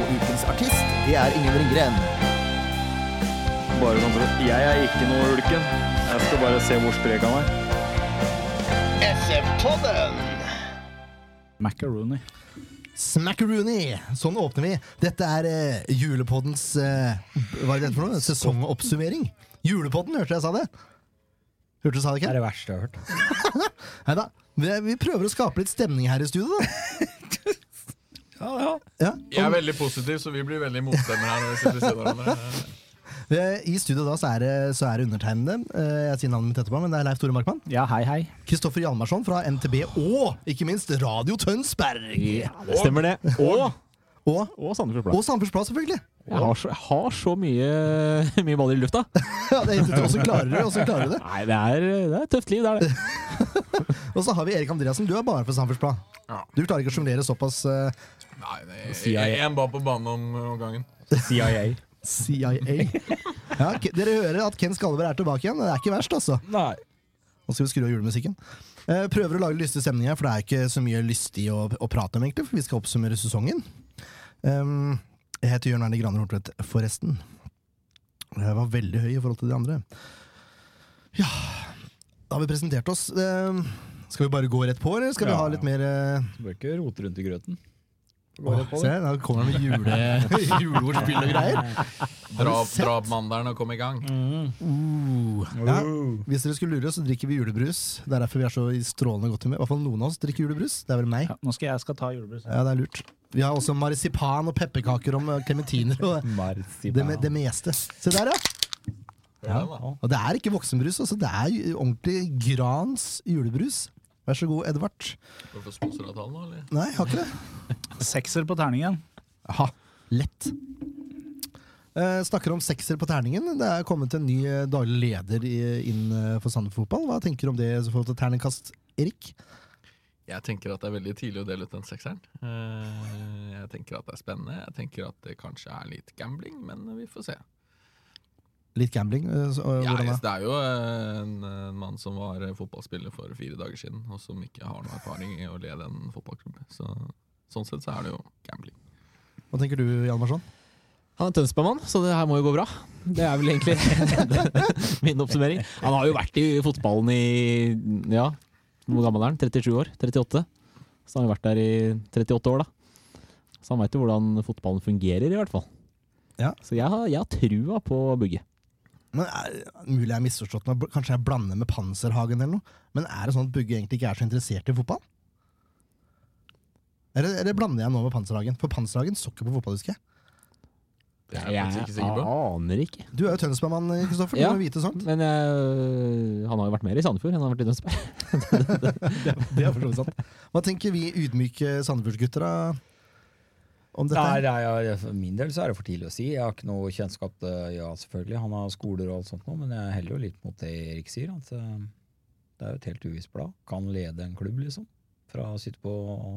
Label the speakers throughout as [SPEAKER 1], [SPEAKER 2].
[SPEAKER 1] Og ukens artist, det er Ingen Ringgren.
[SPEAKER 2] Bare sånn for at Jeg er ikke noe ulken. Jeg skal bare se hvor sprek han er.
[SPEAKER 3] Macaroni.
[SPEAKER 4] Smackaroony! Sånn åpner vi. Dette er eh, julepoddens eh, Hva er det for noe? Sesongoppsummering. Julepodden, hørte jeg sa det? Hørte du sa det ikke?
[SPEAKER 5] det verste jeg har hørt.
[SPEAKER 4] Neida. Vi, vi prøver å skape litt stemning her i studio, da. ja,
[SPEAKER 6] Jeg er veldig positiv, så vi blir veldig motstemmere her. når vi sitter ved siden av hverandre.
[SPEAKER 4] Eh, I studio da så er det, så er det undertegnede. Eh, Jeg sier navnet mitt etterpå, men det er Leif Tore Markmann.
[SPEAKER 3] Ja, hei, hei.
[SPEAKER 4] Kristoffer Hjalmarsson fra NTB og ikke minst Radio Tønsberg.
[SPEAKER 7] Stemmer det. Og,
[SPEAKER 4] Og,
[SPEAKER 7] og Sandefjord Blad.
[SPEAKER 4] og Sandefjords Blad, selvfølgelig.
[SPEAKER 7] Jeg har så, jeg har så mye, mye baller i lufta.
[SPEAKER 4] Ja, det er helt utrolig. Åssen klarer du det? Åssen klarer du det?
[SPEAKER 7] Nei, det er, det er et tøft liv, det er det.
[SPEAKER 4] Og så har vi Erik Andreassen. Du er bare for Sandefjords Blad.
[SPEAKER 6] Ja.
[SPEAKER 4] Du klarer ikke å sjonglere såpass eh,
[SPEAKER 6] Nei, det er én bar på banen om, eh, om gangen.
[SPEAKER 5] CIA.
[SPEAKER 4] CIA. Ja, Ke- dere hører at Ken Skalver er tilbake igjen. Det er ikke verst, altså.
[SPEAKER 5] Nei.
[SPEAKER 4] Nå skal vi skru av julemusikken. Eh, prøver å lage lystig stemning her, for det er ikke så mye lystig å, å prate om, egentlig, for vi skal oppsummere sesongen. Ehm, jeg heter Jørn Erne Graner Hortvedt, forresten. Jeg var veldig høy i forhold til de andre. Ja Da har vi presentert oss. Ehm, skal vi bare gå rett på, eller skal vi
[SPEAKER 5] Ja,
[SPEAKER 4] ha
[SPEAKER 5] ja.
[SPEAKER 4] litt mer eh,
[SPEAKER 5] Du bør ikke rote rundt i grøten.
[SPEAKER 4] åh, Se, da kommer det med jule, juleordspill og greier.
[SPEAKER 6] Dra opp
[SPEAKER 4] sett?
[SPEAKER 6] drapmandelen og kom i gang.
[SPEAKER 4] Uh, ja. Hvis dere skulle lure oss, så drikker vi julebrus. Det er derfor vi er så i strålende godt humør. I hvert fall noen av oss drikker julebrus. Det er vel meg.
[SPEAKER 3] Ja, nå skal jeg skal ta julebrus.
[SPEAKER 4] Ja, det er lurt. Vi har også marsipan og pepperkaker og klementiner og det, me- det meste. Se der, ja.
[SPEAKER 6] Hør den, da.
[SPEAKER 4] Og det er ikke voksenbrus, altså. Det er ju- ordentlig Grans julebrus. Vær så god, Edvard.
[SPEAKER 6] Skal du få sponsoravtale nå, eller?
[SPEAKER 4] Nei, jeg har ikke det.
[SPEAKER 3] Sekser på terningen.
[SPEAKER 4] Aha, lett. Eh, snakker om sekser på terningen. Det er kommet en ny eh, daglig leder i, inn eh, for Sandefjord Fotball. Hva tenker du om det i forhold til terningkast, Erik?
[SPEAKER 6] Jeg tenker at det er veldig tidlig å dele ut den sekseren. Eh, Jeg tenker at det er spennende. Jeg tenker at det kanskje er litt gambling, men vi får se.
[SPEAKER 4] Litt gambling? eh, så, eh,
[SPEAKER 6] Ja,
[SPEAKER 4] hvordan da?
[SPEAKER 6] yes, det er jo eh, en, en mann som var eh, fotballspiller for fire dager siden, og som ikke har noe erfaring i å lede en fotballklubb. Så, sånn sett så er det jo gambling.
[SPEAKER 4] Hva tenker du, Hjalmarsson?
[SPEAKER 7] Han er Tønsbergmann, så det her må jo gå bra. Det er vel egentlig min oppsummering. Han har jo vært i fotballen i ja, hvor gammel er han? 37 år? 38? Så han har vært der i 38 år, da. Så han veit jo hvordan fotballen fungerer, i hvert fall.
[SPEAKER 4] Ja.
[SPEAKER 7] Så jeg har, jeg har trua på Bugge.
[SPEAKER 4] Men er, Mulig jeg har misforstått meg, kanskje jeg blander med Panserhagen eller noe. Men er det sånn at Bugge egentlig ikke er så interessert i fotball? Eller, eller blander jeg nå med Panserhagen? For Panserhagen så ikke på fotball, husker jeg.
[SPEAKER 6] Det er jeg faktisk ikke sikker på.
[SPEAKER 7] aner ikke.
[SPEAKER 4] Du er jo Tønsbergmann, Kristoffer.
[SPEAKER 7] Ja.
[SPEAKER 4] Du må vite sånt.
[SPEAKER 7] Men eh, han har jo vært mer i Sandefjord enn han har vært i Tønsberg.
[SPEAKER 4] Det er for så vidt sant. Hva tenker vi ydmyke Sandefjordsgutter da, om dette?
[SPEAKER 5] Nei,
[SPEAKER 4] her?
[SPEAKER 5] nei, ja, for min del så er det for tidlig å si. Jeg har ikke noe kjennskap til Ja, selvfølgelig, han har skoler og alt sånt nå, men jeg heller jo litt mot det Erik sier. At eh, det er jo et helt uvisst blad. Kan lede en klubb, liksom. Fra å sitte på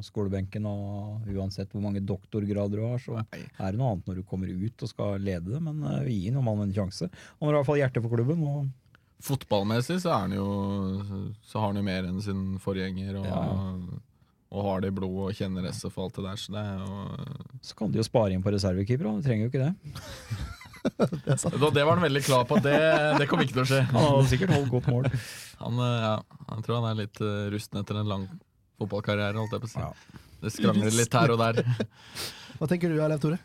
[SPEAKER 5] skolebenken og uansett hvor mange doktorgrader du har, så
[SPEAKER 6] Nei.
[SPEAKER 5] er det noe annet når du kommer ut og skal lede det, men eh, vi gir nå mannen en sjanse. Han har i hvert fall hjerte for klubben, og
[SPEAKER 6] Fotballmessig så, er han jo, så har han jo mer enn sin forgjenger, og, og har det i blodet og kjenner SF og alt det der. Så det, er jo-
[SPEAKER 5] så kan de jo spare inn på reservekeeper, og du trenger jo ikke det.
[SPEAKER 6] Da- det var han veldig klar på. at Det, det kommer ikke til å skje.
[SPEAKER 5] Han hadde sikkert holdt godt mål.
[SPEAKER 6] Han, eh, ja, han tror han er litt eh, rusten etter en lang fotballkarriere, holdt jeg på å si.
[SPEAKER 5] Ja.
[SPEAKER 6] Det skrangler litt her og der.
[SPEAKER 4] Hva tenker du, Leif Tore?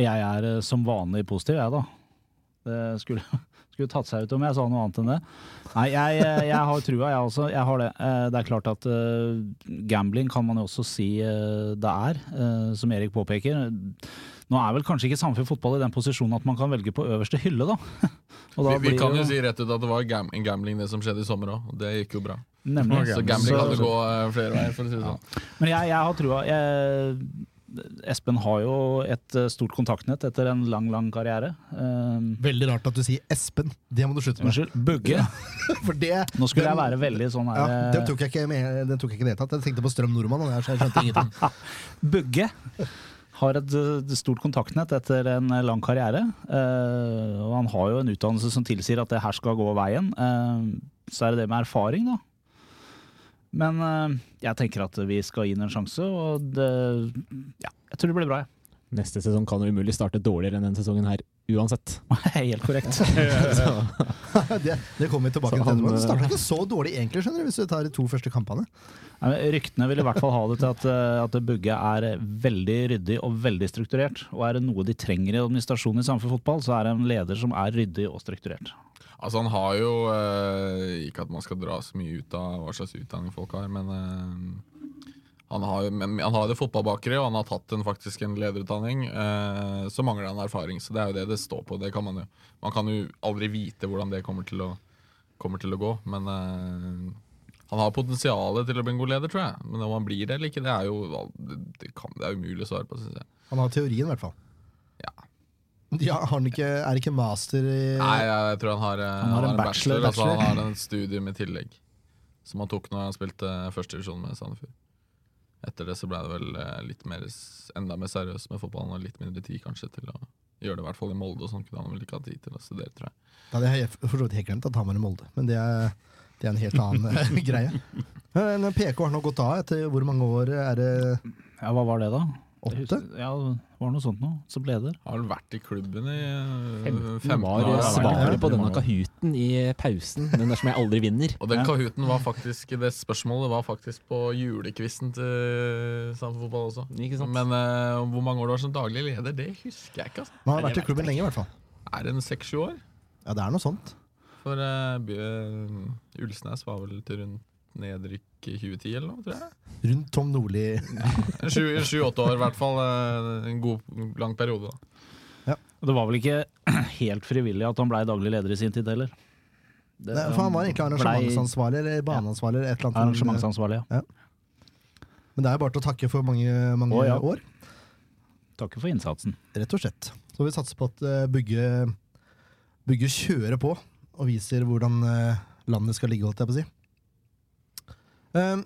[SPEAKER 3] Jeg er eh, som vanlig positiv, jeg, da. Det skulle, skulle tatt seg ut om jeg sa noe annet enn det. Nei, jeg, eh, jeg har trua, jeg også. Jeg har det. Eh, Det er klart at eh, gambling kan man jo også si eh, det er, eh, som Erik påpeker. Nå er vel kanskje ikke Samfunn fotball i den posisjonen at man kan velge på øverste hylle, da. Og da
[SPEAKER 6] Vi, vi
[SPEAKER 3] blir
[SPEAKER 6] kan jo si rett ut at det var gam gambling det som skjedde i sommer òg, og det gikk jo bra.
[SPEAKER 3] Nemlig.
[SPEAKER 6] Så gambling kan jo gå eh, flere veier, for å si det
[SPEAKER 3] Ja.
[SPEAKER 6] sånn.
[SPEAKER 3] Men jeg, jeg har trua. Jeg, Espen har jo et eh, stort kontaktnett etter en lang, lang karriere. Eh,
[SPEAKER 4] Veldig rart at du sier Espen. Det må du slutte med.
[SPEAKER 3] Unnskyld, Bugge.
[SPEAKER 4] For det,
[SPEAKER 3] Nå skulle jeg
[SPEAKER 4] den-
[SPEAKER 3] være veldig sånn
[SPEAKER 4] ja,
[SPEAKER 3] her eh,
[SPEAKER 4] den tok jeg ikke med, den tok jeg ikke nedtatt. Jeg tenkte på Strøm Nordmann, og jeg skjønte ingenting.
[SPEAKER 3] Bugge har et eh, stort kontaktnett etter en eh, lang karriere. Eh, og han har jo en utdannelse som tilsier at det her skal gå veien. Eh, så er det det med erfaring, da. Men eh, jeg tenker at vi skal gi den en sjanse, og det, ja, jeg tror det blir bra. jeg.
[SPEAKER 7] Neste sesong kan jo umulig starte dårligere enn denne sesongen her, uansett.
[SPEAKER 3] Helt korrekt.
[SPEAKER 4] Det, det kommer vi tilbake
[SPEAKER 7] Så
[SPEAKER 4] til
[SPEAKER 7] han,
[SPEAKER 4] etterpå. Det starta
[SPEAKER 7] eh,
[SPEAKER 4] ikke så dårlig egentlig, skjønner du, hvis du tar de to første kampene.
[SPEAKER 3] Nei, men Ryktene vil i hvert fall ha det til at, eh, at Bugge er veldig ryddig og veldig strukturert. Og er det noe de trenger i administrasjonen i Samfunn Fotball, så er det en leder som er ryddig og strukturert.
[SPEAKER 6] Altså Han har jo eh, Ikke at man skal dra så mye ut av hva slags utdanning folk har, men eh, han har jo men han har det fotballbakere, og han har tatt en, faktisk en lederutdanning. eh, så mangler han erfaring, så det er jo det det står på. Det kan man, jo. man kan jo aldri vite hvordan det kommer til å, kommer til å gå, men eh, han har potensialet til å bli en god leder, tror jeg. Men om han blir det eller ikke, det er jo det, det kan, det er umulig å svare på, syns jeg.
[SPEAKER 4] Han har teorien, i hvert fall.
[SPEAKER 6] Ja.
[SPEAKER 4] Ja, har han ikke, er det ikke master i
[SPEAKER 6] Nei, jeg, jeg tror han har, eh,
[SPEAKER 3] Han har en bachelor,
[SPEAKER 6] altså
[SPEAKER 3] bachelor.
[SPEAKER 6] han har en studium i tillegg. Som han tok når han spilte førstedivisjon med Sandefjord. Etter det så ble det vel eh, litt mer, s- enda mer seriøst med fotballen og litt mindre tid kanskje til å gjøre det, i hvert fall i Molde. og sånn kunne han vel ikke ha tid til å studere, tror jeg.
[SPEAKER 4] Da hadde jeg for så vidt helt glemt at han var i Molde, men det er, det er en helt annen eh, greie. Men PK har nå gått av etter hvor mange år? Er det
[SPEAKER 3] Ja, Hva var det, da? Jeg
[SPEAKER 4] åtte?
[SPEAKER 3] husker- Ja, det var noe sånt noe. Som leder.
[SPEAKER 6] Har vel vært i klubben i eh,
[SPEAKER 7] 15
[SPEAKER 6] 15
[SPEAKER 7] var
[SPEAKER 6] år. ja.
[SPEAKER 7] svaret
[SPEAKER 4] det.
[SPEAKER 7] på denne kahooten i pausen, men dersom jeg aldri vinner
[SPEAKER 6] Og den kahooten var faktisk det spørsmålet var faktisk på julekvissen til eh, Sandefjord Fotball også.
[SPEAKER 7] Ikke sant?
[SPEAKER 6] Men eh, hvor mange år du har som daglig leder, det husker jeg ikke. altså.
[SPEAKER 4] Han har vært i klubben lenge, i hvert fall.
[SPEAKER 6] Er det en seks-sju år?
[SPEAKER 4] Ja, det er noe sånt.
[SPEAKER 6] For eh, Bjø- eh, Ulsnes var vel til rundt nedrykk i 2010 eller noe, tror jeg.
[SPEAKER 4] Rundt Tom Nordli.
[SPEAKER 6] En sju- en Sju-åtte år i hvert fall. eh, En god, lang periode. da.
[SPEAKER 3] Og det var vel ikke helt frivillig at han blei daglig leder i sin tid heller. Det,
[SPEAKER 4] Nei, For han var egentlig arrangementsansvarlig eller baneansvarlig. eller Et eller annet eh,
[SPEAKER 3] Arrangementsansvarlig, ja.
[SPEAKER 4] Men det er jo bare til å takke for mange, mange
[SPEAKER 3] Å, ja.
[SPEAKER 4] år,
[SPEAKER 3] Takker for innsatsen.
[SPEAKER 4] rett og slett. Så vi satser på at eh, Bugge, Bugge kjører på og viser hvordan eh, landet skal ligge, holdt jeg på å si. Ehm,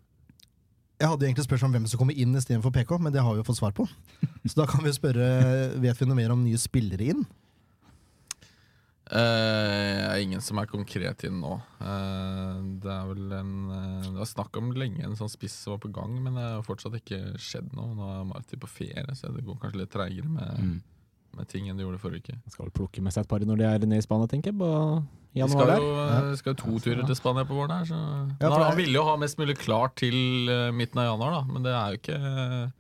[SPEAKER 4] jeg hadde egentlig spørsmål om hvem som kommer inn istedenfor PK, men det har vi jo fått svar på. Så da kan vi spørre eh, Vet vi noe mer om nye spillere inn?
[SPEAKER 6] Eh, det er ingen som er konkret inn nå. Eh, det er vel en eh, Det var snakk om lenge en sånn spiss som var på gang, men det har fortsatt ikke skjedd noe. Nå er Marti på ferie, så det går kanskje litt treigere med,
[SPEAKER 7] Mm.
[SPEAKER 6] med ting enn det gjorde forrige uke.
[SPEAKER 7] Jeg skal vel plukke med seg et par når de er nede i Spania, tenker jeg. På
[SPEAKER 6] Vi
[SPEAKER 7] januar
[SPEAKER 6] skal
[SPEAKER 7] der.
[SPEAKER 6] jo, eh, skal jo to turer til Spania på våren her, så
[SPEAKER 4] Ja,
[SPEAKER 6] Nei,
[SPEAKER 4] for det-
[SPEAKER 6] Han ville jo ha mest mulig klart til eh, midten av januar, da, men det er jo ikke eh,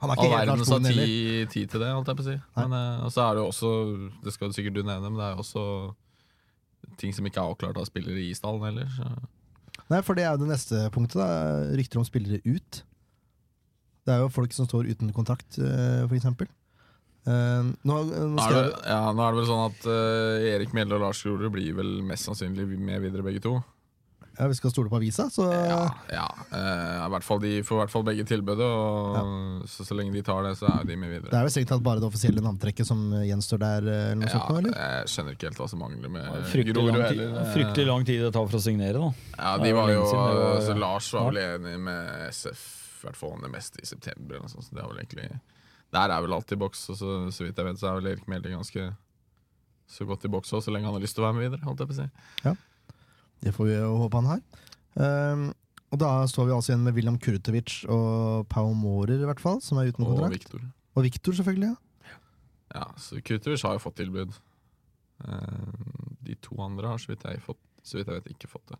[SPEAKER 4] Han er
[SPEAKER 6] All
[SPEAKER 4] ikke helt
[SPEAKER 6] verden
[SPEAKER 4] Lars
[SPEAKER 6] sa
[SPEAKER 4] Bohin heller.
[SPEAKER 6] tid ti til det, holdt jeg på å si. Men, eh, og så er det jo også, det skal jo sikkert du nevne, men det er jo også ting som ikke er avklart av spillere i stallen heller. Så.
[SPEAKER 4] Nei, for det er jo det neste punktet. da Rykter om spillere ut. Det er jo folk som står uten kontrakt, eh, for eksempel. Eh, Nå, nå
[SPEAKER 6] Er
[SPEAKER 4] skal
[SPEAKER 6] det,
[SPEAKER 4] jeg,
[SPEAKER 6] ja, nå er det vel sånn at eh, Erik Mjelde og Lars Grorud blir vel mest sannsynlig med videre, begge to.
[SPEAKER 4] ja, vi skal stole på avisa, så
[SPEAKER 6] Ja, ja eh, i hvert fall De får i hvert fall begge tilbudet, og så, så lenge de tar det, så er jo de med
[SPEAKER 4] det
[SPEAKER 6] videre.
[SPEAKER 4] er vel strengt tatt bare det offisielle navntrekket som gjenstår der, eh, eller noe
[SPEAKER 6] Ja,
[SPEAKER 4] sånt nå, eller?
[SPEAKER 6] jeg skjønner ikke helt hva som mangler med
[SPEAKER 5] Fryktelig lang,
[SPEAKER 6] Grorud
[SPEAKER 5] tid,
[SPEAKER 6] heller. Eh,
[SPEAKER 5] fryktelig lang tid det tar for å signere, da.
[SPEAKER 6] Ja,
[SPEAKER 5] Det
[SPEAKER 6] de
[SPEAKER 5] er
[SPEAKER 6] var
[SPEAKER 5] lenge
[SPEAKER 6] jo,
[SPEAKER 5] siden det var-
[SPEAKER 6] altså, Lars var vel enig med SF i hvert fall om det meste i september. Eller noe sånt, så det er vel egentlig Der er vel alt i boks, og så, så vidt jeg vet, så er vel Erik Mjelde ganske så godt i boks også, så lenge han har lyst til å være med videre. Holdt jeg på å si.
[SPEAKER 4] Det får vi jo håpe han har. Eh, og da står vi altså igjen med William Kurtovic og Pau Mårer, i hvert fall, som er uten
[SPEAKER 6] Og
[SPEAKER 4] kontrakt.
[SPEAKER 6] Viktor.
[SPEAKER 4] Og Viktor, selvfølgelig. ja.
[SPEAKER 6] Ja, så Kutovic har jo fått tilbud. Eh, De to andre har, så vidt jeg, fått, så vidt jeg vet, ikke fått det.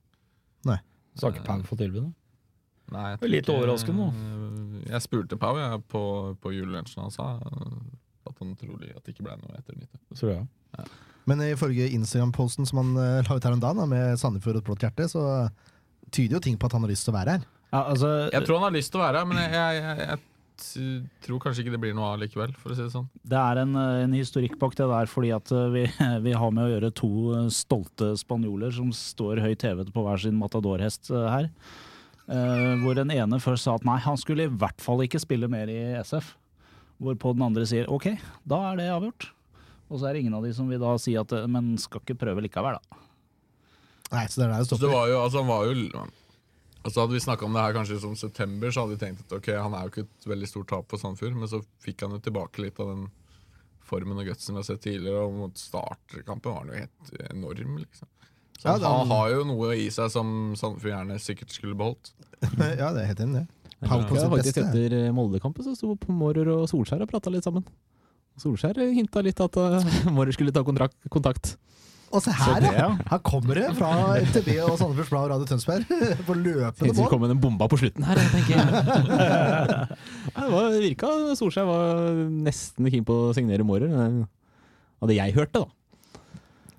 [SPEAKER 6] Eh,
[SPEAKER 5] Så har ikke Pang fått tilbudet.
[SPEAKER 6] Nei, jeg
[SPEAKER 5] Det er litt
[SPEAKER 6] tenker-
[SPEAKER 5] overraskende,
[SPEAKER 6] Jeg spurte Pau jeg, på, på julelunsjen han sa eh, at han trolig at det ikke ble noe etter nyttår.
[SPEAKER 5] Tror jeg.
[SPEAKER 4] Men i forrige Instagram-posten som han eh, la ut her om dagen, da, med Sandefjord og et blått hjerte, så tyder jo ting på at han har lyst til å være her.
[SPEAKER 3] Ja, altså,
[SPEAKER 6] Jeg tror han har lyst til å være her, men jeg, jeg, jeg, jeg t- tror kanskje ikke det blir noe av likevel, for å si det sånn.
[SPEAKER 3] Det er en, eh, en historikk bak det der, fordi at eh, vi, vi har med å gjøre to eh, stolte spanjoler som står høyt hevet på hver sin matadorhest eh, her. Eh, hvor den ene først sa at nei, han skulle i hvert fall ikke spille mer i SF. Hvorpå den andre sier ok, da er det avgjort. Og så er det ingen av de som vil da si at eh, men skal ikke prøve likevel, da.
[SPEAKER 4] Nei, så det er der det
[SPEAKER 6] Så det
[SPEAKER 4] stopper.
[SPEAKER 6] var jo, altså, han var jo altså, Hadde vi snakka om det her kanskje i sånn september, så hadde vi tenkt at ok, han er jo ikke et veldig stort tap for Sandfjord, men så fikk han jo tilbake litt av den formen og gutsen vi har sett tidligere, og mot startkampen var han jo helt enorm, liksom. Så
[SPEAKER 4] Ja,
[SPEAKER 6] han,
[SPEAKER 4] det-
[SPEAKER 6] han har jo noe i seg som Sandefjord gjerne sikkert skulle beholdt.
[SPEAKER 4] ja, det er helt enig, det. Pau på
[SPEAKER 7] Ja,
[SPEAKER 4] sitt
[SPEAKER 7] faktisk
[SPEAKER 4] beste.
[SPEAKER 7] etter eh, Moldekampen så sto Mårer og Solskjær og prata litt sammen. Solskjær hinta litt at eh, Mårer skulle ta kontrakt, kontakt.
[SPEAKER 4] Og se her, ja. Her kommer det fra MTB og Sandefjords Blad og Radio Tønsberg på løpende
[SPEAKER 7] Tenkte det
[SPEAKER 4] bånd.
[SPEAKER 7] kom en bomba på slutten her, tenker jeg. Nei, det var, det virka Solskjær var nesten keen på å signere Mårer. men Av det jeg hørte, da.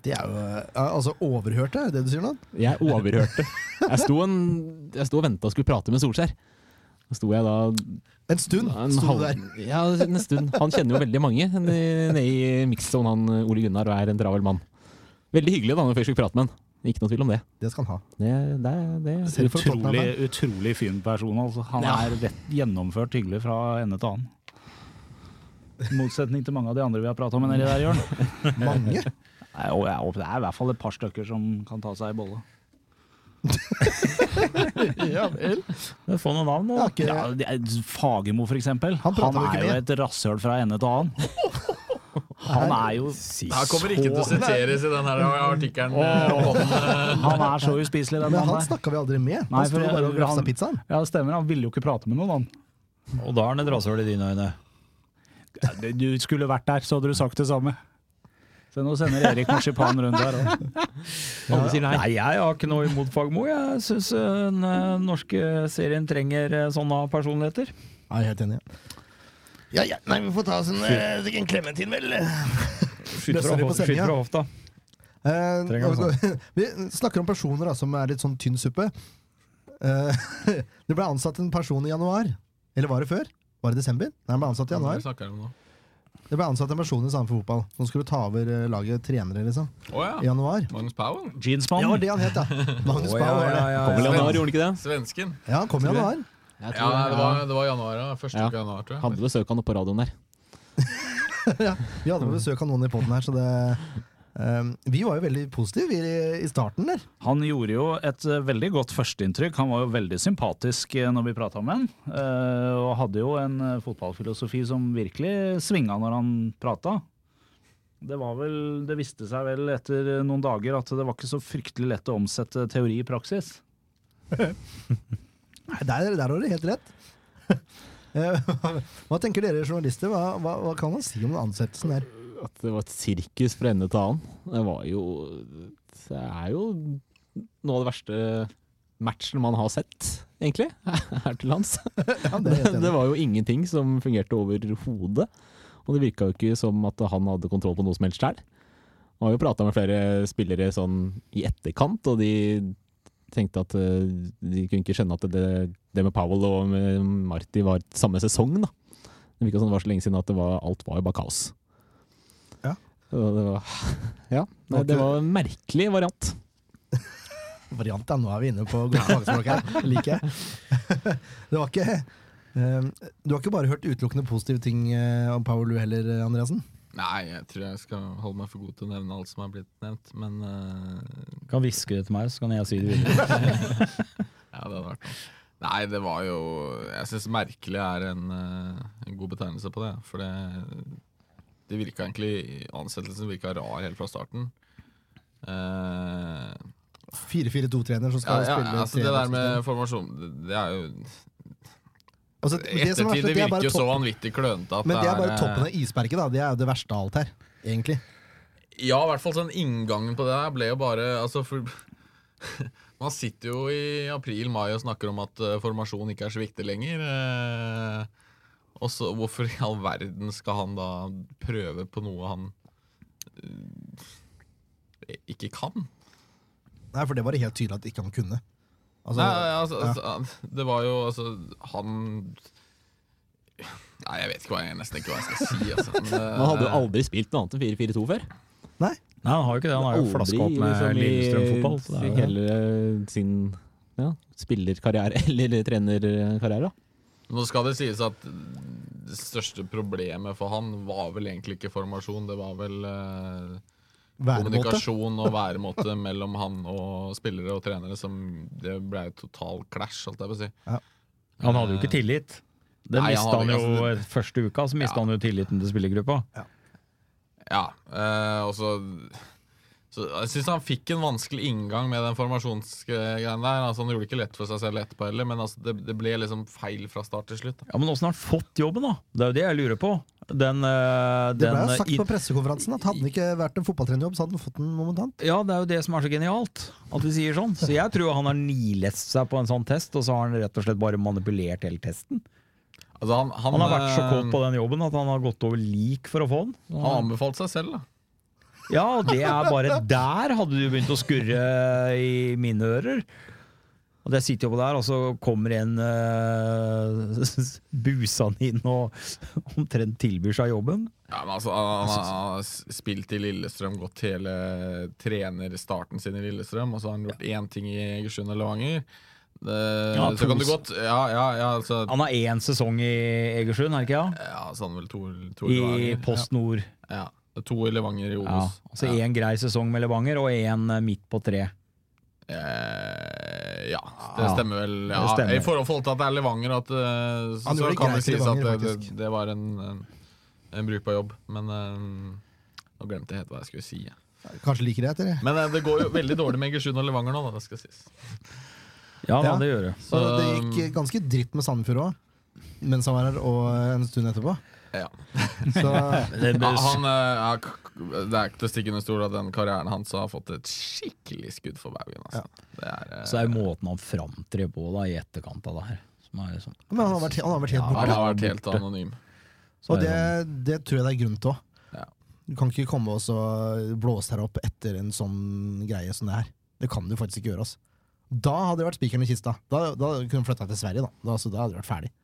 [SPEAKER 4] Det er jo ja, altså overhørte, er det det du sier nå?
[SPEAKER 7] Jeg overhørte. Jeg sto, en, jeg sto og venta og skulle prate med Solskjær. Så sto jeg da
[SPEAKER 4] En stund
[SPEAKER 7] en
[SPEAKER 4] sto
[SPEAKER 7] halv-
[SPEAKER 4] du der.
[SPEAKER 7] Ja, en stund. Han kjenner jo veldig mange nede i mixzone, han eh, Ole Gunnar, og er en travel mann. Veldig hyggelig da når vi først fikk prate med han. Ikke noe tvil om det.
[SPEAKER 4] Det skal han ha.
[SPEAKER 7] Det, det, det.
[SPEAKER 4] Selv for
[SPEAKER 3] Utrolig,
[SPEAKER 4] Tottenham.
[SPEAKER 3] utrolig fin person, altså. Han
[SPEAKER 7] Ja.
[SPEAKER 3] er rett gjennomført hyggelig fra ende til annen. I motsetning til mange av de andre vi har prata om nedi der, Jørn.
[SPEAKER 4] Mange.
[SPEAKER 3] Nei, og jeg håper Det er i hvert fall et par stykker som kan ta seg i bolle.
[SPEAKER 4] ja vel.
[SPEAKER 5] Få noen navn,
[SPEAKER 4] Det
[SPEAKER 5] da.
[SPEAKER 4] er ikke,
[SPEAKER 3] Ja, det er- Fagermo, for eksempel.
[SPEAKER 4] Han
[SPEAKER 3] Han,
[SPEAKER 4] prater jo
[SPEAKER 3] er
[SPEAKER 4] ikke
[SPEAKER 3] jo
[SPEAKER 4] med.
[SPEAKER 3] et rasshøl fra ende til annen. Han er jo
[SPEAKER 6] Her kommer ikke til å siteres i den her artikkelen. eh,
[SPEAKER 3] Han er så uspiselig,
[SPEAKER 4] Men
[SPEAKER 3] den mannen
[SPEAKER 4] han
[SPEAKER 3] der.
[SPEAKER 4] snakka vi aldri med.
[SPEAKER 3] Nei,
[SPEAKER 4] Han sto
[SPEAKER 3] for jeg-
[SPEAKER 4] bare og grafsa
[SPEAKER 3] han-
[SPEAKER 4] pizzaen.
[SPEAKER 3] Ja, det stemmer. Han ville jo ikke prate med noen, han.
[SPEAKER 5] Og da er han et rasshøl i dine øyne.
[SPEAKER 3] Ja, det- Du skulle vært der, så hadde du sagt det samme. Så nå sender Erik marsipan rundt her. også.
[SPEAKER 7] Alle sier nei.
[SPEAKER 5] Nei, jeg har ikke noe imot Fagmo. Jeg syns den eh, norske serien trenger eh, sånne personligheter.
[SPEAKER 4] Ja, jeg er helt enig. Ja, ja. Nei, vi får ta oss en, eh, en klementin, vel.
[SPEAKER 5] Skyter
[SPEAKER 4] Løsner
[SPEAKER 5] fra,
[SPEAKER 4] det på
[SPEAKER 5] hof-
[SPEAKER 4] sendinga.
[SPEAKER 5] skyter fra hofta.
[SPEAKER 4] Eh,
[SPEAKER 5] Trenger noe
[SPEAKER 4] vi snakker om personer da, som er litt sånn tynn suppe. Eh, det ble ansatt en person i januar. Eller var det før? Var det desember? Nei, han ble ansatt i
[SPEAKER 6] Hva
[SPEAKER 4] januar.
[SPEAKER 6] snakker vi om nå?
[SPEAKER 4] Det ble ansatt en person i Sandefjord Fotball som skulle ta over eh, laget trenere liksom,
[SPEAKER 6] Å
[SPEAKER 4] i
[SPEAKER 6] ja.
[SPEAKER 4] januar.
[SPEAKER 6] Magnus Powell?
[SPEAKER 4] Ja, det
[SPEAKER 3] Jeansmannen.
[SPEAKER 4] var det han het, ja. Magnus Bau var det.
[SPEAKER 7] Kom vel januar, gjorde han ikke det?
[SPEAKER 6] Svensken.
[SPEAKER 4] Ja, han kom i januar.
[SPEAKER 7] Jeg
[SPEAKER 6] Ja,
[SPEAKER 7] tror
[SPEAKER 6] nei,
[SPEAKER 7] ja.
[SPEAKER 6] det var, det var januar, ja. Første
[SPEAKER 7] Ja.
[SPEAKER 6] uke i januar, tror jeg.
[SPEAKER 7] Hadde besøk av han oppe på radioen der.
[SPEAKER 4] Vi hadde besøk av noen i poden her, så det eh, Vi var jo veldig positive i, i starten der.
[SPEAKER 3] Han gjorde jo et eh, veldig godt førsteinntrykk. Han var jo veldig sympatisk eh, når vi prata med han. eh, Og hadde jo en eh, fotballfilosofi som virkelig svinga når han prata. Det, var vel, det viste seg vel etter noen dager at det var ikke så fryktelig lett å omsette teori i praksis.
[SPEAKER 4] Nei, Der, der har du helt rett. Eh, hva tenker dere journalister? Hva, hva, hva kan man si om den ansettelsen der?
[SPEAKER 7] At det var et sirkus fra ende til annen. Det var jo Det er jo noe av det verste matchen man har sett, egentlig, her til lands.
[SPEAKER 4] Ja, det er jeg helt enig i.
[SPEAKER 7] Det var jo ingenting som fungerte overhodet. Og det virka jo ikke som at han hadde kontroll på noe som helst sjøl. Han har jo prata med flere spillere sånn i etterkant, og de tenkte at eh, de kunne ikke skjønne at det, det med Powell og med Marti var samme sesong, da. Det virka som det var så lenge siden at det var, alt var jo bare kaos.
[SPEAKER 4] Ja.
[SPEAKER 7] Og det var, ja. Nei, det var en merkelig variant.
[SPEAKER 4] variant. Da. Nå er vi inne på godt fagspråk her. Liker jeg. Det var ikke ehm, Du har ikke bare hørt utelukkende positive ting eh, om Paolo heller, eh, Andreassen?
[SPEAKER 6] Nei, jeg tror jeg skal holde meg for god til å nevne alt som er blitt nevnt, men eh,
[SPEAKER 5] Kan hviske det til meg, så kan jeg si det videre.
[SPEAKER 6] Ja, det hadde vært noe. Nei, det var jo Jeg syns merkelig er en, eh, en god betegnelse på det. For det, det virka egentlig Ansettelsen virka rar helt fra starten. Eh,
[SPEAKER 4] 4-4-2-trener som
[SPEAKER 6] ja,
[SPEAKER 4] skal
[SPEAKER 6] ja,
[SPEAKER 4] spille
[SPEAKER 6] altså
[SPEAKER 4] tre
[SPEAKER 6] Det der
[SPEAKER 4] backsystem.
[SPEAKER 6] med formasjon det- Det er jo
[SPEAKER 4] altså, det, som er
[SPEAKER 6] Ettertid
[SPEAKER 4] verst,
[SPEAKER 6] det
[SPEAKER 4] det er
[SPEAKER 6] virker
[SPEAKER 4] bare
[SPEAKER 6] jo så
[SPEAKER 4] topp,
[SPEAKER 6] vanvittig klønete at
[SPEAKER 4] Men det er bare
[SPEAKER 6] eh,
[SPEAKER 4] toppen av isberget. da Det er jo det verste av alt her, egentlig.
[SPEAKER 6] Ja, i hvert fall sånn inngangen på det her ble jo bare altså, for, Man sitter jo i april-mai og snakker om at eh, formasjon ikke er så viktig lenger. eh, og så hvorfor i all verden skal han da prøve på noe han eh, ikke kan?
[SPEAKER 4] Nei, For det var det helt tydelig at ikke han kunne. Altså,
[SPEAKER 6] Nei, altså, altså, det var jo altså Han Nei, jeg vet ikke hva jeg nesten ikke hva jeg skal si. Altså. Men, eh,
[SPEAKER 7] Man hadde jo aldri spilt noe annet enn 4-4-2 før.
[SPEAKER 5] Nei, han har jo ikke det. Han har jo
[SPEAKER 7] Aldri,
[SPEAKER 5] flaska opp med
[SPEAKER 7] liksom, i
[SPEAKER 5] Lillestrøm fotball. Så det er jo-
[SPEAKER 7] Hele sin ja, spillerkarriere eller trenerkarriere. da.
[SPEAKER 6] Nå skal det sies at det største problemet for han var vel egentlig ikke formasjon, det var vel eh,
[SPEAKER 4] Væremåte.
[SPEAKER 6] kommunikasjon og væremåte mellom han og spillere og trenere som Det ble total clash, holdt jeg på å si.
[SPEAKER 8] Han hadde jo ikke tillit. Det
[SPEAKER 6] Nei, han
[SPEAKER 8] mista
[SPEAKER 6] hadde
[SPEAKER 8] han altså,
[SPEAKER 6] ikke-
[SPEAKER 8] jo første uka, så mista
[SPEAKER 6] Ja.
[SPEAKER 8] han jo tilliten til spillergruppa.
[SPEAKER 6] Ja, eh, og så så jeg syns han fikk en vanskelig inngang med den formasjonsgreien der. Altså, han gjorde det ikke lett for seg selv etterpå heller, men altså, det, det ble liksom feil fra start til slutt. da.
[SPEAKER 8] Ja, Men åssen har han fått jobben, da? Det er jo det jeg lurer på. Den, eh,
[SPEAKER 4] Det ble
[SPEAKER 8] den,
[SPEAKER 4] jo
[SPEAKER 8] eh,
[SPEAKER 4] sagt på pressekonferansen at hadde det ikke vært en fotballtrenerjobb, så hadde han fått den momentant.
[SPEAKER 8] Ja, det er jo det som er så genialt, at vi sier sånn. Så jeg tror han har nilest seg på en sånn test, og så har han rett og slett bare manipulert hele testen.
[SPEAKER 6] Altså, han, han,
[SPEAKER 8] Han har vært så
[SPEAKER 6] eh,
[SPEAKER 8] kåt på den jobben at han har gått over lik for å få den. Så
[SPEAKER 6] Han
[SPEAKER 8] han-
[SPEAKER 6] anbefalte seg selv, da.
[SPEAKER 8] Ja, og det er bare der hadde du begynt å skurre i mine ører. Og jeg sitter jo på der, og så kommer en uh, busan inn og omtrent tilbyr seg jobben.
[SPEAKER 6] Ja, men altså, han, han har spilt i Lillestrøm, gått hele trenerstarten sin i Lillestrøm, og så har han gjort én ting i Egersund og Levanger. Det,
[SPEAKER 8] Ja,
[SPEAKER 6] så kan
[SPEAKER 8] to-
[SPEAKER 6] du godt Ja, ja, ja, altså,
[SPEAKER 8] Han har én sesong i Egersund, er det ikke det?
[SPEAKER 6] ja så han vel to, to i
[SPEAKER 8] I
[SPEAKER 6] Levanger.
[SPEAKER 8] Post Nord.
[SPEAKER 6] Ja, ja. To i Levanger i
[SPEAKER 8] Ja,
[SPEAKER 6] Obos.
[SPEAKER 8] altså
[SPEAKER 6] ja.
[SPEAKER 8] én grei sesong med Levanger, og én midt på tre.
[SPEAKER 6] Eh, ja, det
[SPEAKER 8] Ja,
[SPEAKER 6] stemmer vel. Ja,
[SPEAKER 8] det stemmer.
[SPEAKER 6] I forhold forhold til at det er Levanger, at, eh, så,
[SPEAKER 4] Han gjorde
[SPEAKER 6] så
[SPEAKER 4] det
[SPEAKER 6] kan det
[SPEAKER 4] greit i
[SPEAKER 6] sies at det,
[SPEAKER 4] Levanger,
[SPEAKER 6] det, det var en, en, en brukbar jobb. Men eh, nå glemte jeg helt hva jeg skulle si. jeg.
[SPEAKER 4] Kanskje like greit, eller?
[SPEAKER 6] Men eh, det går jo veldig dårlig med Egersund og Levanger nå, da, det skal sies.
[SPEAKER 8] Ja,
[SPEAKER 4] Ja.
[SPEAKER 8] da, det gjør det.
[SPEAKER 4] Så det gikk ganske dritt med Sandefjord òg, mens han var her, og en stund etterpå.
[SPEAKER 6] Ja.
[SPEAKER 4] Så
[SPEAKER 8] det
[SPEAKER 6] Ja,
[SPEAKER 8] blir-
[SPEAKER 6] han, eh, ja, k- det er ikke til å stikke under stol at den karrieren hans har fått et skikkelig skudd for baugen. Altså. Det er, eh,
[SPEAKER 8] så er jo måten han framtrer på da, i etterkant av det her. Som er liksom,
[SPEAKER 4] men han har vært, han har vært helt
[SPEAKER 8] Ja,
[SPEAKER 4] borte.
[SPEAKER 6] han har vært helt
[SPEAKER 8] borte.
[SPEAKER 6] anonym.
[SPEAKER 8] så
[SPEAKER 4] Og
[SPEAKER 8] er
[SPEAKER 4] det,
[SPEAKER 8] sånn-
[SPEAKER 4] det tror jeg det er grunn til òg.
[SPEAKER 6] Ja.
[SPEAKER 4] Du kan ikke komme oss og blåse her opp etter en sånn greie som det her. Det kan du faktisk ikke gjøre. Ass. Da hadde det vært spikeren i kista. Da, da kunne du flytta til Sverige, da. da. Så da hadde du vært ferdig.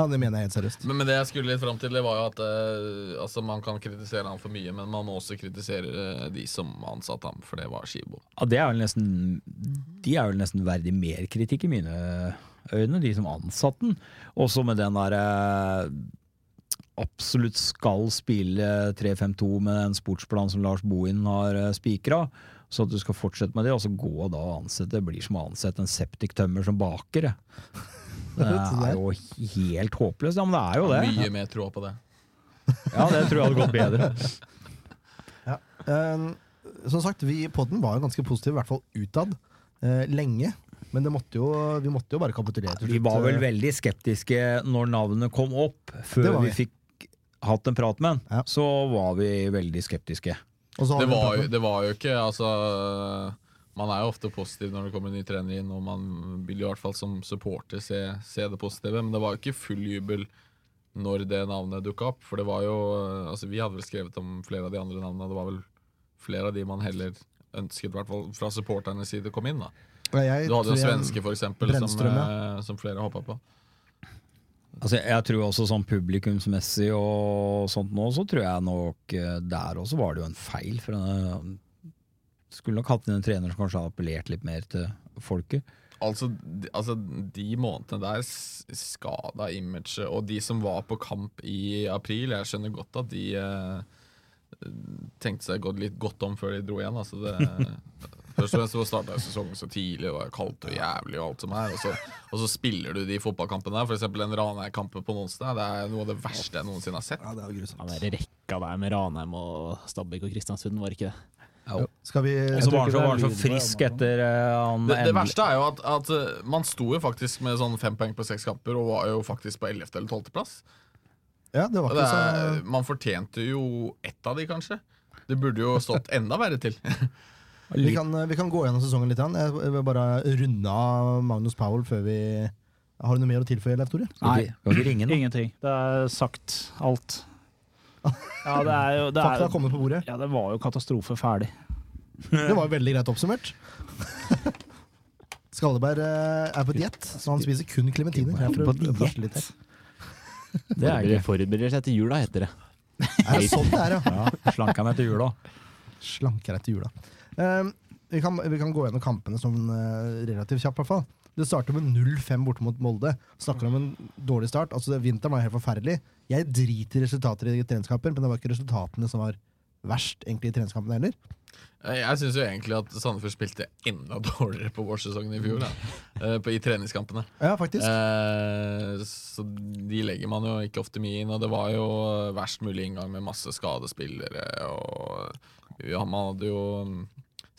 [SPEAKER 4] Ja, Det mener jeg helt seriøst.
[SPEAKER 6] Men, men det jeg skulle litt fram til, det var jo at eh, altså, man kan kritisere han for mye, men man må også kritisere eh, de som ansatte ham, for det var skibom.
[SPEAKER 8] Ja, det er vel nesten, de er vel nesten verdig mer kritikk i mine øyne, de som ansatte den. Også med den derre absolutt skal spille 3-5-2 med den sportsplanen som Lars Bohin har eh, spikra. Så at du skal fortsette med det, og så gå da og ansette. Det blir som å ansette en septiktømmer som baker. Det, det er jo helt håpløst. Ja, men det er jo det.
[SPEAKER 6] Mye mer tråd på det.
[SPEAKER 8] Ja, det tror jeg hadde gått bedre.
[SPEAKER 4] Eh, som sagt, vi i podden var jo ganske positive, i hvert fall utad, eh, lenge. Men det måtte jo, vi måtte jo bare kapitulere. til slutt.
[SPEAKER 8] Vi
[SPEAKER 4] eh,
[SPEAKER 8] var vel
[SPEAKER 5] eh,
[SPEAKER 8] veldig skeptiske når navnet kom opp,
[SPEAKER 4] Det
[SPEAKER 8] før
[SPEAKER 4] var
[SPEAKER 8] vi.
[SPEAKER 4] vi.
[SPEAKER 8] fikk hatt en prat med han.
[SPEAKER 4] Ja.
[SPEAKER 8] Så var vi veldig skeptiske.
[SPEAKER 4] Og så hadde
[SPEAKER 6] Det
[SPEAKER 4] vi
[SPEAKER 6] var,
[SPEAKER 4] pratet-
[SPEAKER 6] jo, det var jo ikke altså, Man er jo ofte positiv når det kommer en ny trener inn, og man vil i hvert fall som supporter se, se det positive, men det var jo ikke full jubel når det navnet dukka opp. For det var jo altså, Vi hadde vel skrevet om flere av de andre navnene, det var vel flere av de man heller ønsket, i hvert fall fra supporternes side, kom inn. da
[SPEAKER 4] Ja, jeg
[SPEAKER 6] Du hadde
[SPEAKER 4] tror
[SPEAKER 6] jo
[SPEAKER 4] jeg-
[SPEAKER 6] svenske, for eksempel, som,
[SPEAKER 4] Brännström,
[SPEAKER 6] eh, som flere hoppa på.
[SPEAKER 8] Altså, jeg tror også sånn publikumsmessig og sånt nå, så tror jeg nok eh, der også var det jo en feil. For den, skulle nok hatt inn en trener som kanskje hadde appellert litt mer til folket.
[SPEAKER 6] Altså, de, altså, de månedene der s- skada imaget, og de som var på kamp i april Jeg skjønner godt at de eh, tenkte seg godt, litt godt om før de dro igjen. Altså det, først og fremst så starta sesongen så tidlig, det var kaldt og jævlig, og alt som er. Og så, og så spiller du de fotballkampene der, f.eks. den Ranheim-kampen på onsdag. Det er noe av det verste jeg noensinne har sett.
[SPEAKER 4] Ja, det er jo grusomt.
[SPEAKER 7] Ja, den der rekka der med Ranheim og Stabæk og Kristiansund, var det ikke det?
[SPEAKER 4] Skal vi
[SPEAKER 8] Og så var han
[SPEAKER 3] tror ikke
[SPEAKER 8] så,
[SPEAKER 3] det er
[SPEAKER 8] var han så
[SPEAKER 3] lyd på det,
[SPEAKER 8] frisk
[SPEAKER 3] Amazon.
[SPEAKER 8] etter eh, han
[SPEAKER 6] Det, det
[SPEAKER 8] endelig-
[SPEAKER 6] verste er jo at, at eh, man sto jo faktisk med sånn fem poeng på seks kamper, og var jo faktisk på 11. eller 12. plass.
[SPEAKER 4] Ja, det var
[SPEAKER 6] Og Det
[SPEAKER 4] ikke sånn, eh,
[SPEAKER 6] er,
[SPEAKER 4] så
[SPEAKER 6] man fortjente jo ett av de, kanskje. Det burde jo stått enda verre til.
[SPEAKER 4] vi kan, eh, vi kan gå gjennom sesongen litt. grann. Jeg vil bare runde av Magnus Powell før vi Har du noe mer å tilføye, Leif Tore?
[SPEAKER 8] Skal ikke- skal ikke ringe nå?
[SPEAKER 3] Ingenting. Det er sagt alt. Ja, det er jo det
[SPEAKER 4] Fakta har
[SPEAKER 3] er,
[SPEAKER 4] kommet på bordet.
[SPEAKER 3] ja, det var jo katastrofe ferdig.
[SPEAKER 4] Det var veldig greit oppsummert. Skalleberg eh, er på diett, så han spiser kun klementiner. Jeg prøver å prate litt her.
[SPEAKER 7] Det er det. Forbereder seg til jula, heter det.
[SPEAKER 4] Er det sånn det er, ja?
[SPEAKER 8] Ja, Slanka meg til jula.
[SPEAKER 4] Slanker deg til jula. Eh, vi, kan, vi kan gå gjennom kampene sånn eh, relativt kjapt, i hvert fall. Det starter med 0-5 borte mot Molde. Snakker om en dårlig start. Altså, det- Vinteren var helt forferdelig. Jeg driter i resultater i treningskamper, men det var ikke resultatene som var verst egentlig i treningskampene heller.
[SPEAKER 6] Eh, Jeg syns jo egentlig at Sandefjord spilte enda dårligere på vårsesongen i fjor. Da. Eh, på- I treningskampene.
[SPEAKER 4] Ja, faktisk.
[SPEAKER 6] Eh, så de legger man jo ikke ofte mye inn, og det var jo verst mulig inngang med masse skadespillere. Og ja, man hadde jo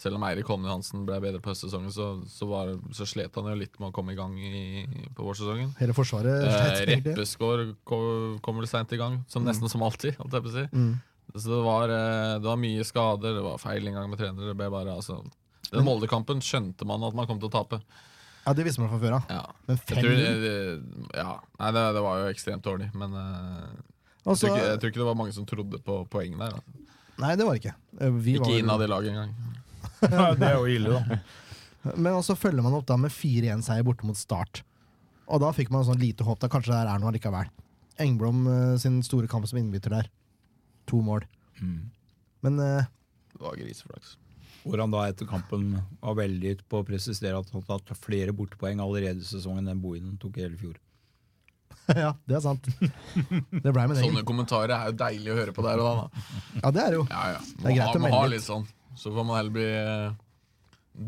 [SPEAKER 6] Selv om Eirik Holmen Hansen ble bedre på høstsesongen, så, så, var, så slet han jo litt med å komme i gang i, på vårsesongen.
[SPEAKER 4] Hele forsvaret
[SPEAKER 6] Eh,
[SPEAKER 4] sleit egentlig.
[SPEAKER 6] Reppeskår ko- kommer litt seint i gang, som nesten som alltid. Holdt jeg på å si.
[SPEAKER 4] Mm.
[SPEAKER 6] Så det var, eh, det var mye skader, det var feil inngang med trenere. Det ble bare, altså, den Molde-kampen skjønte man at man kom til å tape.
[SPEAKER 4] Ja, det visste man fra før av.
[SPEAKER 6] Ja.
[SPEAKER 4] Men
[SPEAKER 6] Jeg tror,
[SPEAKER 4] fem
[SPEAKER 6] det- ja. Nei, det, det var jo ekstremt dårlig, men eh, jeg,
[SPEAKER 4] altså,
[SPEAKER 6] tror ikke, jeg tror ikke det var mange som trodde på poengene der. Altså.
[SPEAKER 4] Nei, det var det ikke. Eh, Vi
[SPEAKER 6] Ikke
[SPEAKER 4] var-
[SPEAKER 6] innad i laget engang.
[SPEAKER 8] det er jo ille, da.
[SPEAKER 4] Men også følger man opp da med 4-1-seier borte mot Start. Og da fikk man sånn lite håp. Da kanskje det her er noe allikevel. Engblom eh, sin store kamp som innbytter der. To mål. Men eh,
[SPEAKER 6] Det var griseflaks.
[SPEAKER 5] Hvor han da etter kampen var veldig på å presisere at han hadde tatt flere bortepoeng allerede i sesongen enn Bohinen tok i hele fjor.
[SPEAKER 4] ja, det er sant. Det blei min egen.
[SPEAKER 6] Sånne kommentarer er jo deilig å høre på der og da. da.
[SPEAKER 4] Ja, det er det jo.
[SPEAKER 6] Ja, ja. Må,
[SPEAKER 4] Det er greit
[SPEAKER 6] ha,
[SPEAKER 4] å
[SPEAKER 6] må
[SPEAKER 4] melde
[SPEAKER 6] ha
[SPEAKER 4] litt.
[SPEAKER 6] litt sånn. Så får man heller bli eh,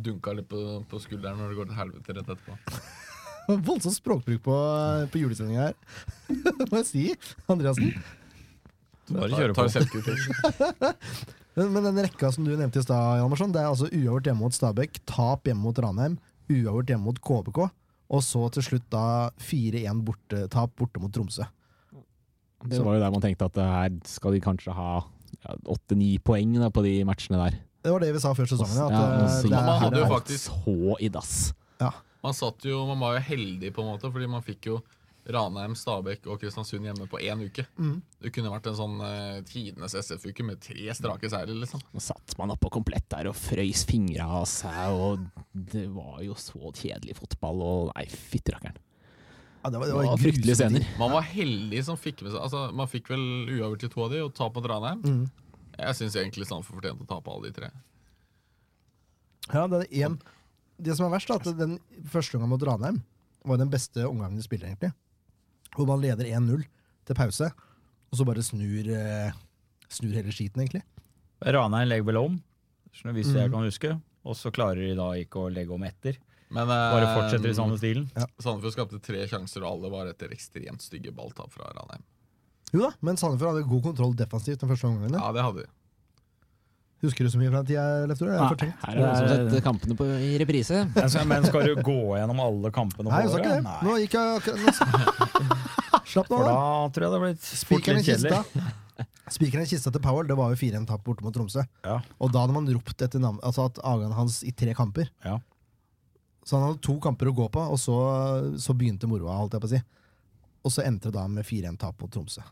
[SPEAKER 6] dunka litt på, på skulderen når det går til helvete rett etterpå.
[SPEAKER 4] Voldsom språkbruk på, på julesendinga her. Må jeg si, Andreassen.
[SPEAKER 8] Bare
[SPEAKER 6] Ta-
[SPEAKER 8] kjøre
[SPEAKER 6] ta
[SPEAKER 8] på.
[SPEAKER 6] selvkritikk.
[SPEAKER 4] Men, men den rekka som du nevnte i stad, Jan Marsson, det er altså uavgjort hjemme mot Stabæk, tap hjemme mot Ranheim, uavgjort hjemme mot KBK, og så til slutt da 4-1 borte, tap borte mot Tromsø.
[SPEAKER 7] Det var jo der man tenkte at eh, her skal de kanskje ha ja, åtte-ni poeng da, på de matchene der.
[SPEAKER 4] Det var det vi sa før sesongen. At,
[SPEAKER 7] Ja,
[SPEAKER 4] eh,
[SPEAKER 7] så-
[SPEAKER 4] det
[SPEAKER 6] Man hadde jo
[SPEAKER 4] er,
[SPEAKER 6] faktisk
[SPEAKER 7] Så i dass.
[SPEAKER 6] Man satt jo, man var jo heldig på en måte, fordi man fikk jo Ranheim, Stabæk og Kristiansund hjemme på én uke.
[SPEAKER 4] Mm.
[SPEAKER 6] Det kunne vært en sånn eh, tidenes SF-uke med tre strake seire, liksom.
[SPEAKER 7] Nå satt man oppå komplett der og frøys fingra av seg, og det var jo så kjedelig fotball, og nei, fytti rakkeren.
[SPEAKER 4] ja, det var,
[SPEAKER 7] Det
[SPEAKER 4] det var
[SPEAKER 7] var fryktelige
[SPEAKER 4] grusomt.
[SPEAKER 7] scener.
[SPEAKER 6] Man var heldig som fikk med seg Altså, Man fikk vel uavgjort i to av de, og tap mot Ranheim.
[SPEAKER 4] Mm.
[SPEAKER 6] Jeg syns egentlig Sandefjord fortjente å tape alle de tre.
[SPEAKER 4] Ja, det, er en, det som er verst, er at den første omgangen mot Ranheim var den beste omgangen de spiller, egentlig. Hvor man leder 1-0 til pause, og så bare snur, eh, snur hele skiten, egentlig.
[SPEAKER 5] Ranheim legger vel om, så hvis jeg
[SPEAKER 4] Mm.
[SPEAKER 5] kan huske. Og så klarer de da ikke å legge om etter.
[SPEAKER 6] Men
[SPEAKER 5] Bare
[SPEAKER 6] eh,
[SPEAKER 5] fortsetter i samme stilen.
[SPEAKER 6] Sandefjord skapte tre sjanser, og alle var etter ekstremt stygge balltap fra Ranheim.
[SPEAKER 4] Jo da, men Sandefjord hadde god kontroll defensivt den første omgangen.
[SPEAKER 6] Ja, det hadde de.
[SPEAKER 4] Husker du så mye fra den tida, Leftor? Jeg har
[SPEAKER 7] Nei,
[SPEAKER 4] fortrengt.
[SPEAKER 7] her er det som sett kampene på, i reprise.
[SPEAKER 5] Men skal- Men skal du gå gjennom alle kampene?
[SPEAKER 4] Nei, jeg sa
[SPEAKER 5] året?
[SPEAKER 4] ikke det. Nå
[SPEAKER 5] Nei.
[SPEAKER 4] gikk jeg akkurat nå- Slapp nå
[SPEAKER 5] For
[SPEAKER 4] av.
[SPEAKER 5] da tror jeg det blir fort
[SPEAKER 4] Spikeren i
[SPEAKER 5] litt kjedelig.
[SPEAKER 4] kista. Spikeren i kista til Powell det var jo 4-1-tap borte mot Tromsø.
[SPEAKER 5] Ja.
[SPEAKER 4] Og da hadde man ropt etter navn, altså at avgangen hans i tre kamper.
[SPEAKER 5] Ja.
[SPEAKER 4] Så han hadde to kamper å gå på, og så, så begynte moroa, holdt jeg på å si. Og så endte det da med 4-1-tap mot Tromsø.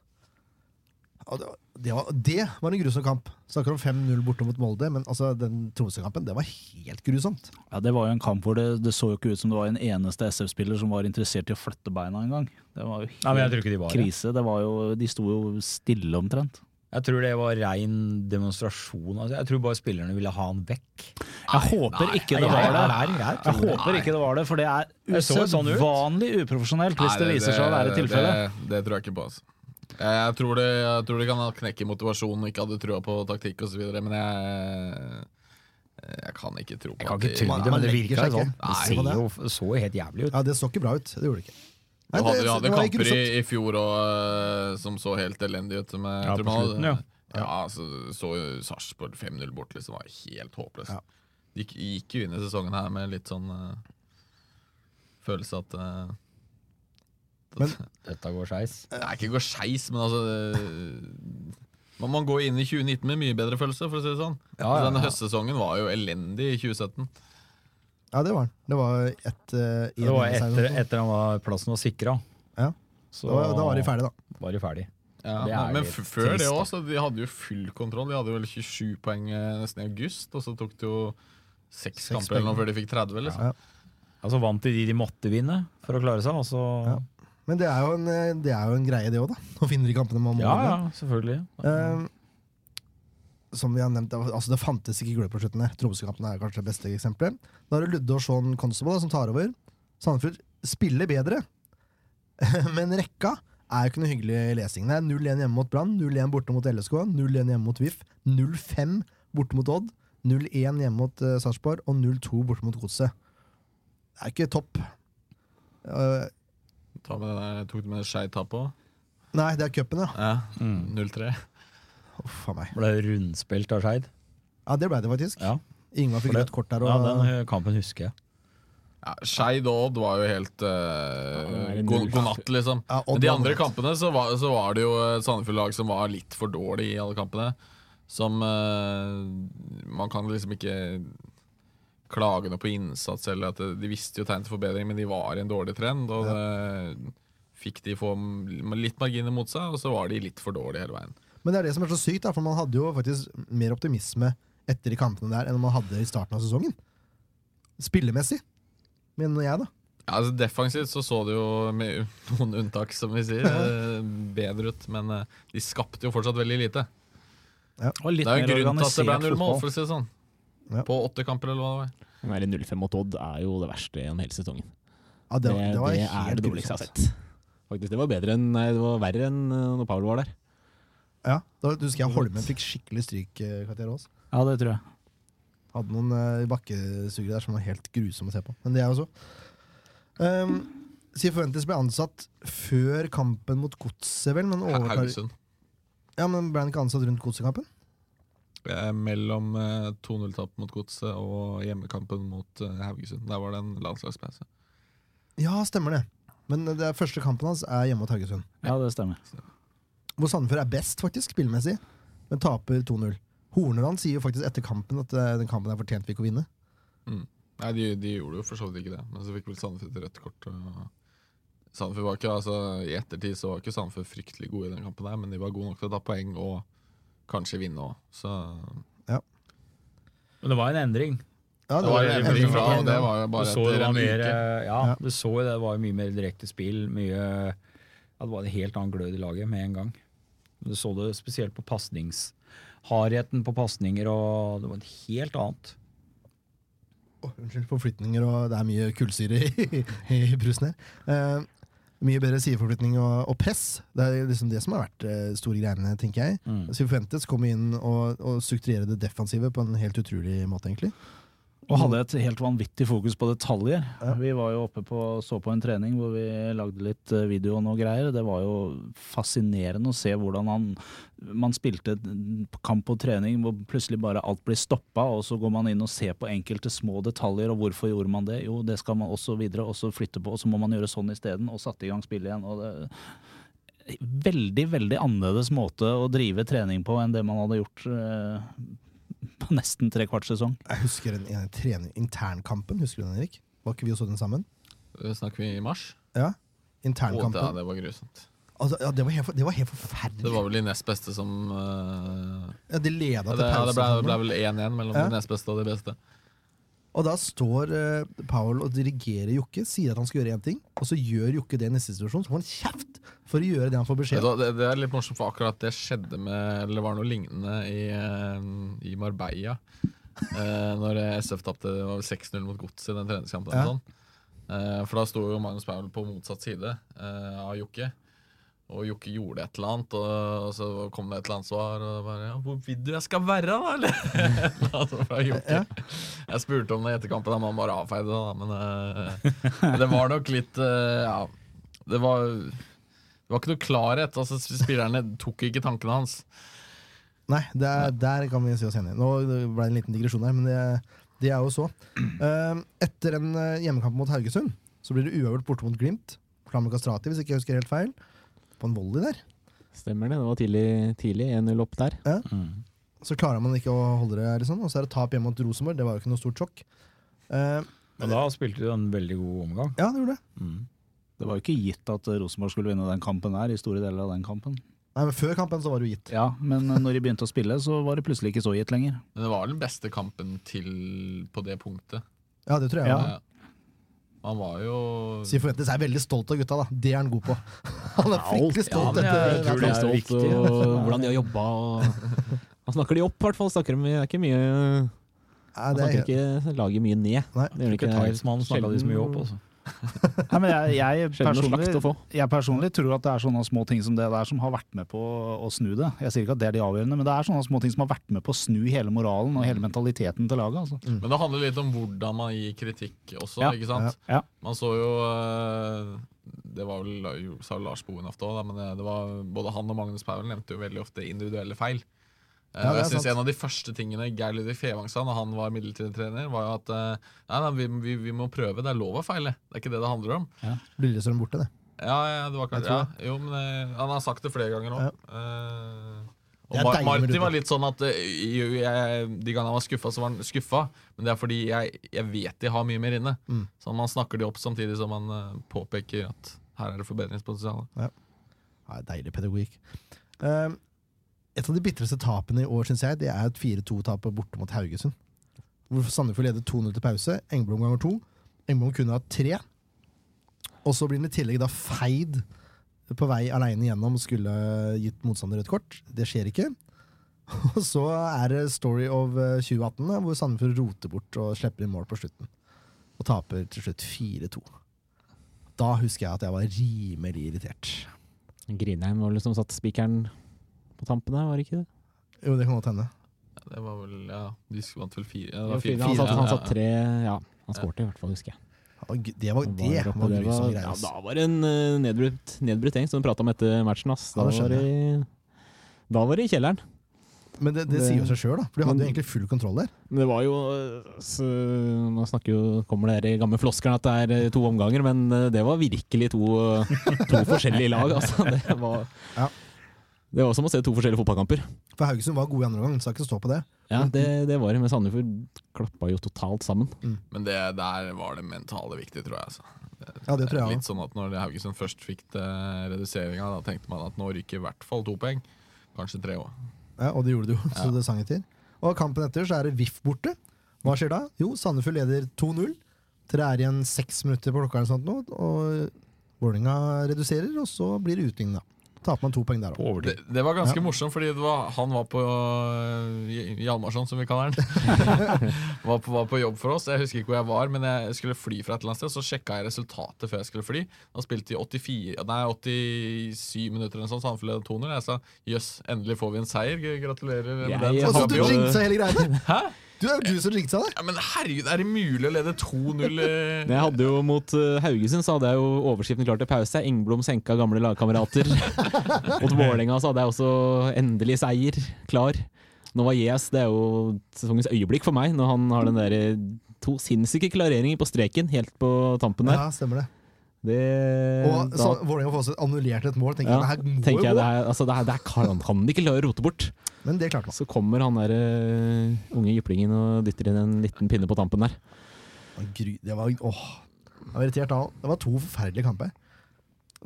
[SPEAKER 4] Og det, var- det, var, det var en grusom kamp. Snakker om 5-0 borte mot Molde, men altså, den Tromsø-kampen det var helt grusomt.
[SPEAKER 3] Ja, det var jo en kamp hvor det, det så jo ikke ut som det var en eneste SF-spiller som var interessert i å flytte beina engang. Det var jo helt
[SPEAKER 5] Nei, men jeg tror ikke de var det.
[SPEAKER 3] krise. Det var jo, de sto jo stille omtrent.
[SPEAKER 5] Jeg tror det var rein demonstrasjon. Altså, jeg tror bare spillerne ville ha han vekk.
[SPEAKER 3] Jeg håper ikke det var det.
[SPEAKER 5] Jeg, jeg,
[SPEAKER 3] Jeg
[SPEAKER 5] tror det.
[SPEAKER 3] håper ikke det var det, for det er
[SPEAKER 5] Det så jo sånn ut.
[SPEAKER 3] usedvanlig uprofesjonelt hvis
[SPEAKER 6] Nei,
[SPEAKER 3] det viser seg å være tilfellet.
[SPEAKER 6] Det, det tror jeg ikke på. altså jeg tror, det, jeg tror det kan knekke motivasjonen, ikke hadde trua på taktikk osv., men jeg Jeg kan ikke tro på
[SPEAKER 5] jeg kan
[SPEAKER 6] at
[SPEAKER 5] ikke
[SPEAKER 6] de-
[SPEAKER 5] tro det, men
[SPEAKER 4] Man
[SPEAKER 5] det
[SPEAKER 4] legger
[SPEAKER 5] virka
[SPEAKER 4] seg ikke.
[SPEAKER 5] sånn. Det
[SPEAKER 4] Nei,
[SPEAKER 5] ser
[SPEAKER 4] det var
[SPEAKER 5] jo, så jo helt jævlig ut.
[SPEAKER 4] Ja, Det så ikke bra ut. Det gjorde det ikke.
[SPEAKER 6] Du
[SPEAKER 4] Nei,
[SPEAKER 6] hadde,
[SPEAKER 4] det-
[SPEAKER 6] du hadde
[SPEAKER 4] det var
[SPEAKER 6] kamper i,
[SPEAKER 4] grusomt.
[SPEAKER 6] i fjor og, eh, som så helt elendig ut. Med,
[SPEAKER 5] Ja,
[SPEAKER 6] tror
[SPEAKER 5] på
[SPEAKER 6] man
[SPEAKER 5] slutten, ja.
[SPEAKER 6] ja, altså, så jo Sarpsborg 5-0 bort. Liksom, var helt håpløst.
[SPEAKER 4] Ja.
[SPEAKER 6] De gikk, gikk jo inn i sesongen her med litt sånn eh, følelse at eh,
[SPEAKER 5] Dette går skeis.
[SPEAKER 6] Det er ikke gå skeis, men altså eh, Man må gå inn i 2019 med mye bedre følelse, for å si det sånn.
[SPEAKER 5] Ja, ja,
[SPEAKER 6] Denne
[SPEAKER 5] ja.
[SPEAKER 6] høstsesongen var jo elendig i 2017.
[SPEAKER 4] Ja, det var den. Det var ett eh,
[SPEAKER 5] Det var etter,
[SPEAKER 4] 1-1 seier mot-
[SPEAKER 5] etter han var plassen var sikra.
[SPEAKER 4] Ja.
[SPEAKER 5] Så
[SPEAKER 4] Da var, da var de ferdige, da.
[SPEAKER 5] var de ferdig.
[SPEAKER 6] Ja,
[SPEAKER 5] Det er
[SPEAKER 6] men
[SPEAKER 5] litt
[SPEAKER 6] f før det
[SPEAKER 5] trist, da.
[SPEAKER 6] også, de hadde jo full kontroll. De hadde vel 27 poeng eh, nesten i august, og så tok det jo seks
[SPEAKER 4] Seks
[SPEAKER 6] kamper eller
[SPEAKER 4] poeng.
[SPEAKER 6] noe før de fikk 30. Liksom.
[SPEAKER 5] Altså vant de de de måtte vinne for å klare seg, og så
[SPEAKER 4] Ja. Men det er jo en, eh, det er jo en greie, det òg, da. Å finne de kampene man må.
[SPEAKER 5] Ja,
[SPEAKER 4] vinne.
[SPEAKER 5] ja, selvfølgelig.
[SPEAKER 4] Eh, som vi har nevnt, det var- altså Det fantes ikke glød på slutten. her Tromsø-kampen er kanskje det beste eksempelet. Da er det Ludde og Sean Constable da, som tar over. Sandefjord spiller bedre, men rekka er jo ikke noe hyggelig lesing. Det er 0-1 hjemme mot Brann, 0-1 borte mot LSK, 0-1 hjemme mot VIF, 0-5 borte mot Odd, 0-1 hjemme mot uh, Sarpsborg og 0-2 borte mot Godset. Det er ikke topp. Eh,
[SPEAKER 6] Ta med det der, jeg tok med skei tap på.
[SPEAKER 4] nei, det er cupen, ja.
[SPEAKER 6] Ja,
[SPEAKER 5] Mm.
[SPEAKER 6] 0-3.
[SPEAKER 4] Uff a meg.
[SPEAKER 5] Ble rundspilt av Skeid.
[SPEAKER 4] Ja, det ble det faktisk.
[SPEAKER 5] Ja.
[SPEAKER 4] Ingvar
[SPEAKER 5] For
[SPEAKER 4] fikk
[SPEAKER 5] det-
[SPEAKER 4] rødt kort der. Og,
[SPEAKER 5] ja, den eh, kampen husker jeg.
[SPEAKER 6] Ja, Skeid og Odd var jo helt uh,
[SPEAKER 3] det er
[SPEAKER 6] god,
[SPEAKER 3] null.
[SPEAKER 6] god natt, liksom.
[SPEAKER 4] Ja, Odd
[SPEAKER 6] Men de
[SPEAKER 4] var god
[SPEAKER 6] andre
[SPEAKER 4] natt.
[SPEAKER 6] kampene så var, så var det jo et Sandefjord-lag som var litt for dårlig i alle kampene. Som eh, Man kan liksom ikke klage noe på innsats eller at det- De visste jo tegn til forbedring, men de var i en dårlig trend. Og det fikk de få m- litt marginer mot seg, og så var de litt for dårlige hele veien.
[SPEAKER 4] Men det er det som er så sykt, da, for man hadde jo faktisk mer optimisme etter de kampene der enn man hadde i starten av sesongen. Spillemessig, mener jeg, da.
[SPEAKER 6] Ja, altså Defensivt så så det jo, med noen unntak, som vi sier, eh, bedre ut. Men eh, de skapte jo fortsatt veldig lite.
[SPEAKER 3] Og litt
[SPEAKER 6] Det er jo
[SPEAKER 3] mer
[SPEAKER 6] en grunn til at det ble
[SPEAKER 3] organisert
[SPEAKER 6] null mål,
[SPEAKER 3] fotball.
[SPEAKER 6] for å si det sånn.
[SPEAKER 4] Ja.
[SPEAKER 6] På åtte kamper, eller hva det var.
[SPEAKER 7] Den der 0-5 mot Odd er jo det verste gjennom hele sesongen.
[SPEAKER 4] Ja, det,
[SPEAKER 7] Det,
[SPEAKER 4] var-
[SPEAKER 7] det,
[SPEAKER 4] var
[SPEAKER 7] er
[SPEAKER 4] helt
[SPEAKER 7] det dårligste jeg har
[SPEAKER 4] grusomt.
[SPEAKER 7] sett. Faktisk, det var, bedre enn, nei, det var verre enn eh, når Paul var der.
[SPEAKER 4] Ja, da husker
[SPEAKER 7] Mm.
[SPEAKER 4] jeg Holmen fikk skikkelig stryk. eh, Katia Aas.
[SPEAKER 3] Ja, det tror jeg.
[SPEAKER 4] Hadde noen eh, bakkesugere der som var helt grusomme å se på. Men det er jo så. Um, Sifuentes ble ansatt før kampen mot Godset, vel? Men,
[SPEAKER 6] Ha-
[SPEAKER 4] overtar...
[SPEAKER 6] Haugesund.
[SPEAKER 4] ja, men ble han ikke ansatt rundt Godsekampen?
[SPEAKER 6] Eh, Mellom eh, 2-0-tap mot Godset og hjemmekampen mot eh, Haugesund. Der var det en landslagspause.
[SPEAKER 4] Ja, stemmer det. Men eh, det er første kampen hans er hjemme mot Haugesund.
[SPEAKER 3] Ja, det stemmer.
[SPEAKER 4] Hvor Sandefjord er best, faktisk, spillmessig, men taper 2-0. Horneland sier jo faktisk etter kampen at eh, den kampen er fortjent vi ikke å vinne.
[SPEAKER 6] Nei, de, de gjorde jo for så vidt ikke det, men så fikk vel Sandefjord et rødt kort. Og Sandefjord var ikke, altså I ettertid så var ikke Sandefjord fryktelig gode i den kampen, der, men de var gode nok til å ta poeng og kanskje vinne òg. Så
[SPEAKER 8] Men det var en endring.
[SPEAKER 4] Ja,
[SPEAKER 6] det var
[SPEAKER 8] det
[SPEAKER 6] en
[SPEAKER 8] var-
[SPEAKER 6] endring fra, og det var jo
[SPEAKER 8] Du
[SPEAKER 6] bare
[SPEAKER 8] så det
[SPEAKER 6] etter
[SPEAKER 8] var
[SPEAKER 6] en
[SPEAKER 8] mer,
[SPEAKER 6] uke.
[SPEAKER 8] eh, ja,
[SPEAKER 4] Ja.
[SPEAKER 8] du så jo det var mye mer direkte spill. Mye, ja, det var en helt annen glød i laget med en gang. Du så det spesielt på pasnings... Hardheten på pasninger og Det var et helt annet.
[SPEAKER 4] Åh, Unnskyld, forflytninger og det er mye kullsyre i, i brusen her. Eh, mye bedre sideforflytning og, og press. Det er liksom det som har vært eh, store greiene, tenker jeg.
[SPEAKER 8] Mm.
[SPEAKER 4] Så vi forventes komme inn og, og strukturere det defensive på en helt utrolig måte, egentlig.
[SPEAKER 3] Og hadde et helt vanvittig fokus på detaljer.
[SPEAKER 4] Ja.
[SPEAKER 3] Vi var jo oppe på, så på en trening hvor vi lagde litt eh, video og noe greier. Det var jo fascinerende å se hvordan han Man spilte et kamp og trening hvor plutselig bare alt blir stoppa, og så går man inn og ser på enkelte små detaljer, og hvorfor gjorde man det? Jo, det skal man også videre, og så flytte på, og så må man gjøre sånn isteden, og satte i gang spillet igjen. og det Veldig, veldig annerledes måte å drive trening på enn det man hadde gjort eh, på nesten trekvarts sesong.
[SPEAKER 4] Jeg husker den ene trening, internkampen. Husker du den, Erik? Var ikke vi og så den sammen?
[SPEAKER 6] Det Snakker vi i mars?
[SPEAKER 4] Ja.
[SPEAKER 6] Å, det,
[SPEAKER 4] Internkampen.
[SPEAKER 6] det var grusomt.
[SPEAKER 4] Altså, ja, det, var helt, for- det var helt forferdelig.
[SPEAKER 6] Det var vel de nest beste som eh,
[SPEAKER 4] Ja, de leda
[SPEAKER 6] Ja,
[SPEAKER 4] til
[SPEAKER 6] det, ja, det, ble, det ble
[SPEAKER 4] pausen.
[SPEAKER 6] vel 1-1 mellom
[SPEAKER 4] Ja.
[SPEAKER 6] de nest beste og de beste.
[SPEAKER 4] Og da står eh, Powell og dirigerer Jokke, sier at han skal gjøre én ting, og så gjør Jokke det i neste situasjon, så får han kjeft for å gjøre det han får beskjed om.
[SPEAKER 6] Det, det er litt morsomt, for akkurat det skjedde med Eller var noe lignende i, eh, i Marbella. Eh, når SF tapte det var vel 6-0 mot Godset i den treningskampen. eller
[SPEAKER 4] Ja.
[SPEAKER 6] Sånn. Eh, for da sto jo Magnus Powell på motsatt side eh, av Jokke. Og Jokke gjorde et eller annet, og, og så kom det et eller annet svar. Og det bare, ja, 'Hvor vil du jeg skal være, da?' Eller? altså, fra Jokke. Jeg spurte om det i etterkampen, men han bare avfeide det. da, Men eh, det var nok litt eh, Ja, det var Det var ikke noe klarhet. Altså, spillerne tok ikke tankene hans.
[SPEAKER 4] Nei, det er, der kan vi si oss enige. Nå ble det en liten digresjon her, men det, det er jo så. Eh, etter en eh, hjemmekamp mot Haugesund, så blir det uavgjort borte mot Glimt. Flamme Kastrati, hvis ikke jeg husker helt feil. På en volley der.
[SPEAKER 7] Stemmer det, det var tidlig, tidlig 1-0 opp der.
[SPEAKER 8] Mm.
[SPEAKER 4] Så klarer man ikke å holde det, liksom. Og så er det tap hjemme mot Rosenborg. Det var jo ikke noe stort sjokk. Eh,
[SPEAKER 5] Men da spilte du en veldig god omgang.
[SPEAKER 4] ja, det gjorde det.
[SPEAKER 8] Mm.
[SPEAKER 3] Det var jo ikke gitt at eh, Rosenborg skulle vinne den kampen her, i store deler av den kampen.
[SPEAKER 4] Nei, men Før kampen så var det jo gitt.
[SPEAKER 3] Ja, Men eh, når de begynte å spille, så var det plutselig ikke så gitt lenger.
[SPEAKER 6] Men det var den beste kampen til på det punktet.
[SPEAKER 4] Ja, det tror jeg.
[SPEAKER 3] Ja.
[SPEAKER 4] Ja.
[SPEAKER 6] Eh, Man var jo
[SPEAKER 4] Sifuentes er veldig stolt av gutta, da. Det er han god på. Han er fryktelig stolt.
[SPEAKER 8] men
[SPEAKER 4] etter,
[SPEAKER 8] jeg tror det er
[SPEAKER 7] Stolt,
[SPEAKER 8] viktig,
[SPEAKER 7] og
[SPEAKER 8] altså.
[SPEAKER 7] eh, Hvordan de har jobba og Han snakker de opp, i hvert fall. Snakker de, det er ikke mye Han
[SPEAKER 4] Nei, det er
[SPEAKER 7] snakker ikke laget mye ned.
[SPEAKER 4] Nei,
[SPEAKER 7] Det gjør de
[SPEAKER 5] Ikke
[SPEAKER 7] ikke
[SPEAKER 5] Talisman snakka de så mye opp,
[SPEAKER 7] Sjelden-
[SPEAKER 5] altså.
[SPEAKER 3] Nei, men jeg, jeg,
[SPEAKER 7] Sjelden noe slakt å
[SPEAKER 3] personlig,
[SPEAKER 7] få.
[SPEAKER 3] jeg personlig tror at det er sånne små ting som det der som har vært med på å snu det. Jeg sier ikke at det er de avgjørende, men det er sånne små ting som har vært med på å snu hele moralen og hele mentaliteten til laget. Altså.
[SPEAKER 6] Men det handler litt om hvordan man gir kritikk også,
[SPEAKER 3] Ja.
[SPEAKER 6] ikke sant?
[SPEAKER 3] Ja. Ja.
[SPEAKER 6] Man så jo eh, Det var vel La- jo- sa Lars Boen ofte òg, men det, det var, både han og Magnus Paul nevnte jo veldig ofte individuelle feil. Eh,
[SPEAKER 4] Ja,
[SPEAKER 6] og
[SPEAKER 4] det
[SPEAKER 6] jeg
[SPEAKER 4] er
[SPEAKER 6] synes
[SPEAKER 4] sant.
[SPEAKER 6] En av de første tingene Geir Ludvig Fevang sa da han var midlertidig trener, var jo at eh, nei, nei, vi, vi, vi må prøve. Det er lov å feile. Det er ikke det det handler om.
[SPEAKER 4] Lillestrøm borte, det.
[SPEAKER 6] Ja, ja, det var
[SPEAKER 4] Jeg
[SPEAKER 6] klart,
[SPEAKER 4] tror
[SPEAKER 6] ja. Jo, men eh, Han har sagt det flere ganger nå. Eh, og
[SPEAKER 4] Det er
[SPEAKER 6] Mar
[SPEAKER 4] deilig med
[SPEAKER 6] Marti
[SPEAKER 4] Ruben.
[SPEAKER 6] var litt sånn at eh, jo, jeg, de gangene han var skuffa, så var han skuffa. Men det er fordi jeg, jeg vet de har mye mer inne.
[SPEAKER 4] Mm.
[SPEAKER 6] Så man snakker de opp samtidig som man eh, påpeker at her er det forbedringspotensial.
[SPEAKER 4] Nei, deilig pedagogikk. Ehm, et av de bitreste tapene i år, synes jeg, det er et 4-2-tap borte mot Haugesund. Hvor Sandefjord leder 2-0 til pause. Engblom ganger to. Engblom kunne hatt tre. Og så blir den i tillegg da feid på vei aleine gjennom, skulle gitt motstander rødt kort. Det skjer ikke. Og så er det Story of eh, 2018, da, hvor Sandefjord roter bort og slipper inn mål på slutten. Og taper til slutt 4-2. Da husker jeg at jeg var rimelig irritert.
[SPEAKER 7] Grinheim var liksom satt spikeren på tampen her, var det ikke det?
[SPEAKER 4] Jo, det kan godt hende.
[SPEAKER 6] Det var vel, ja, De vant vel fire? Ja, det
[SPEAKER 7] Han
[SPEAKER 6] var fire,
[SPEAKER 7] satt, han satt
[SPEAKER 6] ja,
[SPEAKER 7] tre Ja, han skårte i hvert fall, husker jeg.
[SPEAKER 4] Ja, men gu- Det var,
[SPEAKER 7] Han
[SPEAKER 4] det
[SPEAKER 7] der oppe,
[SPEAKER 4] var
[SPEAKER 7] det var-
[SPEAKER 4] grusomme greier.
[SPEAKER 7] ja,
[SPEAKER 4] ass.
[SPEAKER 7] da var det en eh, nedbrutt, nedbrutt gjeng som de prata om etter matchen. Ass. Da,
[SPEAKER 4] Ja, det
[SPEAKER 7] var det, da var det i kjelleren.
[SPEAKER 4] Men det, det,
[SPEAKER 7] det-
[SPEAKER 4] sier jo seg sjøl, da. For de hadde jo
[SPEAKER 7] Men-
[SPEAKER 4] egentlig full kontroll der.
[SPEAKER 7] Men det var jo eh, så, Nå snakker jo, kommer dere gamle floskelen at det er eh, to omganger, men eh, det var virkelig to, eh, to forskjellige lag. Altså. Det, var,
[SPEAKER 4] Ja.
[SPEAKER 7] det var som å se to forskjellige fotballkamper.
[SPEAKER 4] For Haugesund var gode i andre omgang, skal ikke stå på det.
[SPEAKER 7] Ja, det, det var det, men Sandefjord klappa jo totalt sammen.
[SPEAKER 6] Men det der var det mentale viktige, tror jeg. Altså.
[SPEAKER 4] Ja, det tror jeg
[SPEAKER 6] Litt
[SPEAKER 4] også.
[SPEAKER 6] sånn at når Haugesund først fikk reduseringa, da tenkte man at nå ryker i hvert fall to poeng. Kanskje tre òg.
[SPEAKER 4] Ja, og det gjorde det jo, så
[SPEAKER 6] Ja.
[SPEAKER 4] det sang etter. Og kampen etter så er det VIF borte. Hva skjer da? Jo, Sandefjord leder 2-0. Dere er igjen seks minutter på klokka, eller sånt nå, og Vålerenga reduserer, og så blir det utligning, da. Taper man to poeng der òg.
[SPEAKER 6] Det, det var ganske morsomt, fordi det var, han var på øh, Hjalmarsson, som vi kaller han. var, på, var på jobb for oss. Jeg husker ikke hvor jeg var, men jeg skulle fly fra et eller annet sted. Så sjekka jeg resultatet før jeg skulle fly. Han spilte i 84, nei, 87 minutter, eller noe sånt, så han fikk lede 2-0. Jeg sa jøss, endelig får vi en seier. Gratulerer med
[SPEAKER 7] Jeg
[SPEAKER 4] Og
[SPEAKER 6] den. Så
[SPEAKER 4] så
[SPEAKER 7] har
[SPEAKER 4] du
[SPEAKER 7] jo-
[SPEAKER 6] jobb.
[SPEAKER 4] jinxa hele greiene!
[SPEAKER 6] Hæ?
[SPEAKER 4] Du er jo du som jinxa det!
[SPEAKER 6] Ja, men herregud, er det mulig å lede 2-0? eh?
[SPEAKER 7] Jeg hadde jo Mot eh, Haugesund så hadde jeg jo overskriften klar til pause. Engblom senka gamle lagkamerater. mot Vålerenga så hadde jeg også endelig seier klar. Nå var Yes det er jo sesongens øyeblikk for meg, når han har den der eh, to sinnssyke klareringer på streken helt på tampen der.
[SPEAKER 4] Ja, stemmer det.
[SPEAKER 7] Det,
[SPEAKER 4] Og
[SPEAKER 7] da
[SPEAKER 4] så Vålerenga får også annullert et mål. Tenker
[SPEAKER 7] Ja,
[SPEAKER 4] jeg, det her må
[SPEAKER 7] tenker
[SPEAKER 4] jo
[SPEAKER 7] jeg det
[SPEAKER 4] gå.
[SPEAKER 7] her, altså, det her, det her kan, han kan de ikke klare å rote bort.
[SPEAKER 4] Men det klarte man.
[SPEAKER 7] Så kommer han der eh, unge jyplingen og dytter inn en liten pinne på tampen der.
[SPEAKER 4] Det var Gry, det var, åh, jeg var irritert da. Det var to forferdelige kamper.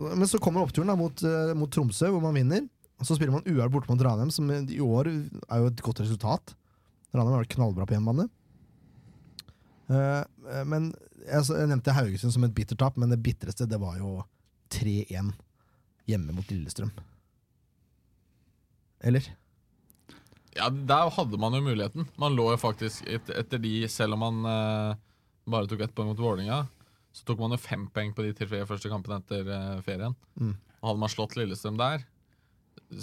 [SPEAKER 4] Men så kommer oppturen da mot, eh, mot Tromsø, hvor man vinner. Og så spiller man uavgjort borte mot Ranheim, som i år er jo et godt resultat. Ranheim har vært knallbra på hjemmebane. Eh, men jeg, så- jeg nevnte Haugesund som et bittert tap, men det bitreste det var jo 3-1 hjemme mot Lillestrøm. Eller?
[SPEAKER 6] Ja, der hadde man jo muligheten. Man lå jo faktisk et, etter de, selv om man eh, bare tok ett poeng mot Vålerenga, så tok man jo fem poeng på de tre første kampene etter eh, ferien.
[SPEAKER 4] Mm.
[SPEAKER 6] Og hadde man slått Lillestrøm der,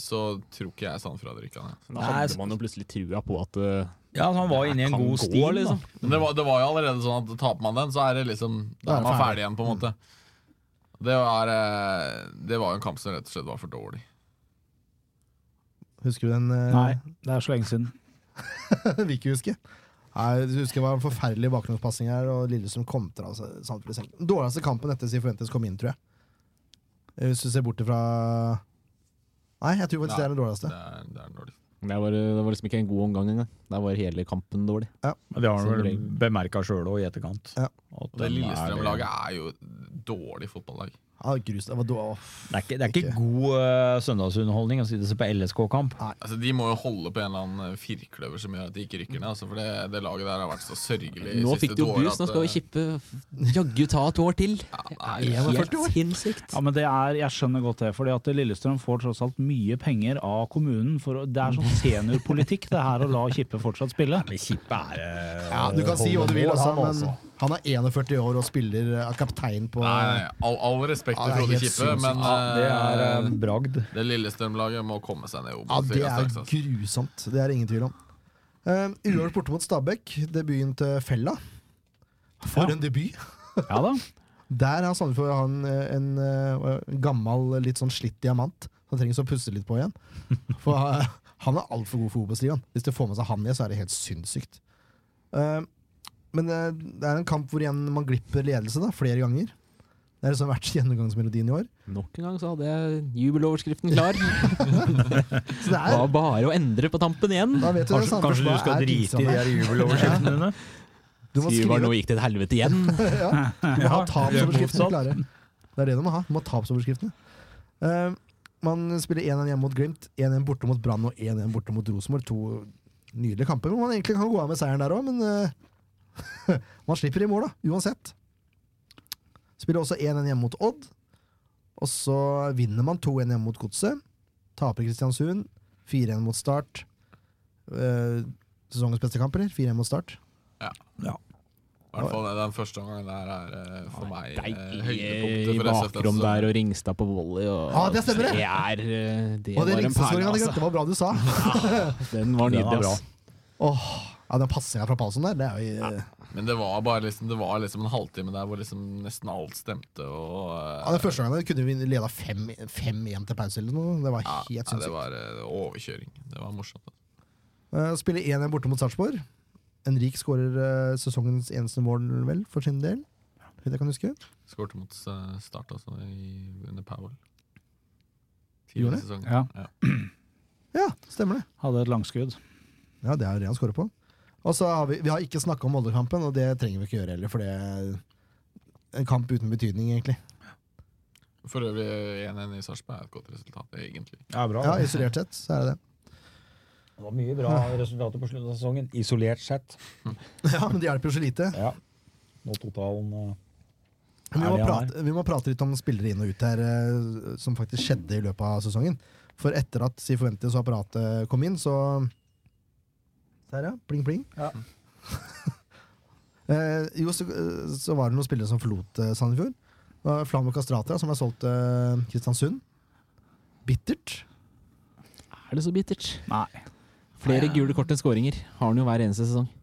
[SPEAKER 6] så tror ikke jeg Sandefjord hadde rykka ned.
[SPEAKER 5] Da hadde
[SPEAKER 7] man jo plutselig trua på at eh,
[SPEAKER 8] Ja, så han var inne i en
[SPEAKER 7] kan
[SPEAKER 8] god
[SPEAKER 7] gå,
[SPEAKER 8] stil,
[SPEAKER 7] liksom.
[SPEAKER 8] da.
[SPEAKER 6] Men det var, det var jo allerede sånn at taper man den, så er det liksom Da er man ferdig Mm. igjen, på en måte. Det var, eh, det var jo en kamp som rett og slett var for dårlig.
[SPEAKER 4] Husker du den? eh,
[SPEAKER 3] Nei, det er så lenge siden.
[SPEAKER 4] Vil ikke huske. Nei, du husker Det var en forferdelig bakgrunnspassing her, og Lillestrøm kontra. Altså, Sandefjord i senken. Dårligste kampen etter Sifuentes kom inn, tror jeg. Eh, Hvis du ser bort ifra Nei, jeg tror faktisk det er den
[SPEAKER 6] Det
[SPEAKER 4] dårligste.
[SPEAKER 6] er, det er dårlig.
[SPEAKER 7] Det var, det var liksom ikke en god omgang engang. Der var hele kampen dårlig.
[SPEAKER 8] Men Det har
[SPEAKER 7] Som
[SPEAKER 8] han vel
[SPEAKER 7] regel.
[SPEAKER 8] bemerka sjøl òg i etterkant.
[SPEAKER 4] Ja.
[SPEAKER 8] At
[SPEAKER 6] Og det
[SPEAKER 8] den er-
[SPEAKER 6] Lillestrøm-laget er jo et dårlig fotballag.
[SPEAKER 4] Ja, grus, det var dår-
[SPEAKER 8] Det er ikke, det er
[SPEAKER 4] Ikke.
[SPEAKER 8] ikke god eh, søndagsunderholdning å sitte og se på LSK-kamp.
[SPEAKER 6] Altså, De må jo holde på en eller annen eh, firkløver som gjør at de ikke rykker ned. Altså, for det, det laget der har vært så sørgelig
[SPEAKER 7] Nå fikk du jo boost, nå
[SPEAKER 6] eh,
[SPEAKER 7] skal vi kippe jaggu ta et år til. Det er helt sinnssykt.
[SPEAKER 3] Ja, men det er, Jeg skjønner godt det, fordi at Lillestrøm får tross alt mye penger av kommunen. For, å- det er sånn seniorpolitikk det her å la Kippe fortsatt spille.
[SPEAKER 8] Kippe er eh,
[SPEAKER 4] Ja, du kan si hva du vil, altså, men Han er 41 år og spiller eh, kaptein på
[SPEAKER 6] Nei, all, all respekt
[SPEAKER 4] Ja,
[SPEAKER 6] til
[SPEAKER 4] det er
[SPEAKER 6] Frode
[SPEAKER 4] helt
[SPEAKER 6] Kippe,
[SPEAKER 4] sinnssykt.
[SPEAKER 6] men
[SPEAKER 5] Det er
[SPEAKER 6] eh,
[SPEAKER 5] eh, bragd.
[SPEAKER 6] det Lillestrøm-laget må komme seg
[SPEAKER 4] Ja,
[SPEAKER 6] ned i
[SPEAKER 4] det er
[SPEAKER 6] Obos-ligaen straks. altså.
[SPEAKER 4] grusomt. Det er det ingen tvil om. Um, Uavgjort borte mot Stabæk, debuten til Fella. For en debut!
[SPEAKER 3] Ja da.
[SPEAKER 4] Der har Sandefjord han, eh, en, eh, gammel, litt sånn slitt diamant. Han trenger så å puste litt på igjen. For eh, han er altfor god for Obos-ligaen. Hvis du får med seg han igjen, så er det helt sinnssykt. Um, men eh, det er en kamp hvor igjen man glipper ledelse da, flere ganger. Det er liksom vært gjennomgangsmelodien i år.
[SPEAKER 7] Nok en gang så hadde jeg jubeloverskriften klar.
[SPEAKER 4] Så det
[SPEAKER 7] Det
[SPEAKER 4] er,
[SPEAKER 7] var bare å endre på tampen igjen.
[SPEAKER 4] da vet du
[SPEAKER 5] Kanskje,
[SPEAKER 4] Sandefjord
[SPEAKER 5] kanskje du
[SPEAKER 4] er
[SPEAKER 5] skal drite i de
[SPEAKER 4] pinsomme.
[SPEAKER 5] her jubeloverskriftene?
[SPEAKER 3] Dine.
[SPEAKER 4] Du må
[SPEAKER 7] Skriver
[SPEAKER 4] skrive
[SPEAKER 7] bare nå gikk det til helvete igjen.
[SPEAKER 6] Eh,
[SPEAKER 4] ja. Du må ha tapsoverskriftene klare. Det er det du må ha. Du må ha tapsoverskriftene. Eh, man spiller 1-1 hjemme mot Glimt, 1-1 borte mot Brann og 1-1 borte mot Rosenborg. To nydelige kamper hvor man egentlig kan gå av med seieren der òg, men eh, man slipper i mål, da, uansett. Spiller også 1-1 hjemme mot Odd. Og så vinner man 2-1 hjemme mot Godset. Taper Kristiansund. 4-1 mot Start. Eh, sesongens beste kamp, eller? 4-1 mot Start.
[SPEAKER 6] I hvert fall den første gangen der er eh, for meg eh,
[SPEAKER 7] Deilig
[SPEAKER 6] høydepunktet
[SPEAKER 7] i
[SPEAKER 6] for SF.
[SPEAKER 7] bakrom
[SPEAKER 6] altså.
[SPEAKER 7] der og Ringstad på volley. Og
[SPEAKER 4] Ja, det stemmer det.
[SPEAKER 7] Det, er, eh, det
[SPEAKER 4] Og det
[SPEAKER 7] var en perle,
[SPEAKER 4] ringsteskåringa hadde glemt,
[SPEAKER 7] altså.
[SPEAKER 4] det var bra du sa!
[SPEAKER 7] Den var
[SPEAKER 8] Den var
[SPEAKER 7] nydelig.
[SPEAKER 8] bra.
[SPEAKER 7] ass.
[SPEAKER 4] Åh, ja, den passinga fra Palsson der, det er jo
[SPEAKER 6] Men det var bare liksom, det var liksom en halvtime der hvor liksom nesten alt stemte. Og, eh,
[SPEAKER 4] ja, Den første gangen kunne vi leda 5-1 til pause eller noe. Det var
[SPEAKER 6] ja,
[SPEAKER 4] helt
[SPEAKER 6] nei, det
[SPEAKER 4] sinnssykt.
[SPEAKER 6] var eh, overkjøring. Det var morsomt. altså.
[SPEAKER 4] Eh, Spiller 1-1 borte mot Sarpsborg. Henrik skårer eh, sesongens eneste mål, vel, for sin del. Så vidt jeg kan huske.
[SPEAKER 6] Skårte mot eh, Start altså, i, under Powell.
[SPEAKER 4] Gjorde
[SPEAKER 6] Tidligere
[SPEAKER 4] det?
[SPEAKER 6] i sesongen.
[SPEAKER 3] Ja.
[SPEAKER 6] Ja.
[SPEAKER 4] Ja, stemmer det.
[SPEAKER 3] Hadde et langskudd.
[SPEAKER 4] Ja, Det er jo det han skårer på. Og så har vi, vi har ikke snakka om Molde-kampen, og det trenger vi ikke gjøre heller, for det er en kamp uten betydning, egentlig.
[SPEAKER 6] For øvrig 1-1 i Sarpsborg er et godt resultat, egentlig.
[SPEAKER 8] Ja, bra.
[SPEAKER 4] Ja, Isolert sett, så er det det.
[SPEAKER 5] Det var mye bra resultater på slutten av sesongen, isolert sett.
[SPEAKER 4] Ja, Men det hjelper jo så lite.
[SPEAKER 5] Ja. Nå totalen eh,
[SPEAKER 4] Men vi,
[SPEAKER 5] Er
[SPEAKER 4] må
[SPEAKER 5] det han
[SPEAKER 4] prate, vi må prate litt om spillere inn og ut her, eh, som faktisk skjedde i løpet av sesongen. For etter at Sifuentes og apparatet kom inn, så Der, ja. Pling, pling. eh, jo, så, eh, så var det noen spillere som forlot eh, Sandefjord. Det var Flamo Castrata, som er solgt til eh, Kristiansund. Bittert.
[SPEAKER 7] Er det så bittert?
[SPEAKER 3] Nei.
[SPEAKER 7] Flere gule kort enn skåringer har han jo hver eneste sesong.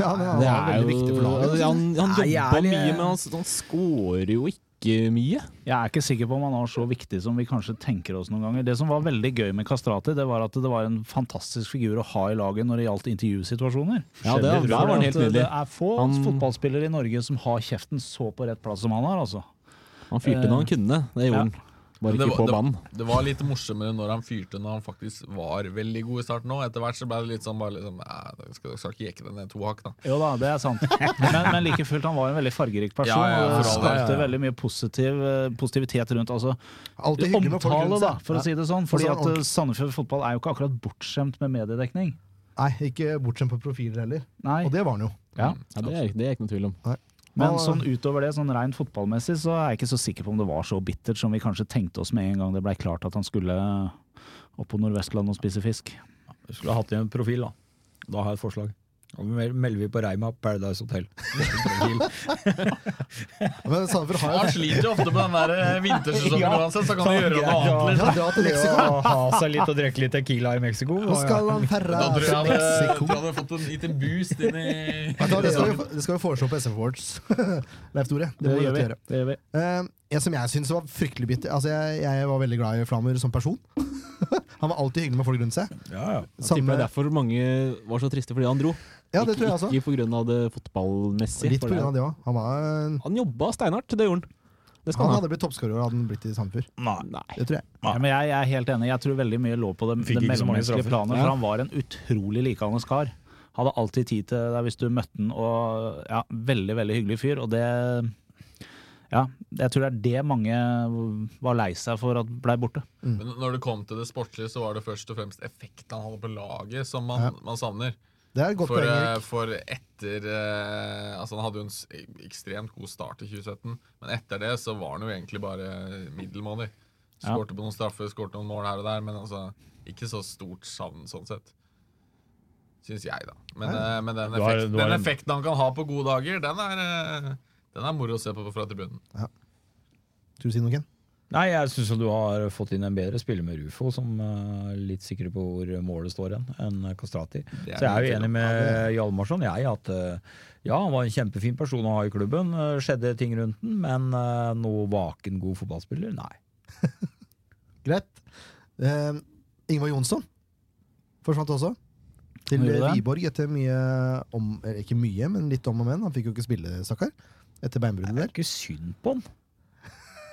[SPEAKER 4] Ja, men han
[SPEAKER 7] Det
[SPEAKER 4] var
[SPEAKER 7] er
[SPEAKER 4] veldig
[SPEAKER 7] jo,
[SPEAKER 4] viktig for laget. liksom.
[SPEAKER 7] altså, han han
[SPEAKER 5] Nei,
[SPEAKER 7] jobba
[SPEAKER 5] jeg er-
[SPEAKER 4] eh,
[SPEAKER 7] mye, men han, han skårer jo ikke mye.
[SPEAKER 3] Jeg er ikke sikker på om han var så viktig som vi kanskje tenker oss noen ganger. Det som var veldig gøy med Kastrati, det var at det var en fantastisk figur å ha i laget når det gjaldt intervjusituasjoner.
[SPEAKER 7] Ja, det, der var han helt
[SPEAKER 3] At
[SPEAKER 7] nydelig.
[SPEAKER 3] Det er få
[SPEAKER 7] Han-
[SPEAKER 3] fotballspillere i Norge som har kjeften så på rett plass som han har, altså.
[SPEAKER 7] Han
[SPEAKER 4] Eh,
[SPEAKER 7] fyrte når han kunne, det
[SPEAKER 3] Ja.
[SPEAKER 7] gjorde han. Bare
[SPEAKER 6] Men det
[SPEAKER 7] ikke
[SPEAKER 6] var-
[SPEAKER 7] på banen.
[SPEAKER 6] Det var litt morsommere når han fyrte når han faktisk var veldig god i starten òg. Etter hvert så ble det litt sånn bare liksom eh, Skal, skal ikke jekke det ned to hakk, da.
[SPEAKER 3] Jo da, det er sant. Men, men like fullt, han var en veldig fargerik
[SPEAKER 6] Ja,
[SPEAKER 3] person.
[SPEAKER 6] ja, ja,
[SPEAKER 3] og det
[SPEAKER 6] for all
[SPEAKER 3] skapte
[SPEAKER 6] del.
[SPEAKER 3] veldig mye positiv, eh, positivitet rundt. Altså,
[SPEAKER 4] Alltid hyggelig med folk
[SPEAKER 3] omtale,
[SPEAKER 4] rundt
[SPEAKER 3] da,
[SPEAKER 4] seg.
[SPEAKER 3] for å si det sånn.
[SPEAKER 4] Og
[SPEAKER 3] Fordi
[SPEAKER 4] så er
[SPEAKER 3] at
[SPEAKER 4] han
[SPEAKER 3] eh, Sandefjord fotball er jo ikke akkurat bortskjemt med mediedekning.
[SPEAKER 4] Nei, ikke bortsett på profiler heller.
[SPEAKER 3] Nei.
[SPEAKER 4] Og det var han jo.
[SPEAKER 3] Ja.
[SPEAKER 7] Ja, det, er, det er ikke noe tvil om.
[SPEAKER 3] Men
[SPEAKER 4] Og-
[SPEAKER 3] sånn utover det, sånn rent fotballmessig, så er jeg ikke så sikker på om det var så bittert som vi kanskje tenkte oss med en gang det blei klart at han skulle opp på Nordvestland og spise fisk.
[SPEAKER 8] Vi skulle ha hatt igjen en profil, da. Da har jeg et forslag. Da mel- melder vi på Reima Paradise Hotel.
[SPEAKER 4] Men Sandefjord har jo
[SPEAKER 6] Han sliter jo ofte på den der eh, vintersesongen
[SPEAKER 8] Ja.
[SPEAKER 6] uansett, så kan han gjøre noe annet. liksom.
[SPEAKER 4] Ja, dra til
[SPEAKER 8] Det
[SPEAKER 4] Mexico.
[SPEAKER 8] å ha seg litt og drikke litt Tequila i Mexico.
[SPEAKER 4] Nå skal han
[SPEAKER 6] Da
[SPEAKER 4] ferra
[SPEAKER 6] tror
[SPEAKER 4] til
[SPEAKER 6] jeg eh, jeg hadde,
[SPEAKER 4] Mexico.
[SPEAKER 6] tror jeg hadde fått en, gitt en boost inn i
[SPEAKER 4] Vet du hva, Det skal, vi, det skal vi foreslå på SF Awards, Leif Tore. Det må vi gjøre.
[SPEAKER 3] Det gjør vi.
[SPEAKER 4] Eh, en som jeg syns var fryktelig bitter altså jeg, jeg var veldig glad i Flammer som person. han var alltid hyggelig med folk rundt seg.
[SPEAKER 8] Ja, ja.
[SPEAKER 7] Jeg
[SPEAKER 4] Samme-
[SPEAKER 7] tipper det er derfor mange var så triste fordi han dro.
[SPEAKER 4] ja, det tror jeg også.
[SPEAKER 7] Ikke på grunn av det fotballmessige.
[SPEAKER 4] Litt
[SPEAKER 7] for
[SPEAKER 4] pga.
[SPEAKER 7] det-
[SPEAKER 4] det òg. Han, var en-
[SPEAKER 7] Han jobba steinhardt, det gjorde han. Det skal
[SPEAKER 4] han
[SPEAKER 7] han ha.
[SPEAKER 4] hadde blitt toppskårer hadde han blitt i Sandefjord.
[SPEAKER 7] Nei.
[SPEAKER 4] Det tror jeg.
[SPEAKER 3] Ja, men jeg, jeg er helt enig. Jeg tror veldig mye lå på det, det
[SPEAKER 8] Fikk ikke så mange
[SPEAKER 3] mellommenneskelige
[SPEAKER 8] straffer.
[SPEAKER 3] planet,
[SPEAKER 7] Ja.
[SPEAKER 3] for han var en utrolig likeandes kar. Hadde alltid tid til deg hvis du møtte han, og ja, veldig, veldig hyggelig fyr. Og det Ja, jeg tror det er det mange var lei seg for at blei borte.
[SPEAKER 6] Men når det kom til det sportslige, så var det først og fremst effekten han hadde på laget, som man, man savner.
[SPEAKER 4] Det er et godt
[SPEAKER 6] For,
[SPEAKER 4] poeng,
[SPEAKER 6] eh,
[SPEAKER 4] Erik.
[SPEAKER 6] for etter eh, Altså, han hadde jo en s- ekstremt god start i 2017, men etter det så var han jo egentlig bare middelmådig.
[SPEAKER 3] Ja.
[SPEAKER 6] Skårte på noen straffer, skårte noen mål her og der, men altså ikke så stort savn sånn sett. Syns jeg, da. Men, eh, men den,
[SPEAKER 9] Du har-
[SPEAKER 6] effekten,
[SPEAKER 9] du har
[SPEAKER 6] den
[SPEAKER 9] en-
[SPEAKER 6] effekten han kan ha på gode dager, den er, eh, den er moro å se på fra tribunen.
[SPEAKER 4] Skal du si noe, Ken?
[SPEAKER 8] Nei, jeg syns du har fått inn en bedre spiller med Rufo, som eh, er litt sikrere på hvor målet står hen, enn Kastrati.
[SPEAKER 6] Det
[SPEAKER 8] Så jeg er jo
[SPEAKER 6] litt
[SPEAKER 8] enig med Hjalmarsson, jeg, at eh, ja, han var en kjempefin person å ha i klubben. eh, Skjedde ting rundt den, men eh, noe vaken god fotballspiller? Nei.
[SPEAKER 4] Greit. Eh, Ingvar Jonsson forsvant også. Til
[SPEAKER 3] Gjorde det?
[SPEAKER 4] Wiborg etter mye om eller Ikke mye, men litt om og men. Han fikk jo ikke spille, stakkar. Etter beinbruddet
[SPEAKER 8] Det
[SPEAKER 4] der.
[SPEAKER 8] er ikke synd på han.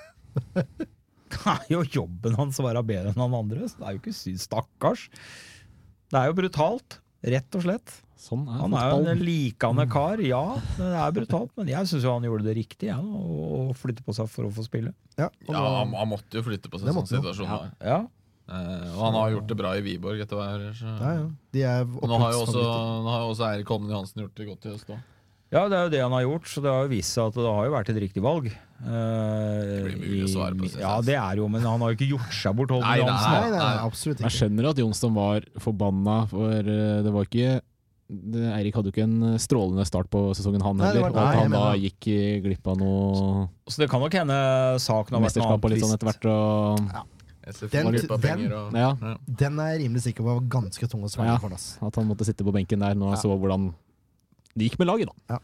[SPEAKER 8] Det er jo jobben hans å være bedre enn han andre. Så det er jo ikke synd. Stakkars. Det er jo brutalt, rett og slett.
[SPEAKER 7] Sånn er
[SPEAKER 8] Han er jo
[SPEAKER 7] fotball.
[SPEAKER 8] en likende kar, ja. Det er brutalt, men jeg syns han gjorde det riktig, jeg, å å flytte på seg for å få spille.
[SPEAKER 4] Ja, og
[SPEAKER 6] Ja,
[SPEAKER 4] nå-
[SPEAKER 6] han, han måtte jo flytte på seg
[SPEAKER 4] Det
[SPEAKER 6] i sånne
[SPEAKER 4] måtte han.
[SPEAKER 6] situasjoner.
[SPEAKER 8] Ja.
[SPEAKER 6] Eh, og han har gjort det bra i Wiborg etter hva jeg hører. Så.
[SPEAKER 4] ja, ja. De er
[SPEAKER 6] Og Nå har jo også,
[SPEAKER 4] opprykksfavoritter.
[SPEAKER 6] nå har jo også Eirik Holmen Johansen gjort det godt i høst òg.
[SPEAKER 8] ja, det er jo det han har gjort, så det har jo vist seg at det har jo vært et riktig valg. det
[SPEAKER 6] blir mulig å svare på, synes jeg.
[SPEAKER 8] Ja, det er jo, men han har jo ikke gjort seg bort, Holmen
[SPEAKER 6] Nei, nei,
[SPEAKER 8] Johansen.
[SPEAKER 4] Nei, nei, nei, absolutt
[SPEAKER 7] Jeg
[SPEAKER 4] ikke.
[SPEAKER 7] skjønner at Jonsson var forbanna, for eh, det var ikke det, Eirik hadde jo ikke en strålende start på sesongen, han
[SPEAKER 4] Nei, det var-
[SPEAKER 7] heller. og at
[SPEAKER 4] nei, jeg
[SPEAKER 7] han da
[SPEAKER 4] mener
[SPEAKER 7] gikk eh, glipp av noe
[SPEAKER 8] Så det kan nok hende saken har vært noe
[SPEAKER 7] mesterskap og
[SPEAKER 8] annet.
[SPEAKER 7] litt sånn
[SPEAKER 8] trist.
[SPEAKER 7] etter hvert. Og,
[SPEAKER 4] Den-
[SPEAKER 6] Den,
[SPEAKER 4] den-
[SPEAKER 6] penger og,
[SPEAKER 7] ja,
[SPEAKER 4] Den er jeg rimelig sikker på var ganske tung å svelge
[SPEAKER 7] Ja.
[SPEAKER 4] for. Oss.
[SPEAKER 7] at han måtte sitte på benken der når han så hvordan det gikk med laget, da.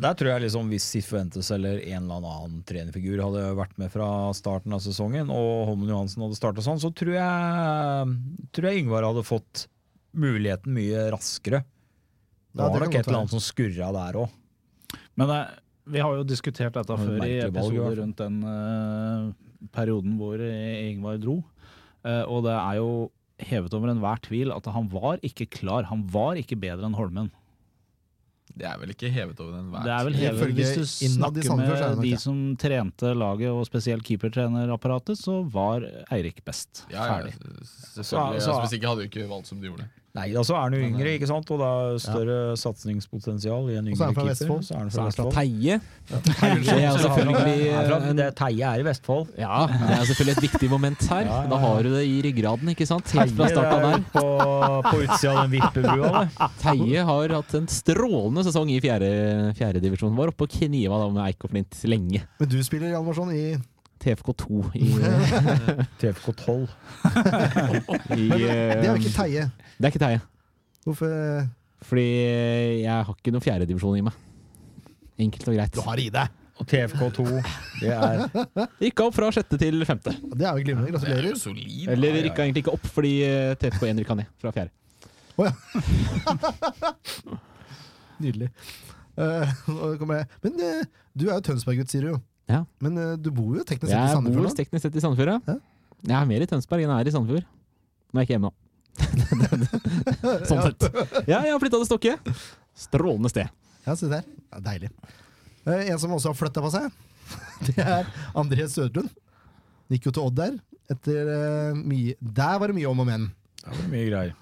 [SPEAKER 8] Der tror jeg liksom hvis Sifuentes eller en eller annen trenerfigur hadde vært med fra starten av sesongen, og Holmen Johansen hadde starta sånn, så tror jeg, tror jeg Yngvar hadde fått muligheten mye raskere.
[SPEAKER 4] Ja, det
[SPEAKER 8] Da var det
[SPEAKER 4] kan
[SPEAKER 8] nok
[SPEAKER 4] godt
[SPEAKER 8] et eller annet som skurra der òg.
[SPEAKER 3] Men eh, vi har jo diskutert dette
[SPEAKER 8] var et
[SPEAKER 3] før i
[SPEAKER 8] merkelig valg, i hvert
[SPEAKER 3] episoder
[SPEAKER 8] fall.
[SPEAKER 3] rundt den eh, perioden hvor eh, Ingvar dro. Eh, og det er jo hevet over enhver tvil at han var ikke klar. Han var ikke bedre enn Holmen.
[SPEAKER 6] Det er vel ikke hevet over enhver
[SPEAKER 3] Det er vel
[SPEAKER 6] tvil.
[SPEAKER 3] hevet
[SPEAKER 4] Ifølge
[SPEAKER 3] Hvis du
[SPEAKER 4] innad i
[SPEAKER 3] snakker
[SPEAKER 4] Sandefjord, så er det
[SPEAKER 3] med
[SPEAKER 4] nok
[SPEAKER 3] de
[SPEAKER 4] det.
[SPEAKER 3] som trente laget, og spesielt keepertrenerapparatet, så var Eirik best.
[SPEAKER 6] ja, ja,
[SPEAKER 3] Ferdig.
[SPEAKER 6] selvfølgelig.
[SPEAKER 8] Så- så-
[SPEAKER 6] altså, hvis ikke hadde jo ikke valgt som de gjorde.
[SPEAKER 8] Nei, da så er han jo
[SPEAKER 6] Men,
[SPEAKER 8] yngre,
[SPEAKER 6] eh,
[SPEAKER 8] ikke sant? og det er større satsingspotensial i en
[SPEAKER 4] Og så er han
[SPEAKER 8] yngre
[SPEAKER 4] fra
[SPEAKER 8] keeper.
[SPEAKER 4] Vestfold.
[SPEAKER 8] Så er han fra
[SPEAKER 7] Så er han fra
[SPEAKER 8] Vestfold.
[SPEAKER 7] Teie.
[SPEAKER 8] Så
[SPEAKER 7] Det er
[SPEAKER 8] er han fra-
[SPEAKER 7] selvfølgelig
[SPEAKER 8] er fra-
[SPEAKER 7] en-
[SPEAKER 8] det er Teie er i Vestfold.
[SPEAKER 7] Ja, det er selvfølgelig et viktig moment her.
[SPEAKER 8] Ja, ja, ja.
[SPEAKER 7] Da har du det i ryggraden, ikke sant? Helt fra
[SPEAKER 8] Teie, det er
[SPEAKER 7] starten av
[SPEAKER 8] jo
[SPEAKER 7] der.
[SPEAKER 8] På, på utsida av den vippebrua, det.
[SPEAKER 7] Teie har hatt en strålende sesong i fjerde, fjerde divisjon. Var oppe og kniva da med Eik og Flint lenge.
[SPEAKER 4] Men du spiller Hjalmarsson i
[SPEAKER 7] TFK2 i,
[SPEAKER 8] TFK 12.
[SPEAKER 7] i eh,
[SPEAKER 4] Det er jo ikke Teie.
[SPEAKER 7] Det er ikke Teie.
[SPEAKER 4] Hvorfor
[SPEAKER 7] Fordi jeg har ikke noen fjerdedivisjon i meg. Enkelt og greit.
[SPEAKER 4] har i deg!
[SPEAKER 8] Og TFK 2, det er
[SPEAKER 7] Rykka opp fra sjette til femte.
[SPEAKER 4] Det er jo glimrende.
[SPEAKER 6] Det er
[SPEAKER 4] Gratulerer.
[SPEAKER 6] jo solid.
[SPEAKER 7] Eller rykka egentlig ikke opp, fordi eh, TFK1 rykka ned fra fjerde.
[SPEAKER 4] Nydelig. Eh, nå kommer jeg. Men eh, du er jo Tønsberg-gutt, sier du jo.
[SPEAKER 7] Ja.
[SPEAKER 4] Men eh, du bor jo teknisk sett i
[SPEAKER 7] Jeg bor
[SPEAKER 4] Sandefjord? nå.
[SPEAKER 7] teknisk sett i Sandefjord, ja.
[SPEAKER 4] Ja.
[SPEAKER 7] Jeg er mer i Tønsberg enn jeg er i Sandefjord. Nå er jeg ikke hjemme, da. sånn sett. Ja, jeg har flytta til Stokke. Strålende sted.
[SPEAKER 4] Ja, se der. Ja, deilig. Eh, en som også har flytta på seg, det er André Sødlund. Gikk jo til Odd der. Etter, eh, mye, der var det mye om og men.
[SPEAKER 8] mye greier.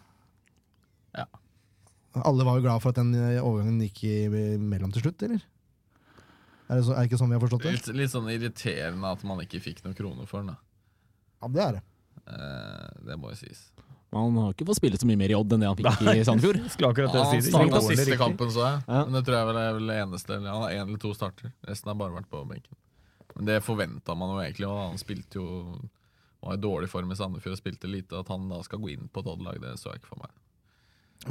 [SPEAKER 4] Alle var jo glad for at den eh, overgangen gikk imellom til slutt, eller? Er det, så, er det ikke sånn vi har forstått det?
[SPEAKER 6] Litt, litt sånn irriterende at man ikke fikk noen kroner for den. da.
[SPEAKER 4] Ja, det er det.
[SPEAKER 6] Eh, det må jo sies.
[SPEAKER 7] Han har ikke fått spille så mye mer i Odd enn det han fikk i Sandefjord.
[SPEAKER 8] Skulle akkurat det
[SPEAKER 6] Han
[SPEAKER 8] si.
[SPEAKER 6] starta siste kampen, så jeg.
[SPEAKER 7] Ja.
[SPEAKER 6] Men det tror jeg vel er vel det eneste. eller Han har én eller to starter. Resten har bare vært på benken. Men det forventa man jo egentlig. Og han spilte jo var i dårlig form i Sandefjord og spilte lite. At han da skal gå inn på et Odd-lag, det så jeg ikke for meg.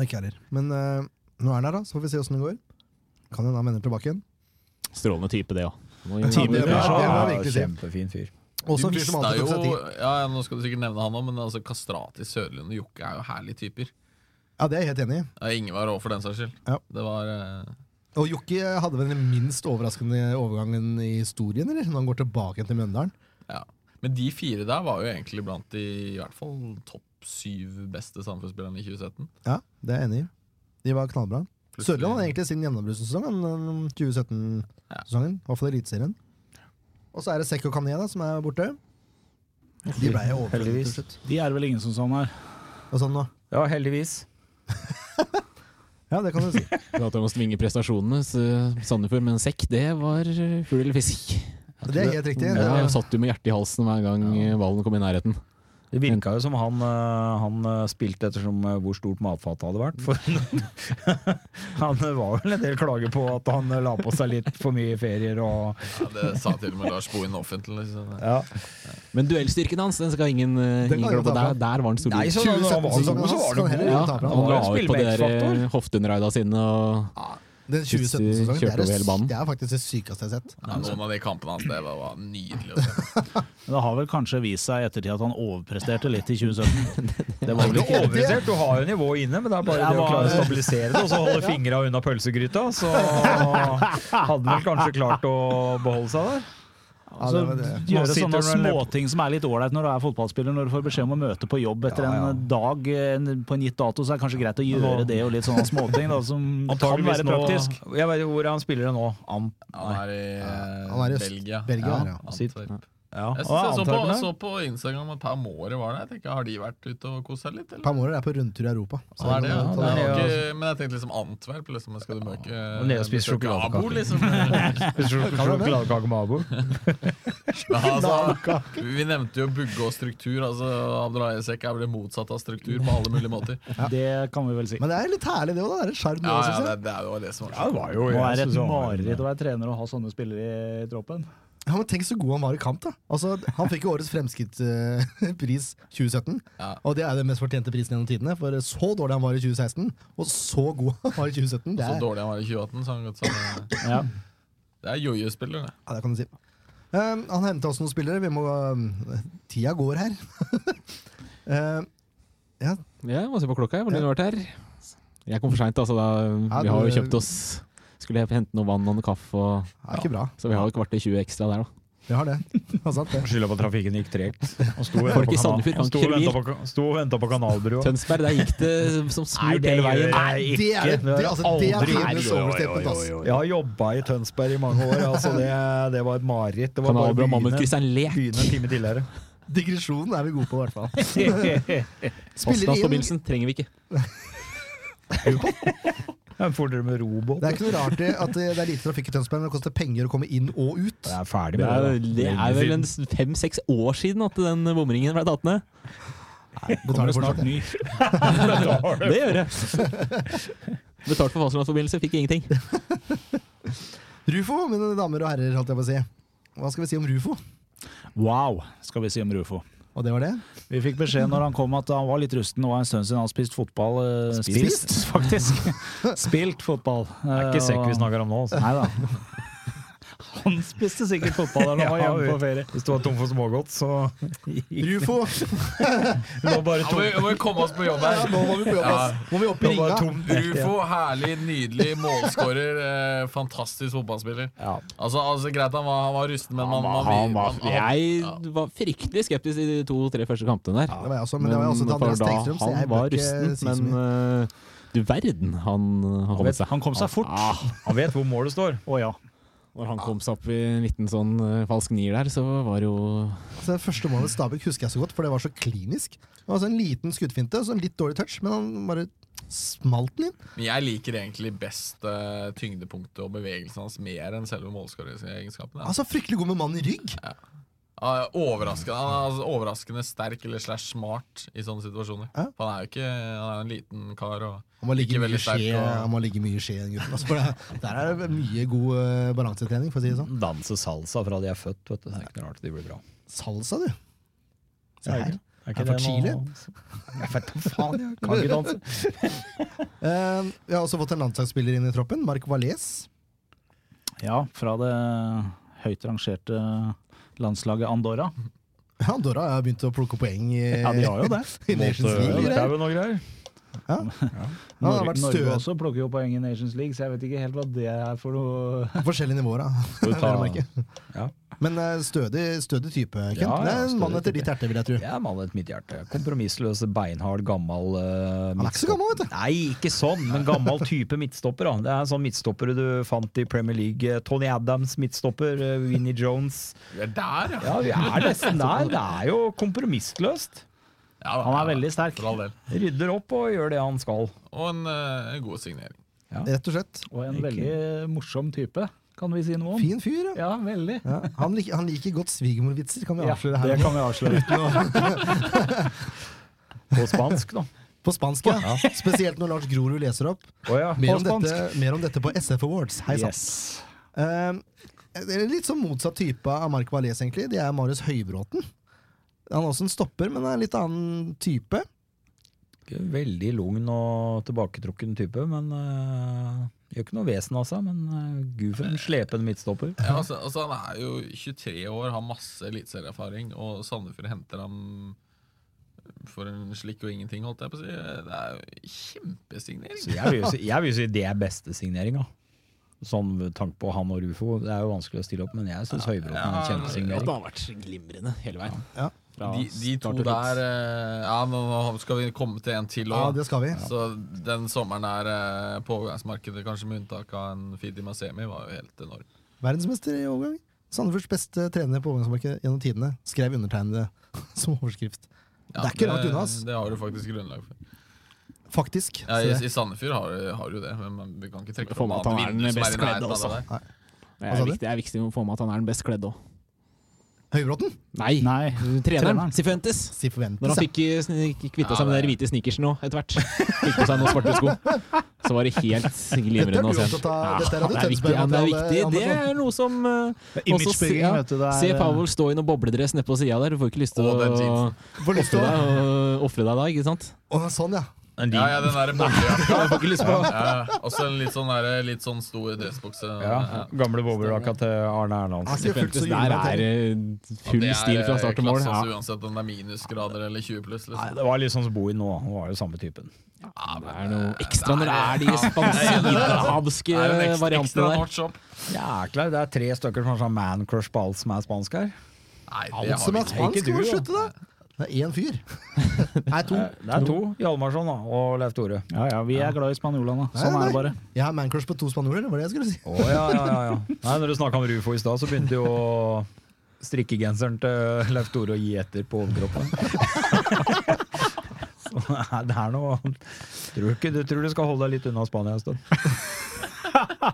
[SPEAKER 4] Ikke heller. Men eh, nå er han her, da. Så får vi se åssen det går. Kan hende han vender tilbake igjen.
[SPEAKER 7] Strålende type, det òg.
[SPEAKER 4] det var- det var virkelig synd.
[SPEAKER 8] Kjempefin fyr.
[SPEAKER 4] Også
[SPEAKER 6] du
[SPEAKER 4] vi som
[SPEAKER 6] mista
[SPEAKER 4] alltid
[SPEAKER 6] jo
[SPEAKER 4] tok seg tid.
[SPEAKER 6] ja, ja, Nå skal du sikkert nevne han òg, men altså Kastrati, Sørlund og Jokke er jo herlige typer.
[SPEAKER 4] Ja, det er jeg helt enig i.
[SPEAKER 6] Ja, Ingvar òg, for den saks skyld.
[SPEAKER 4] Ja.
[SPEAKER 6] Det var eh,
[SPEAKER 4] Og Jokke hadde vel den minst overraskende overgangen i historien, eller? Når han går tilbake til Mjøndalen.
[SPEAKER 6] Ja. Men de fire der var jo egentlig blant de i hvert fall topp syv beste Sandefjord-spillerne i 2017.
[SPEAKER 4] Ja, det er jeg enig i. De var knallbra.
[SPEAKER 6] Plutselig-
[SPEAKER 4] Sørland hadde egentlig sin gjennombruddssesong, han, den 2017-sesongen. I hvert fall Eliteserien. Og så er det Sekk og Kané, da, som er borte. De ble jo overført til slutt.
[SPEAKER 3] De er det vel ingen som sånn her.
[SPEAKER 4] Og sånn nå.
[SPEAKER 8] Ja, heldigvis.
[SPEAKER 4] Ja, det kan du si.
[SPEAKER 7] Prater om å svinge prestasjonene. Så eh, Sandefjord med en sekk, det var eh, fugl eller fisk.
[SPEAKER 4] Det er helt riktig. Det
[SPEAKER 7] Ja, sånn-
[SPEAKER 4] var-
[SPEAKER 7] jeg satt jo med hjertet i halsen hver gang eh, ballen kom i nærheten.
[SPEAKER 8] Det virka jo som han, eh, han eh, spilte ettersom eh, hvor stort matfatet hadde vært. For han eh, var vel en del klager på at han eh, la på seg litt for mye ferier og
[SPEAKER 6] Ja, det sa til og med Lars Bohin offentlig. liksom. Så det.
[SPEAKER 8] ja.
[SPEAKER 7] Men duellstyrken hans, den skal ingen, eh,
[SPEAKER 4] Den kan du
[SPEAKER 7] ingen glemme.
[SPEAKER 4] ta
[SPEAKER 7] Der,
[SPEAKER 4] fra.
[SPEAKER 7] der var han solid.
[SPEAKER 8] Nei, så da han var god, så var det god.
[SPEAKER 4] heller
[SPEAKER 7] ja,
[SPEAKER 4] ikke ta fra.
[SPEAKER 7] han
[SPEAKER 8] var
[SPEAKER 7] la ut på de
[SPEAKER 8] spillbarhetsfaktor.
[SPEAKER 7] der Hoftenraida sine og
[SPEAKER 4] Den
[SPEAKER 7] Plutselig
[SPEAKER 4] 2017-sesongen det,
[SPEAKER 7] kjørte
[SPEAKER 4] er det
[SPEAKER 7] over hele banen.
[SPEAKER 4] det er faktisk det sykeste jeg har sett.
[SPEAKER 6] Ja, noen av de kampene hans det var, var nydelig. å se.
[SPEAKER 3] Men det har vel kanskje vist seg i ettertid at han overpresterte litt i 2017. Det var vel
[SPEAKER 8] Ikke
[SPEAKER 3] ikke
[SPEAKER 8] overpressert, du har jo nivået inne, men det er bare det å klare å stabilisere det, og så holde fingra unna pølsegryta, så hadde han vel kanskje klart å beholde seg der.
[SPEAKER 4] Ja,
[SPEAKER 3] Så
[SPEAKER 4] Altså, det
[SPEAKER 6] altså-
[SPEAKER 4] var det.
[SPEAKER 3] gjøre
[SPEAKER 8] Man sitter
[SPEAKER 3] sånne
[SPEAKER 8] med en
[SPEAKER 3] småting som er litt ålreit når du er fotballspiller, når du får beskjed om å møte på jobb etter
[SPEAKER 8] Ja, ja.
[SPEAKER 3] en dag eh, på en gitt dato, så er det kanskje greit å gjøre det og litt sånne småting da, som kan
[SPEAKER 8] Antageligvis
[SPEAKER 3] være praktisk.
[SPEAKER 8] nå Jeg vet jo hvor er han spiller det nå. Am
[SPEAKER 6] Han er i eh,
[SPEAKER 4] Han er i øst-
[SPEAKER 6] Belgia.
[SPEAKER 4] Belgia, ja.
[SPEAKER 6] Antwerp.
[SPEAKER 8] ja.
[SPEAKER 6] Jeg, synes
[SPEAKER 8] Å,
[SPEAKER 6] jeg så, på,
[SPEAKER 8] Antwerpen her.
[SPEAKER 6] så på Instagram at Per Måre var der. Jeg tenker, Har de vært ute og kost seg litt, eller?
[SPEAKER 4] Pamorer er på rundtur i Europa. Så
[SPEAKER 6] Så er det, ja.
[SPEAKER 4] kan
[SPEAKER 6] det
[SPEAKER 4] ta
[SPEAKER 6] er
[SPEAKER 4] det. altså.
[SPEAKER 6] jo ikke, men jeg tenkte liksom Antwerp. Liksom, skal du møke
[SPEAKER 8] og ned og spise
[SPEAKER 6] besøke
[SPEAKER 8] sjokoladekake.
[SPEAKER 6] Abo, liksom? Men
[SPEAKER 8] Sjokoladekake med abo.
[SPEAKER 6] altså, vi nevnte jo bugge og struktur. Altså, Abdullah Yesek er vel det motsatte av struktur på alle mulige måter.
[SPEAKER 3] Det kan vi vel si.
[SPEAKER 4] Men det er litt herlig, det òg. Det er et sjarm, det
[SPEAKER 6] Ja,
[SPEAKER 4] også,
[SPEAKER 6] ja,
[SPEAKER 4] synes
[SPEAKER 6] det,
[SPEAKER 4] jeg.
[SPEAKER 6] det er jo det som
[SPEAKER 8] Ja,
[SPEAKER 6] var
[SPEAKER 8] det var jo
[SPEAKER 3] Nå er
[SPEAKER 8] jeg
[SPEAKER 3] det
[SPEAKER 8] synes
[SPEAKER 3] et
[SPEAKER 8] han var-
[SPEAKER 3] mareritt å være trener og ha sånne spillere i troppen.
[SPEAKER 4] Ja, men Tenk så god han var i kamp. da Altså, Han fikk jo årets Fremskrittspris 2017.
[SPEAKER 6] Ja.
[SPEAKER 4] Og det er den mest fortjente prisen gjennom tidene, for så dårlig han var i 2016, og så god han var i 2017, det,
[SPEAKER 6] så
[SPEAKER 4] er,
[SPEAKER 6] dårlig han var i 2018. Så han godt sammen.
[SPEAKER 3] Ja.
[SPEAKER 6] Det er jojo-spiller, det.
[SPEAKER 4] ja, det kan du si. Um, han henta oss noen spillere. Vi må um, Tida går her. um,
[SPEAKER 7] Ja, må se på klokka, jeg, hvor lenge har du vært her? Jeg kom for seint, altså. Da,
[SPEAKER 4] Ja,
[SPEAKER 7] vi har jo
[SPEAKER 4] du-
[SPEAKER 7] kjøpt oss Skulle hente noe vann og noe kaffe, og,
[SPEAKER 4] det er ikke bra.
[SPEAKER 7] så vi har jo ikke vært til 20 ekstra der, da.
[SPEAKER 4] Vi har det. Det er sant, det.
[SPEAKER 8] Skylda på trafikken gikk tregt. Han sto og
[SPEAKER 7] Folk i
[SPEAKER 8] ventet på kanal-
[SPEAKER 7] Sandefjord kan
[SPEAKER 8] han sto
[SPEAKER 7] ikke
[SPEAKER 8] og
[SPEAKER 7] kjøre
[SPEAKER 8] ventet på- sto og venta på Kanalbrua.
[SPEAKER 7] Tønsberg, der gikk det som smurt hele veien.
[SPEAKER 8] Nei,
[SPEAKER 4] Det er, det,
[SPEAKER 8] har jeg
[SPEAKER 4] altså, det er
[SPEAKER 8] aldri
[SPEAKER 4] tidenes
[SPEAKER 8] gjort.
[SPEAKER 4] overstatement, ass.
[SPEAKER 8] Jeg har jobba i Tønsberg i mange år. Altså det, det var et mareritt. Det var bare å
[SPEAKER 7] Kanalbrua
[SPEAKER 8] begynne,
[SPEAKER 7] Mammutkryss er en lek.
[SPEAKER 8] begynne en time tidligere.
[SPEAKER 4] Digresjonen er vi gode på, i hvert fall. Spiller inn
[SPEAKER 7] Postlandsforbindelsen trenger vi ikke.
[SPEAKER 8] Jeg fordrer med robåt.
[SPEAKER 4] Det er ikke noe rart det, at eh, det er lite trafikk i Tønsberg, men det koster penger å komme inn og ut.
[SPEAKER 8] Jeg er ferdig
[SPEAKER 7] Det
[SPEAKER 8] med
[SPEAKER 7] er,
[SPEAKER 8] det. da.
[SPEAKER 7] det er vel en fem-seks år siden at den bomringen ble tatt ned.
[SPEAKER 4] Betaler fortsatt.
[SPEAKER 3] ny.
[SPEAKER 7] Det gjør jeg. Betalt for fastlandsforbindelse, fikk ingenting.
[SPEAKER 4] Rufo, mine damer og herrer, holdt jeg på å si. Hva skal vi si om Rufo?
[SPEAKER 3] Wow, skal vi si om Rufo.
[SPEAKER 4] Og det var det.
[SPEAKER 3] Vi fikk beskjed når han kom at han var litt rusten og en stund siden han hadde spist fotball. eh,
[SPEAKER 4] Spist?
[SPEAKER 3] faktisk. Spilt fotball. Eh,
[SPEAKER 8] Det er ikke sekk vi snakker om nå. Altså.
[SPEAKER 3] Nei da. Han spiste sikkert fotball da han var
[SPEAKER 8] Ja,
[SPEAKER 3] hjemme på ferie.
[SPEAKER 8] Hvis du var tom for smågodt, så
[SPEAKER 4] Rufo!
[SPEAKER 8] lå bare
[SPEAKER 6] Ja,
[SPEAKER 8] tom.
[SPEAKER 6] må, vi- må vi komme oss på jobb her.
[SPEAKER 4] Nå må vi på jobb, ass. Må vi opp i
[SPEAKER 8] Nå var
[SPEAKER 4] ringa?
[SPEAKER 8] det tom.
[SPEAKER 6] Rufo, herlig, nydelig målskårer. Eh, fantastisk fotballspiller.
[SPEAKER 8] Ja.
[SPEAKER 6] Altså, altså Greit, han var, han var rusten, men man, man,
[SPEAKER 7] Han var,
[SPEAKER 6] man- han-
[SPEAKER 7] jeg var fryktelig skeptisk i de to-tre første kampene der.
[SPEAKER 4] Det var jeg også, men det var jeg også til
[SPEAKER 7] for
[SPEAKER 4] Andreas
[SPEAKER 7] da-
[SPEAKER 4] Tengstrøm, så jeg bør
[SPEAKER 7] Han var
[SPEAKER 4] ikke
[SPEAKER 7] rusten,
[SPEAKER 4] si så
[SPEAKER 7] men
[SPEAKER 4] mye.
[SPEAKER 7] eh, du verden, han, han kom seg.
[SPEAKER 3] Han kom seg fort. Å
[SPEAKER 7] Ah,
[SPEAKER 8] Han vet hvor målet står.
[SPEAKER 3] ja.
[SPEAKER 7] når han kom seg opp i en liten sånn eh, falsk nier der, så var det jo
[SPEAKER 4] Så det første målet Stabæk husker jeg så godt, for det var så klinisk. Det var så En liten skuddfinte og så en litt dårlig touch, men han bare smalt den inn.
[SPEAKER 6] Men jeg liker egentlig best eh, tyngdepunktet og bevegelsen hans mer enn selve målskåringsegenskapene.
[SPEAKER 4] Altså, Fryktelig god med mann i rygg!
[SPEAKER 6] Ja, overraskende, han er altså overraskende sterk eller slash smart i sånne situasjoner.
[SPEAKER 4] Ja.
[SPEAKER 6] For han er jo ikke Han er jo en liten kar. Og
[SPEAKER 4] Han må ligge
[SPEAKER 6] Ikke
[SPEAKER 4] mye
[SPEAKER 6] veldig
[SPEAKER 4] i
[SPEAKER 6] sterk
[SPEAKER 4] skje,
[SPEAKER 6] og-
[SPEAKER 4] han må ligge mye i skje, den gutten. Altså, for det, der er det mye god eh, balansetrening, for å si det sånn.
[SPEAKER 8] Danse salsa fra de er født, vet du. Det er ikke noe rart de blir bra.
[SPEAKER 4] Salsa, du. Se her.
[SPEAKER 8] Er
[SPEAKER 4] Er det fra Chile?
[SPEAKER 8] Jeg vet da faen, jeg kan ikke danse.
[SPEAKER 4] Eh, vi har også fått en landslagsspiller inn i troppen. Mark Valais.
[SPEAKER 3] ja. Fra det høyt rangerte landslaget Andorra.
[SPEAKER 4] Ja, Dora har begynt å plukke poeng i,
[SPEAKER 3] Ja, de har jo det.
[SPEAKER 4] i Nations League.
[SPEAKER 8] Det
[SPEAKER 4] greier.
[SPEAKER 8] er jo noe greier.
[SPEAKER 4] Ja, det har vært
[SPEAKER 3] Norge
[SPEAKER 4] stø-
[SPEAKER 3] også plukker jo poeng i Nations League, så jeg vet ikke helt hva det er for noe
[SPEAKER 4] Forskjellige nivåer, da.
[SPEAKER 8] Skal du ta-
[SPEAKER 4] Vel å merke.
[SPEAKER 8] Ja.
[SPEAKER 4] Men eh, stødig, stødig type, Kent.
[SPEAKER 8] Ja, ja,
[SPEAKER 4] det er en
[SPEAKER 8] stødig
[SPEAKER 4] mann etter
[SPEAKER 8] type.
[SPEAKER 4] ditt hjerte, vil jeg tro.
[SPEAKER 8] Jeg er mann etter mitt hjerte. Kompromissløs, beinhard, gammel eh,
[SPEAKER 4] Han er ikke så gammel, vet du.
[SPEAKER 8] Nei, ikke sånn, men gammel type midtstopper. Da. Det er en sånn midtstopper du fant i Premier League. Eh, Tony Adams midtstopper, eh, Vinnie Jones.
[SPEAKER 6] Vi er der, ja!
[SPEAKER 8] Ja, vi er nesten der. Det er jo kompromissløst.
[SPEAKER 6] ja da,
[SPEAKER 3] Han
[SPEAKER 6] ja
[SPEAKER 3] er
[SPEAKER 6] da,
[SPEAKER 3] veldig sterk.
[SPEAKER 6] For all del.
[SPEAKER 8] Rydder opp og gjør det han skal.
[SPEAKER 6] Og en, eh, en god signering.
[SPEAKER 4] Rett og slett.
[SPEAKER 3] Og en
[SPEAKER 8] Ikke-
[SPEAKER 3] veldig morsom type. kan vi si noe om.
[SPEAKER 4] Fin fyr, ja.
[SPEAKER 3] Ja, veldig.
[SPEAKER 4] ja. Han, lik, han liker godt svigermorvitser, kan vi
[SPEAKER 3] Ja,
[SPEAKER 4] avsløre
[SPEAKER 3] det
[SPEAKER 4] her.
[SPEAKER 3] kan vi avsløre.
[SPEAKER 8] På spansk, da.
[SPEAKER 4] På spansk, ja. Spesielt når Lars Grorud leser opp.
[SPEAKER 8] Å ja.
[SPEAKER 4] Mer
[SPEAKER 3] På
[SPEAKER 4] om, dette, mer om dette på SF Awards. Hei sann.
[SPEAKER 3] Yes.
[SPEAKER 4] Eh, det er litt sånn motsatt type av Mark Valais, egentlig. Det er Marius Høybråten. Han er også en stopper, men er en litt annen type.
[SPEAKER 8] Ikke Veldig lugn og tilbaketrukken type, men øh, Gjør ikke noe vesen av seg, men øh, gud for en slepen midtstopper.
[SPEAKER 6] Ja, altså, altså, han er jo 23 år, har masse eliteserieerfaring, og Sandefjord henter ham for en slikk og ingenting, holdt jeg på å si. Det er jo kjempesignering.
[SPEAKER 8] Så jeg vil jo si, jeg vil jo si det er beste signeringa. Sånn med tanke på han og Rufo. Det er jo vanskelig å stille opp, men jeg syns Høybråten er en
[SPEAKER 7] Det
[SPEAKER 8] kjempesignering.
[SPEAKER 7] har vært glimrende hele veien.
[SPEAKER 4] Ja.
[SPEAKER 7] Fra
[SPEAKER 6] De, de to
[SPEAKER 7] start til slutt.
[SPEAKER 6] der eh, Ja, nå nå skal vi komme til en til
[SPEAKER 4] Ja,
[SPEAKER 6] òg.
[SPEAKER 4] det skal vi.
[SPEAKER 6] Så den sommeren der eh, på overgangsmarkedet, kanskje med unntak av en Fidi Masemi, var jo helt enorm.
[SPEAKER 4] Verdensmester i overgang. Sandefjords beste trener på overgangsmarkedet gjennom tidene. Skrev undertegnede som overskrift.
[SPEAKER 6] Ja,
[SPEAKER 4] det er ikke langt unna, ass.
[SPEAKER 6] Det har du faktisk grunnlag for.
[SPEAKER 4] Faktisk.
[SPEAKER 6] Ja,
[SPEAKER 4] Så
[SPEAKER 6] i,
[SPEAKER 4] det-
[SPEAKER 6] I Sandefjord har, du- har du det, men man, vi kan ikke trekke
[SPEAKER 7] Får med at
[SPEAKER 6] noe
[SPEAKER 7] han er
[SPEAKER 6] annet
[SPEAKER 7] den
[SPEAKER 6] vindu som
[SPEAKER 7] best
[SPEAKER 6] i nærheten
[SPEAKER 7] kledde
[SPEAKER 6] av det
[SPEAKER 7] også.
[SPEAKER 6] der.
[SPEAKER 7] Det
[SPEAKER 4] Hva sa
[SPEAKER 7] er,
[SPEAKER 4] du?
[SPEAKER 7] viktig, det er viktig å få med at han er den best kledde òg.
[SPEAKER 4] Høybråten?
[SPEAKER 7] Nei,
[SPEAKER 3] Nei,
[SPEAKER 7] treneren!
[SPEAKER 3] treneren.
[SPEAKER 7] Sifuentes.
[SPEAKER 4] Si forventes.
[SPEAKER 7] Når han
[SPEAKER 4] ja.
[SPEAKER 7] fikk eh, sn- kvitta seg med den hvite sneakersen nå, etter hvert, fikk på seg noen svarte sko, så var det helt
[SPEAKER 4] Dette
[SPEAKER 7] glimrende
[SPEAKER 4] er
[SPEAKER 7] å
[SPEAKER 4] du
[SPEAKER 7] se.
[SPEAKER 4] opptatt av, dette er
[SPEAKER 7] Ja,
[SPEAKER 4] du
[SPEAKER 7] det er viktig, ja, det er,
[SPEAKER 4] Tønsberg-materiale,
[SPEAKER 7] viktig. det
[SPEAKER 4] Andersson.
[SPEAKER 7] er noe som eh, også se-
[SPEAKER 3] Imagebygging,
[SPEAKER 7] ja,
[SPEAKER 3] vet du. Det er, eh,
[SPEAKER 7] Se Powell stå i noen bobledress nede på sida der, du får ikke lyst til
[SPEAKER 6] Å,
[SPEAKER 7] å
[SPEAKER 6] den jeansen.
[SPEAKER 4] Får lyst
[SPEAKER 7] ofre
[SPEAKER 4] til å
[SPEAKER 7] deg, og- ofre deg da, ikke sant?
[SPEAKER 4] Å, Sånn, ja.
[SPEAKER 8] Men
[SPEAKER 6] Ja,
[SPEAKER 8] de,
[SPEAKER 6] ja, den der boblejakka.
[SPEAKER 7] Jeg får ikke lyst på
[SPEAKER 6] Ja, også en litt sånn, der, litt sån stor dressbukse.
[SPEAKER 8] ja, gamle boblejakka til Arne Erlandsen.
[SPEAKER 4] Han er ikke fullt så
[SPEAKER 7] Fuentes der
[SPEAKER 4] julet.
[SPEAKER 7] er eh, full stil fra start til mål.
[SPEAKER 6] Ja.
[SPEAKER 7] Ja.
[SPEAKER 6] Uansett om det er minusgrader eller 20 pluss.
[SPEAKER 8] Nei,
[SPEAKER 6] Liksom.
[SPEAKER 8] det var litt sånn som Bowie nå. Han var jo samme typen.
[SPEAKER 7] Det er noe ekstra når det er de spanske,
[SPEAKER 6] Det
[SPEAKER 7] arabiske
[SPEAKER 6] er en ekstra,
[SPEAKER 7] variantene
[SPEAKER 6] ekstra
[SPEAKER 7] eh, der.
[SPEAKER 6] match-up.
[SPEAKER 8] Jæklar, det er tre stykker som har sånn man-crush på alt som er spansk her.
[SPEAKER 6] Nei, det
[SPEAKER 4] Alt
[SPEAKER 6] har
[SPEAKER 4] som
[SPEAKER 6] vi
[SPEAKER 4] er
[SPEAKER 6] ikke.
[SPEAKER 4] spansk,
[SPEAKER 8] du,
[SPEAKER 4] må
[SPEAKER 8] jo.
[SPEAKER 4] slutte, da! Det er én fyr. Nei, to.
[SPEAKER 8] Det er to. Hjalmarsson da, og Leif Tore.
[SPEAKER 3] Ja, ja, vi er glad i spanjolene. Sånn
[SPEAKER 4] Nei,
[SPEAKER 3] er det bare.
[SPEAKER 4] Jeg har mancrush på to spanjoler, det var det jeg skulle si.
[SPEAKER 8] Å ja, ja, ja, ja. Nei, når du snakka om Rufo i stad, så begynte jo strikkegenseren til Leif Tore å gi etter på overkroppen. Så nei, det er noe Tror ikke, du tror du skal holde deg litt unna Spania en stund.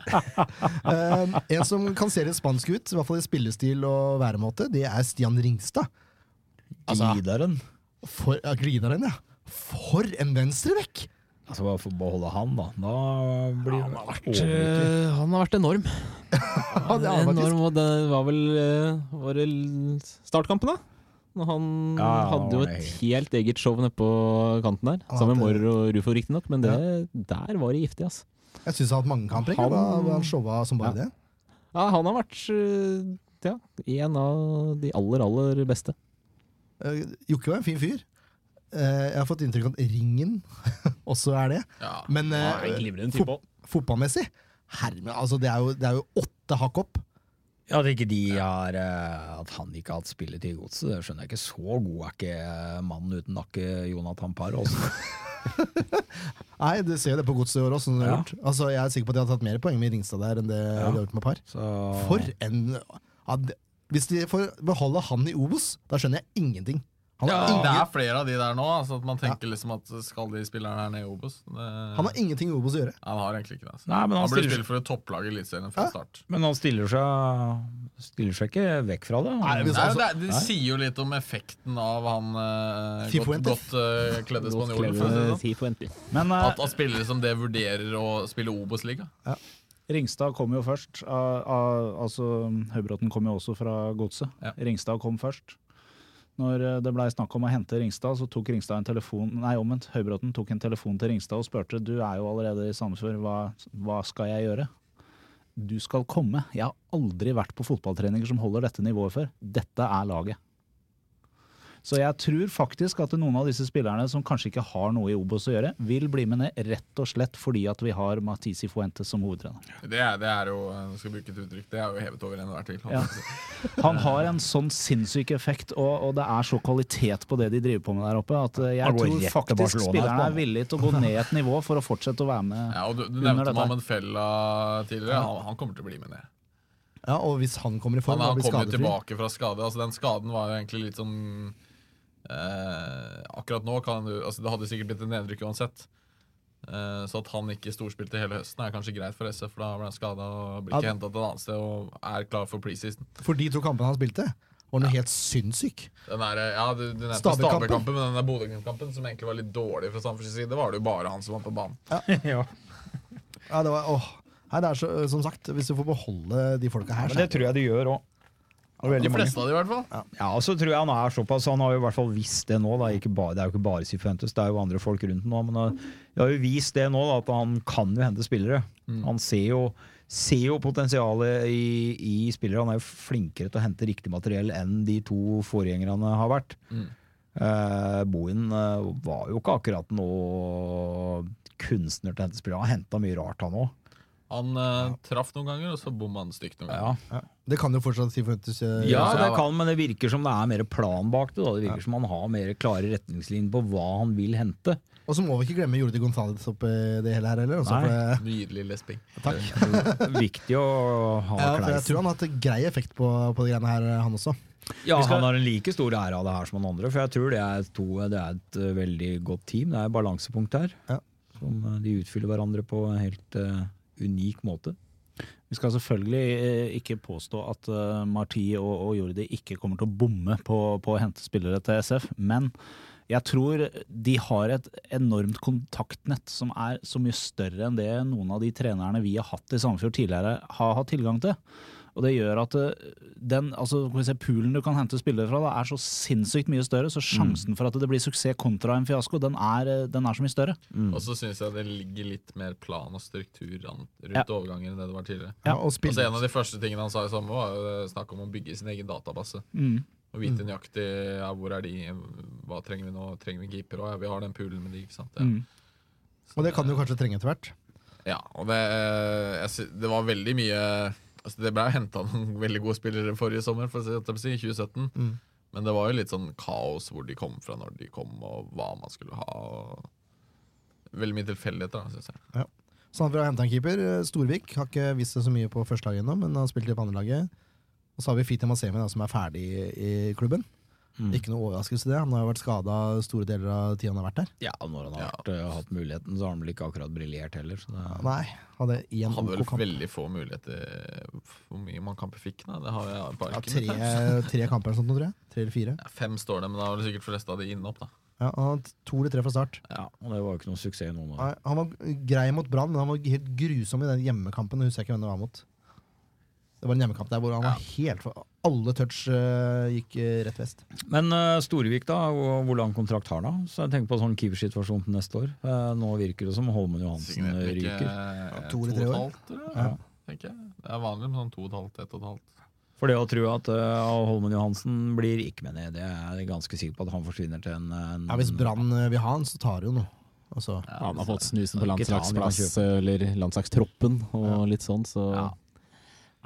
[SPEAKER 4] Eh, en som kan se litt spansk ut, i hvert fall i spillestil og væremåte, det er Stian Ringstad. Altså-
[SPEAKER 8] Gidaren.
[SPEAKER 4] For, ja, Glideren, ja. For en venstrebekk!
[SPEAKER 8] Altså, bare for å beholde han, da. Da blir det overlykkelig.
[SPEAKER 7] Eh, han har vært enorm.
[SPEAKER 4] Ja, det er han faktisk.
[SPEAKER 7] enorm og det var vel eh, var det l- startkampen, da? Når han
[SPEAKER 8] Ja,
[SPEAKER 7] hadde jo
[SPEAKER 8] det var
[SPEAKER 7] et helt eget show nede på kanten der.
[SPEAKER 4] Han
[SPEAKER 7] Sammen med
[SPEAKER 4] hadde-
[SPEAKER 7] Mårer og Rufo, riktignok, men det, der var det giftig, altså.
[SPEAKER 4] Jeg syns han har hatt mange kamper. ikke?
[SPEAKER 7] Han-
[SPEAKER 4] Da var han showa som bare
[SPEAKER 7] Ja.
[SPEAKER 4] det.
[SPEAKER 7] Ja, han har vært eh, ja, en av de aller, aller beste.
[SPEAKER 4] Eh, Jokke var en fin fyr. Eh, jeg har fått inntrykk av at Ringen også er det.
[SPEAKER 6] Ja.
[SPEAKER 4] Men eh, fot fotballmessig herre, altså, det, er jo, det er jo åtte hakk opp.
[SPEAKER 8] Ja, At ikke de har eh, At han ikke har hatt spilletid i godset, det skjønner jeg ikke. Så god er ikke eh, mannen uten nakke, Jonathan Parr. altså. Også.
[SPEAKER 4] Nei, Du ser jo det på godset i år også. som det har
[SPEAKER 8] Ja.
[SPEAKER 4] gjort. Altså, jeg er sikker på at de har tatt mer poeng med Ringstad der enn det de har gjort med Par.
[SPEAKER 8] Så
[SPEAKER 4] For en ja, det- Hvis de får beholde han i Obos, da skjønner jeg ingenting. Han
[SPEAKER 6] Ja,
[SPEAKER 4] har,
[SPEAKER 6] det
[SPEAKER 4] ingen,
[SPEAKER 6] er flere av de der nå. Altså at man tenker liksom at Skal de spillerne her ned i Obos? Det,
[SPEAKER 4] han har ingenting i Obos å gjøre.
[SPEAKER 6] han har egentlig ikke det. Altså.
[SPEAKER 8] Nei, men
[SPEAKER 6] han,
[SPEAKER 8] han
[SPEAKER 6] burde
[SPEAKER 8] stiller-
[SPEAKER 6] spille for et topplag i Eliteserien fra
[SPEAKER 4] Ja.
[SPEAKER 6] start.
[SPEAKER 8] Men han stiller seg, stiller seg ikke vekk fra det.
[SPEAKER 4] Nei, hvis-
[SPEAKER 6] Nei,
[SPEAKER 4] altså-
[SPEAKER 6] det, er- det sier jo litt om effekten av han eh, godt,
[SPEAKER 4] Cifuentes.
[SPEAKER 6] godt eh, kledde spanjolen. for å si det sånn.
[SPEAKER 3] Men eh,
[SPEAKER 6] At, at spillere som det vurderer å spille Obos-liga.
[SPEAKER 3] Ringstad kom jo først. av- av- altså, Høybråten kom jo også fra godset.
[SPEAKER 6] Ja.
[SPEAKER 3] Ringstad kom først. Når eh, det blei snakk om å hente Ringstad, så tok Ringstad en telefon Nei, omvendt. Høybråten tok en telefon til Ringstad og spurte du er jo allerede i Sandefjord, hva, hva skal jeg gjøre? Du skal komme. Jeg har aldri vært på fotballtreninger som holder dette nivået før. Dette er laget. Så jeg tror faktisk at noen av disse spillerne som kanskje ikke har noe i Obos å gjøre, vil bli med ned rett og slett fordi at vi har Matisi Fuentes som hovedtrener.
[SPEAKER 6] Det er, det er jo eh, skal bruke et uttrykk, det er jo hevet over enhver tvil.
[SPEAKER 3] Ja. Han har en sånn sinnssyk effekt, og, og det er så kvalitet på det de driver på med der oppe, at eh,
[SPEAKER 8] Han
[SPEAKER 3] jeg
[SPEAKER 8] går
[SPEAKER 3] tror
[SPEAKER 8] rett til
[SPEAKER 3] faktisk
[SPEAKER 8] Barcelona
[SPEAKER 3] spillerne
[SPEAKER 8] etterpå.
[SPEAKER 3] er villige til å gå ned et nivå for å fortsette å være med.
[SPEAKER 6] Ja, og du, du
[SPEAKER 3] Under
[SPEAKER 6] nevnte
[SPEAKER 3] dette.
[SPEAKER 6] Mohammed Fella tidligere. Han, han kommer til å bli med ned.
[SPEAKER 4] Ja, og hvis han kommer i form
[SPEAKER 6] Han,
[SPEAKER 4] og
[SPEAKER 6] han
[SPEAKER 4] blir
[SPEAKER 6] kom jo
[SPEAKER 4] skadefri
[SPEAKER 6] tilbake fra skade. Altså, den skaden var jo egentlig litt sånn eh, Akkurat nå kan du altså, Det hadde sikkert blitt en nedrykk uansett. Eh, Så at han ikke storspilte hele høsten, er kanskje greit for SF, for da ble han skada og blir ikke henta til et annet sted og er klar for preseason.
[SPEAKER 4] For de to kampene han spilte, var noe helt sinnssyk.
[SPEAKER 6] Den der, ja, du, du nevnte
[SPEAKER 4] Stabæk-kampen.
[SPEAKER 6] Stabæk-kampen, men den der Bodø-kampen, som egentlig var litt dårlig fra Stamfords side, var det jo bare han som var på banen.
[SPEAKER 4] Ja, det var, åh. Nei, det er så, som sagt, Hvis du får beholde de folka her,
[SPEAKER 8] Men det tror jeg de gjør òg.
[SPEAKER 6] De fleste av de, i hvert fall.
[SPEAKER 8] Ja, og så tror jeg han er såpass Han har jo i hvert fall vist det nå. Da. Ikke bare, det er jo ikke bare Sifuentes, det er jo andre folk rundt nå. Men han har jo vist det nå, da, at han kan jo hente spillere. Han ser jo, ser jo potensialet i, i spillere. Han er jo flinkere til å hente riktig materiell enn de to foregjengerne har vært.
[SPEAKER 6] Mm.
[SPEAKER 8] Eh, Bohin eh, var jo ikke akkurat noe kunstner til å hente spillere. Han henta mye rart, han òg.
[SPEAKER 6] Han eh, traff noen ganger, og så bomma han stygt noen ganger.
[SPEAKER 4] Ja. Det kan jo fortsatt si eh, for at du-
[SPEAKER 8] Ja,
[SPEAKER 6] så
[SPEAKER 8] det
[SPEAKER 6] jeg var-
[SPEAKER 8] kan, men det virker som det er mer plan bak det. Da. Det virker som han har mer klare retningslinjer på hva han vil hente.
[SPEAKER 4] Og så må vi ikke glemme Jordi Gonzales oppi det hele her heller. Også,
[SPEAKER 8] Nei.
[SPEAKER 4] for eh, det,
[SPEAKER 6] Nydelig lesping.
[SPEAKER 8] Viktig å ha
[SPEAKER 4] ja, for jeg
[SPEAKER 8] kleisen.
[SPEAKER 4] tror han har hatt grei effekt på, på de greiene her, han også.
[SPEAKER 8] Ja,
[SPEAKER 3] Vi skal-
[SPEAKER 8] han har en like stor ære av det her som han andre, for jeg tror det er, to, det er et eh, veldig godt team. Det er et balansepunkt her,
[SPEAKER 4] Ja.
[SPEAKER 8] som eh, de utfyller hverandre på en helt eh, unik måte.
[SPEAKER 3] Vi skal selvfølgelig eh, ikke påstå at eh, Marti og, og Jordi ikke kommer til å bomme på, på å hente spillere til SF, men jeg tror de har et enormt kontaktnett som er så mye større enn det noen av de trenerne vi har hatt i Sandefjord tidligere har hatt tilgang til. Og det gjør at eh, den, altså, skal vi se, poolen du kan hente spillere fra, da, er så sinnssykt mye større, så sjansen for at det blir suksess kontra en fiasko, den er, eh, den er så mye større.
[SPEAKER 6] Og så syns jeg det ligger litt mer plan og struktur an- rundt
[SPEAKER 3] Ja.
[SPEAKER 6] overganger enn det det var tidligere.
[SPEAKER 3] Ja,
[SPEAKER 4] og
[SPEAKER 6] Altså,
[SPEAKER 4] spille,
[SPEAKER 6] en av de første tingene han sa i sommer, var jo det snakk om å bygge sin egen database.
[SPEAKER 3] Mm.
[SPEAKER 6] Og vite nøyaktig ja, hvor er de, hva trenger vi nå, trenger vi en keeper òg? Ja, vi har den poolen med de, ikke sant. Ja.
[SPEAKER 3] Mm.
[SPEAKER 4] og det kan du kanskje trenge etter hvert.
[SPEAKER 6] Ja, og det, eh, jeg, sy- det var veldig mye altså Det ble henta noen veldig gode spillere forrige sommer, for å si det på å si, i 2017.
[SPEAKER 4] Mm.
[SPEAKER 6] Men det var jo litt sånn kaos hvor de kom fra, når de kom, og hva man skulle ha. Og... Veldig mye tilfeldigheter, syns jeg.
[SPEAKER 4] Sånn at vi har hentet en keeper. eh, Storvik har ikke vist seg så mye på førstelaget ennå, men han spilte på andrelaget. Og så har vi Fitim Asemi, da, som er ferdig i klubben.
[SPEAKER 6] Mm.
[SPEAKER 4] Ikke noe overraskelse i det. Han har jo vært skada store deler av tida han har vært der.
[SPEAKER 8] Ja, når han har
[SPEAKER 6] Ja.
[SPEAKER 8] vært, eh, hatt muligheten, så har han vel ikke akkurat briljert heller. Så det er
[SPEAKER 4] Nei, hadde én
[SPEAKER 6] Hadde
[SPEAKER 4] OK
[SPEAKER 6] vel
[SPEAKER 4] kamp.
[SPEAKER 6] veldig få muligheter Hvor mye man kamper fikk, da? Det har jeg bare
[SPEAKER 4] Ja,
[SPEAKER 6] ikke
[SPEAKER 4] tre, tre kamper eller sånt, nå, tror jeg. Tre eller fire.
[SPEAKER 6] Ja, Fem står det, men da var det sikkert fleste av de inne opp, da.
[SPEAKER 4] Ja, han hadde to eller tre fra start.
[SPEAKER 8] Ja, og det var jo ikke noen suksess i noen år.
[SPEAKER 4] Nei, han var grei mot Brann, men han var helt grusom i den hjemmekampen. Jeg husker ikke hvem det var mot. Det var en hjemmekamp der hvor han var helt for Alle touch eh, gikk eh, rett vest.
[SPEAKER 8] Men eh, Storvik, da, hvor, hvor lang kontrakt har han? da? Så jeg tenker på sånn keepersituasjon til neste år. Eh, nå virker det som Holmen Johansen
[SPEAKER 6] Signert ikke,
[SPEAKER 8] ryker.
[SPEAKER 6] eh,
[SPEAKER 4] to eller
[SPEAKER 6] og
[SPEAKER 4] tre
[SPEAKER 6] et
[SPEAKER 4] år.
[SPEAKER 6] halvt, tror jeg, tenker jeg. Det er vanlig med sånn to og et halvt, ett og et halvt.
[SPEAKER 8] For det å tro at eh, Holmen Johansen blir ikke med ned, det er jeg ganske sikker på at han forsvinner til en, en
[SPEAKER 4] Ja, hvis
[SPEAKER 6] Mm.
[SPEAKER 4] Brann eh, vil ha han, så tar de jo noe. Altså,
[SPEAKER 7] Han har fått snusen på
[SPEAKER 8] Det er ikke tran vi kan
[SPEAKER 7] landslagsplass eller landslagstroppen og litt sånn, så
[SPEAKER 8] Ja.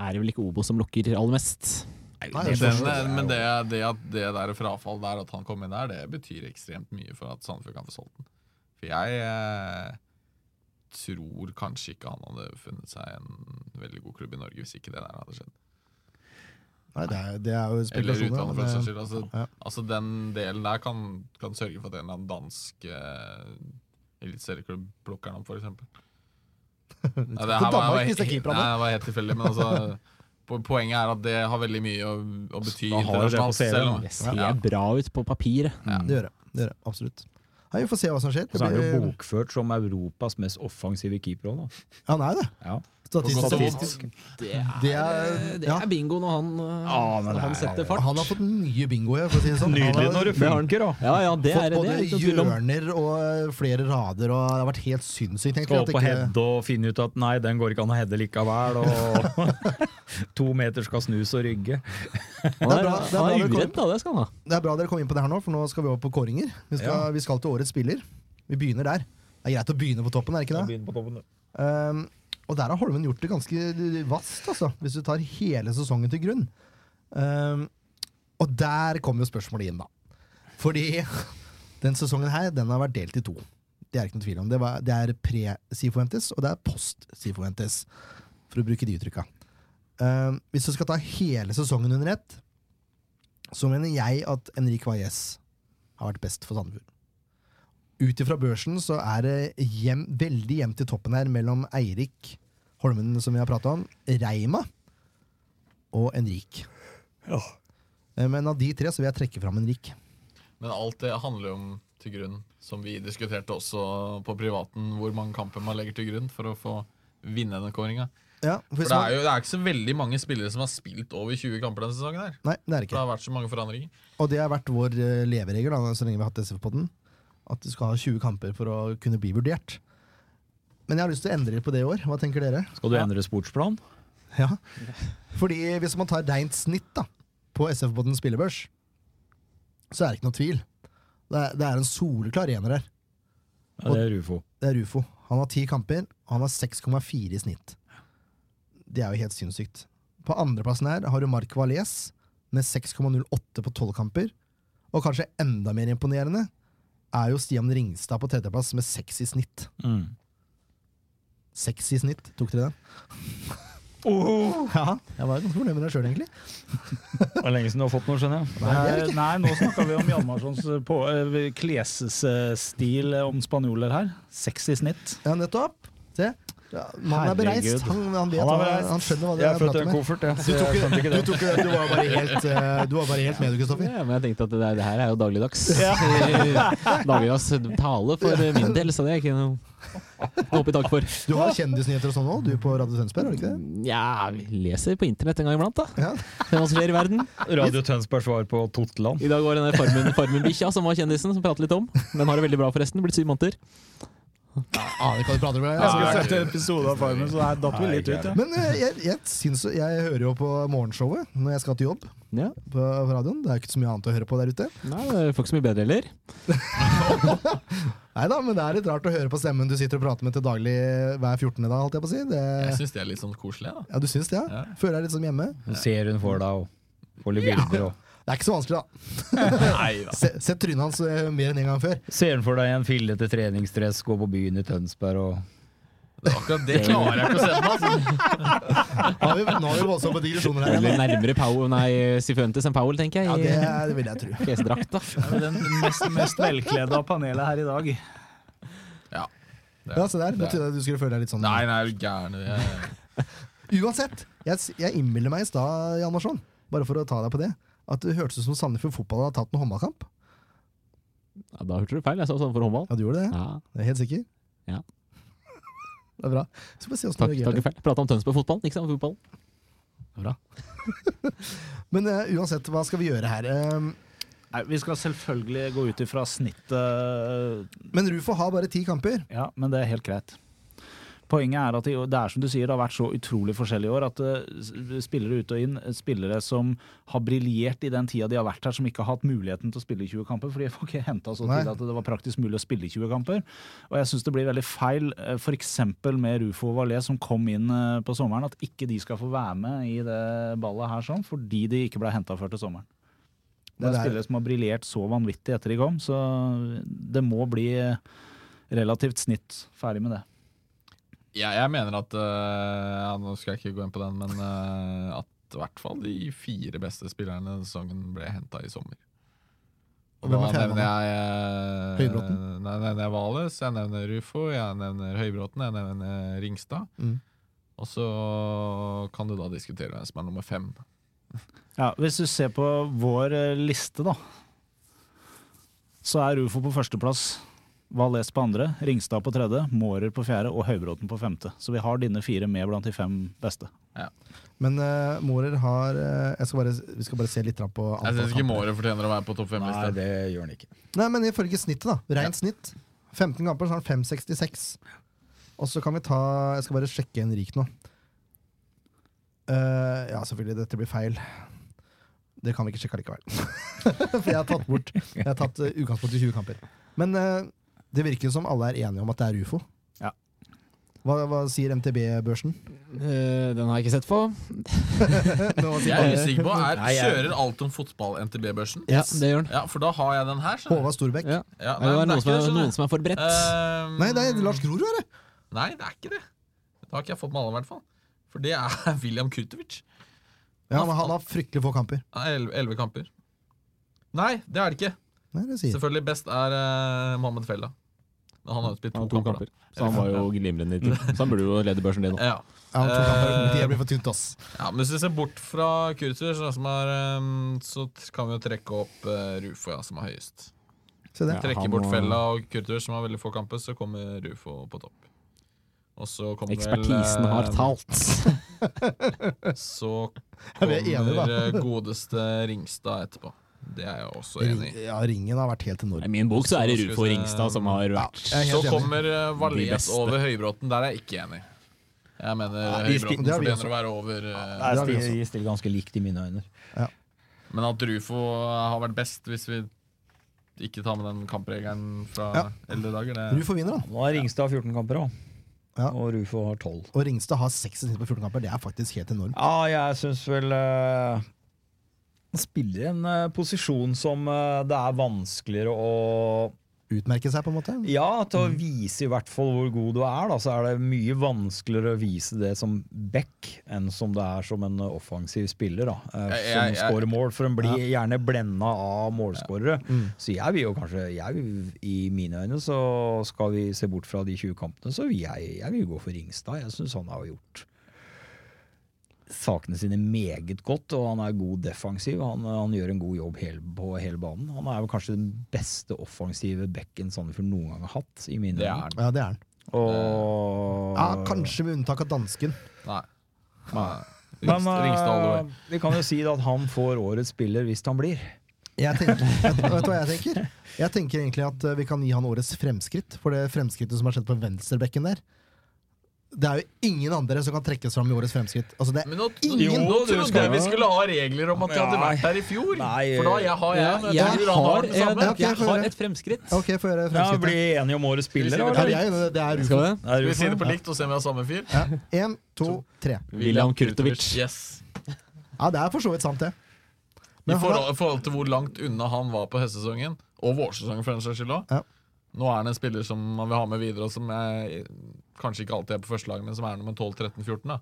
[SPEAKER 7] er det vel ikke Obo som lokker aller mest.
[SPEAKER 4] Nei,
[SPEAKER 6] Men
[SPEAKER 4] det
[SPEAKER 6] den-
[SPEAKER 4] forstår jeg.
[SPEAKER 6] men det, det at det der frafall der, at han kom inn der, det betyr ekstremt mye for at Sandefjord kan få solgt den. For jeg eh, tror kanskje ikke han hadde funnet seg en veldig god klubb i Norge hvis ikke det der hadde skjedd.
[SPEAKER 4] Nei, det er, det er jo
[SPEAKER 6] Eller
[SPEAKER 4] spekulasjoner.
[SPEAKER 6] utlandet, for den
[SPEAKER 4] sånn, men
[SPEAKER 6] saks
[SPEAKER 4] det-
[SPEAKER 6] skyld. Altså,
[SPEAKER 4] Ja.
[SPEAKER 6] altså, den delen der kan, kan sørge for at en eller annen dansk eh, eliteserieklubb plukker den opp, f.eks. Nei, det her
[SPEAKER 4] Danmark
[SPEAKER 6] var, var,
[SPEAKER 4] hvis det er
[SPEAKER 6] helt-
[SPEAKER 4] keeperne.
[SPEAKER 6] nei, det var helt tilfeldig, men altså po- Poenget er at det har veldig mye å, å bety.
[SPEAKER 8] Da har det det på
[SPEAKER 6] internasjonalt,
[SPEAKER 8] CV-en,
[SPEAKER 6] selv om-
[SPEAKER 7] Det ser
[SPEAKER 6] Ja.
[SPEAKER 7] bra ut på papiret.
[SPEAKER 4] eh, Det gjør det. det, gjør det absolutt. Nei, vi får se hva som skjer.
[SPEAKER 8] Og
[SPEAKER 4] Det
[SPEAKER 8] så er det jo
[SPEAKER 4] blir,
[SPEAKER 8] bokført som Europas mest offensive keeper òg, da.
[SPEAKER 4] ja, han er det.
[SPEAKER 8] Ja.
[SPEAKER 4] Statistisk.
[SPEAKER 7] Statistisk. Det er,
[SPEAKER 4] Det er-
[SPEAKER 7] det
[SPEAKER 4] ja.
[SPEAKER 7] er bingo når han, eh,
[SPEAKER 8] Ja, men
[SPEAKER 7] når
[SPEAKER 8] det
[SPEAKER 7] han
[SPEAKER 8] er-
[SPEAKER 7] setter fart.
[SPEAKER 4] Han har fått mye bingo, her, for å si det sånn. Han har
[SPEAKER 8] når det funker, da!
[SPEAKER 7] Ja, ja, det er
[SPEAKER 4] fått
[SPEAKER 7] det. er
[SPEAKER 4] både
[SPEAKER 7] ikke noe tvil om.
[SPEAKER 4] hjørner og eh, flere rader, og det har vært helt sinnssykt. egentlig,
[SPEAKER 8] Skal
[SPEAKER 4] at
[SPEAKER 8] opp og
[SPEAKER 4] ikke-
[SPEAKER 8] heade og finne ut at nei, den går ikke an å heade likevel, og to meter skal snus og rygge.
[SPEAKER 7] Han
[SPEAKER 4] Det er bra- det
[SPEAKER 7] er,
[SPEAKER 4] er bra
[SPEAKER 7] han
[SPEAKER 4] det
[SPEAKER 7] er
[SPEAKER 4] kom.
[SPEAKER 7] uredd, da. Det skal han ha.
[SPEAKER 4] Det er bra dere kom inn på det her nå, for nå skal vi over på kåringer. Vi skal,
[SPEAKER 8] Ja.
[SPEAKER 4] vi skal til årets spiller. Vi begynner der. Det er greit å begynne på toppen, er det ikke det? Um, og der har Holmen gjort det ganske vast, altså, hvis du tar hele sesongen til grunn. Um, og der kommer jo spørsmålet inn, da. Fordi den sesongen her, den har vært delt i to. Det er ikke noe tvil om. Det, var, det er pre-Sifuentes, og det er post-Sifuentes, for å bruke de uttrykka. Um, hvis du skal ta hele sesongen under ett, så mener jeg at Henrik Valles har vært best for Sandefjord. Ut ifra børsen så er det hjem, veldig jevnt i toppen her mellom Eirik Holmen, som vi har prata om, Reima og Enrik. Eh, Men av de tre så vil jeg trekke fram Enrik.
[SPEAKER 6] Men alt det handler jo om til grunn, som vi diskuterte også på privaten, hvor mange kamper man legger til grunn for å få vinne denne kåringa.
[SPEAKER 4] Ja,
[SPEAKER 6] For det er jo det er ikke så veldig mange spillere som har spilt over 20 kamper denne sesongen. her
[SPEAKER 4] Nei, det er det
[SPEAKER 6] For det
[SPEAKER 4] ikke.
[SPEAKER 6] har vært så mange forandringer.
[SPEAKER 4] Og det har vært vår eh, leveregel da, så lenge vi har hatt SF-podden. At du skal ha 20 kamper for å kunne bli vurdert. Men jeg har lyst til å endre på det i år. Hva tenker dere?
[SPEAKER 8] Skal du endre sportsplan?
[SPEAKER 4] Ja. Fordi hvis man tar rent snitt da, på SF-podden spillebørs, så er det ikke noe tvil. Det er, det er en soleklar ener her.
[SPEAKER 8] Ja, det er Rufo.
[SPEAKER 4] Det er Rufo. Han har ti kamper, og han har 6,4 i snitt. Det er jo helt sinnssykt. På andreplassen her har du Mark Valais med 6,08 på tolv kamper. Og kanskje enda mer imponerende er jo Stian Ringstad på tredjeplass med seks i snitt.
[SPEAKER 8] Mm.
[SPEAKER 4] Seks i snitt, tok dere den? Ja, jeg var ganske fornøyd med deg sjøl, egentlig.
[SPEAKER 8] Det er lenge siden du har fått noe, skjønner jeg.
[SPEAKER 4] Nei, det er det
[SPEAKER 3] Nei, nei, nå snakker vi om Hjalmarssons eh, på- eh, klesstil eh, om spanjoler her. Seks i snitt.
[SPEAKER 4] Ja, nettopp. Se. Ja, Mannen er bereist.
[SPEAKER 3] Herregud.
[SPEAKER 4] Han, han, vet,
[SPEAKER 8] Han er
[SPEAKER 4] hva-
[SPEAKER 8] bereist.
[SPEAKER 4] han skjønner hva det
[SPEAKER 8] Jeg
[SPEAKER 4] er
[SPEAKER 8] er
[SPEAKER 4] jeg
[SPEAKER 8] født i
[SPEAKER 4] prater
[SPEAKER 8] en
[SPEAKER 4] med.
[SPEAKER 8] koffert, jeg.
[SPEAKER 4] Du tok, ikke, du, tok, ikke- du, var bare helt, eh, du var bare helt med, du, Kristoffer.
[SPEAKER 7] Ja, men jeg tenkte at det, der, det her er jo dagligdags. dagligdags tale for min del, så det er ikke noe noe opp i taket for.
[SPEAKER 4] Du har kjendisnyheter og sånn òg, du på Radio Tønsberg? har du ikke det?
[SPEAKER 7] Mm, Ja, vi leser på internett en gang iblant, da.
[SPEAKER 4] Ja.
[SPEAKER 7] Det er hva som skjer i verden.
[SPEAKER 8] Radio Tønsbergs svar på Totland.
[SPEAKER 7] I dag var denne farmen- Farmen-bikkja som var kjendisen, som prater litt om. Den har det veldig bra, forresten. Blitt syv måneder.
[SPEAKER 4] Aner ikke hva du prater om. jeg.
[SPEAKER 6] Ja,
[SPEAKER 4] Altså,
[SPEAKER 6] jeg-
[SPEAKER 3] sette episode av Farmen, så her datt vi litt ut, ja.
[SPEAKER 4] Men eh, jeg, jeg, syns, jeg hører jo på morgenshowet når jeg skal til jobb.
[SPEAKER 7] Ja.
[SPEAKER 4] På på radioen. Det er jo ikke så mye annet å høre på der ute.
[SPEAKER 7] Nei, det får ikke så mye bedre heller.
[SPEAKER 4] Nei da, men det er litt rart å høre på stemmen du sitter og prater med til daglig hver 14. dag, holdt jeg på å si. Det,
[SPEAKER 6] Jeg syns det er litt sånn koselig. da
[SPEAKER 4] ja, du syns det, ja?
[SPEAKER 6] Ja.
[SPEAKER 4] Føler deg litt som hjemme?
[SPEAKER 8] Nå ser hun for deg og får litt bilder og
[SPEAKER 4] Det er ikke så vanskelig, da.
[SPEAKER 6] Nei da.
[SPEAKER 4] Se- Sett trynet hans eh, mer enn én gang før.
[SPEAKER 8] Ser hun for deg i en fillete treningsdress, gå på byen i Tønsberg og
[SPEAKER 6] Det, er akkurat det klarer jeg ikke å se på meg. altså.
[SPEAKER 4] Nå har vi, nå har vi voldsomme digresjoner her.
[SPEAKER 7] Eller nærmere Powell, nei, Sifuentes enn Powell, tenker
[SPEAKER 4] Ja,
[SPEAKER 7] jeg.
[SPEAKER 4] det,
[SPEAKER 7] I
[SPEAKER 4] det vil jeg tro.
[SPEAKER 7] fjesdrakt, da.
[SPEAKER 3] Det er Den mest, mest velkledde av panelet her i dag.
[SPEAKER 4] Ja, se der. Nå trodde jeg du skulle føle deg litt sånn.
[SPEAKER 6] Nei, nei, er du gæren? Jeg-
[SPEAKER 4] Uansett, jeg, s- jeg innbiller meg i stad, Hjalmarsson, bare for å ta deg på det, at det hørtes ut som Sandefjord Fotball hadde tatt en håndballkamp.
[SPEAKER 7] Ja, da hørte du feil. Jeg sa sånn for håndball.
[SPEAKER 4] Ja, du gjorde det?
[SPEAKER 7] Ja,
[SPEAKER 4] Jeg er helt sikker?
[SPEAKER 7] Ja.
[SPEAKER 4] Det er bra. Så får vi se hvordan
[SPEAKER 7] takk,
[SPEAKER 4] du
[SPEAKER 7] takk
[SPEAKER 4] reagerer.
[SPEAKER 7] feil. Prata om Tønsberg-fotballen, ikke sant? Fotballen.
[SPEAKER 4] Men eh, uansett, hva skal vi gjøre her? Ehm,
[SPEAKER 3] Nei, vi skal selvfølgelig gå ut ifra snittet, eh,
[SPEAKER 4] men Rufo har bare ti kamper.
[SPEAKER 3] ja, men det er helt greit. Poenget er at det det er som du sier, det har vært så utrolig forskjellig i år at eh, s- spillere ut og inn, eh, spillere som har briljert i den tida de har vært her, som ikke har hatt muligheten til å spille i 20 kamper, for de får ikke henta så
[SPEAKER 4] Nei.
[SPEAKER 3] tidlig at det var praktisk mulig å spille i 20 kamper. Og jeg syns det blir veldig feil, eh, for eksempel med Rufo og Valais som kom inn eh, på sommeren, at ikke de skal få være med i det ballet her sånn, fordi de ikke ble henta før til sommeren.
[SPEAKER 4] Men
[SPEAKER 3] Det er
[SPEAKER 4] det er-
[SPEAKER 3] spillere som har briljert så vanvittig etter de kom, så det må bli eh, relativt snitt ferdig med det.
[SPEAKER 6] Jeg, jeg mener at eh, ja, Nå skal jeg ikke gå inn på den, men eh, at i hvert fall de fire beste spillerne denne sesongen ble henta i sommer. Og da
[SPEAKER 4] Hvem er fjerde
[SPEAKER 6] nevner jeg eh,
[SPEAKER 4] Høybråten?
[SPEAKER 6] Nei, jeg nevner Vales, jeg nevner Rufo, jeg nevner Høybråten, jeg nevner eh, Ringstad.
[SPEAKER 4] Mm.
[SPEAKER 6] Og så kan du da diskutere hvem som er nummer fem.
[SPEAKER 3] Ja, hvis du ser på vår eh, liste, da, så er Rufo på førsteplass. Valais på andre, Ringstad på tredje, Mårer på fjerde og Høybråten på femte. Så vi har dine fire med blant de fem beste.
[SPEAKER 4] Men eh, Mårer har eh, jeg skal bare, Vi skal bare se litt på
[SPEAKER 6] Jeg
[SPEAKER 4] antall
[SPEAKER 6] syns ikke Måre fortjener å være på topp
[SPEAKER 5] Nei,
[SPEAKER 6] fem-lista.
[SPEAKER 5] det gjør han ikke.
[SPEAKER 4] Nei, men ifølge snittet, da. Rent snitt. 15 kamper, så har han 5,66. Og så kan vi ta Jeg skal bare sjekke Henrik nå. Eh, ja, selvfølgelig. Dette blir feil. Det kan vi ikke sjekke likevel. For jeg har tatt bort Jeg har tatt eh, utgangspunkt i 20 kamper. Men eh, det virker som alle er enige om at det er ufo.
[SPEAKER 3] Ja.
[SPEAKER 4] Hva, hva sier MTB-børsen?
[SPEAKER 7] Eh, Den har jeg ikke sett på.
[SPEAKER 6] Jeg er usikker på, er,
[SPEAKER 5] Nei, jeg-
[SPEAKER 6] Kjører alt om fotball-NTB-børsen?
[SPEAKER 7] Ja, det gjør den.
[SPEAKER 6] Ja, for da har jeg den her. skjønner du.
[SPEAKER 4] Håvard Storbekk?
[SPEAKER 7] Ja.
[SPEAKER 6] Ja,
[SPEAKER 7] det var
[SPEAKER 6] men
[SPEAKER 7] noen som,
[SPEAKER 6] ikke
[SPEAKER 7] er,
[SPEAKER 6] skjønner
[SPEAKER 7] noen
[SPEAKER 6] du.
[SPEAKER 7] som er forberedt.
[SPEAKER 6] Ehm,
[SPEAKER 4] Nei, det er Lars Grorud, er det!
[SPEAKER 6] Nei, det er ikke det. Det har ikke jeg fått med alle, i hvert fall. For det er William Kurtovic.
[SPEAKER 4] Ja, men han har fryktelig få kamper.
[SPEAKER 6] Elleve kamper. Nei, det er det ikke.
[SPEAKER 4] Nei, det sier.
[SPEAKER 6] Selvfølgelig best er eh, Mohammed Fella. Men han har jo spilt
[SPEAKER 7] Han har to kamper, så han var jo glimrende i tid. Så han burde jo lede børsen din nå.
[SPEAKER 6] Ja.
[SPEAKER 4] Ja, to kamper.
[SPEAKER 6] Eh,
[SPEAKER 4] Det blir for tynt, ass.
[SPEAKER 6] ja, men hvis vi ser bort fra Kurzer, sånn som er, eh, så t- kan vi jo trekke opp eh, Rufo, ja, som er høyest.
[SPEAKER 4] Se det.
[SPEAKER 6] Trekke
[SPEAKER 7] han
[SPEAKER 6] bort
[SPEAKER 7] må-
[SPEAKER 6] Fella og Kurtur, som har veldig få kamper, så kommer Rufo på topp. Og så kommer vel,
[SPEAKER 7] Ekspertisen har
[SPEAKER 6] eh,
[SPEAKER 7] talt.
[SPEAKER 6] Så
[SPEAKER 4] Ja, vi er enige, da.
[SPEAKER 6] kommer eh, godeste Ringstad etterpå. Det er jeg også
[SPEAKER 4] Ring,
[SPEAKER 6] enig i.
[SPEAKER 4] ja, ringen har vært helt
[SPEAKER 7] I
[SPEAKER 4] enorm.
[SPEAKER 7] min bok så er det Rufo
[SPEAKER 6] Skal vi se-
[SPEAKER 7] Ringstad som har vært
[SPEAKER 4] jeg er
[SPEAKER 6] Så
[SPEAKER 4] helt enig.
[SPEAKER 6] kommer eh, Valles
[SPEAKER 7] beste.
[SPEAKER 6] over Høybråten. Der er jeg ikke enig. Jeg mener eh,
[SPEAKER 4] vi sti-
[SPEAKER 6] Høybråten
[SPEAKER 4] det har vi
[SPEAKER 6] fortjener
[SPEAKER 4] også.
[SPEAKER 6] å være over. eh,
[SPEAKER 4] det har vi også.
[SPEAKER 5] De stiller ganske likt i mine øyne.
[SPEAKER 6] Men at Rufo eh, har vært best, hvis vi ikke tar med den kampregelen fra eldre dager, det
[SPEAKER 4] Rufo vinner, da.
[SPEAKER 5] Nå har Ringstad 14 kamper òg,
[SPEAKER 4] Ja.
[SPEAKER 5] og Rufo har 12.
[SPEAKER 4] Og Ringstad har seks i snitt på 14 kamper. Det er faktisk helt enormt.
[SPEAKER 5] Ja, jeg syns vel eh,
[SPEAKER 8] Han spiller en eh, posisjon som eh, det er vanskeligere å
[SPEAKER 4] Utmerke seg, på en måte.
[SPEAKER 8] Ja, til
[SPEAKER 6] Mm.
[SPEAKER 8] å vise i hvert fall hvor god du er, da, så er det mye vanskeligere å vise det som back enn som det er som en eh, offensiv spiller. da, eh,
[SPEAKER 6] Jeg- jeg-
[SPEAKER 8] Som
[SPEAKER 6] jeg-
[SPEAKER 8] scorer mål, for en blir gjerne blenda av målskårere.
[SPEAKER 6] Mm.
[SPEAKER 8] Så jeg vil jo kanskje jeg vil, I mine øyne, så skal vi se bort fra de 20 kampene, så vil jeg, jeg vil gå for Ringstad. Jeg syns han har gjort sakene sine meget godt, og han er god defensiv. Han, han gjør en god jobb hele, på hele banen. Han er jo kanskje den beste offensive bekken Sandefjord noen gang har hatt, i mine
[SPEAKER 6] Det
[SPEAKER 8] øyne.
[SPEAKER 6] er den.
[SPEAKER 4] Ja, det er den.
[SPEAKER 8] Og
[SPEAKER 4] Ja, kanskje med unntak av dansken.
[SPEAKER 6] Nei.
[SPEAKER 8] Men
[SPEAKER 6] Ringstad, Ringstad all the way.
[SPEAKER 8] eh, vi kan jo si da at han får årets spiller hvis han blir.
[SPEAKER 4] Jeg tenker, vet du hva jeg tenker? Jeg tenker egentlig at eh, vi kan gi han årets fremskritt, for det fremskrittet som har skjedd på venstrebekken der. Det er jo ingen andre som kan trekkes fram i årets fremskritt. Altså, det er
[SPEAKER 6] Men nå,
[SPEAKER 4] Ingen-
[SPEAKER 6] nå trodde jeg vi skulle ha regler om at de hadde vært der i fjor!
[SPEAKER 8] Nei.
[SPEAKER 6] For da jeg har jeg, men jeg, tror han har det samme.
[SPEAKER 4] jeg- jeg har et
[SPEAKER 7] fremskritt.
[SPEAKER 4] Ok, få gjøre
[SPEAKER 8] Ja, Bli
[SPEAKER 4] fremskrittet.
[SPEAKER 8] enige om årets
[SPEAKER 6] vi si
[SPEAKER 8] spiller,
[SPEAKER 6] det
[SPEAKER 8] da.
[SPEAKER 6] på
[SPEAKER 4] Ja, det
[SPEAKER 8] eller?
[SPEAKER 4] er jo- det er
[SPEAKER 7] Skal
[SPEAKER 4] Rufo.
[SPEAKER 7] vi det?
[SPEAKER 6] Skal vi si det på likt og se om vi har samme fyr?
[SPEAKER 4] Én, to, tre.
[SPEAKER 7] William Kurtovic.
[SPEAKER 6] Yes.
[SPEAKER 4] Ja, det er for så vidt sant, det.
[SPEAKER 6] I
[SPEAKER 4] Men han
[SPEAKER 6] forhold, I forhold til hvor langt unna han var på høstsesongen, og vårsesongen for den saks skyld også.
[SPEAKER 4] Ja.
[SPEAKER 6] Nå er han en spiller som man vil ha med videre, og som er, kanskje ikke alltid er på førstelaget, men som er nummer 12-13-14. da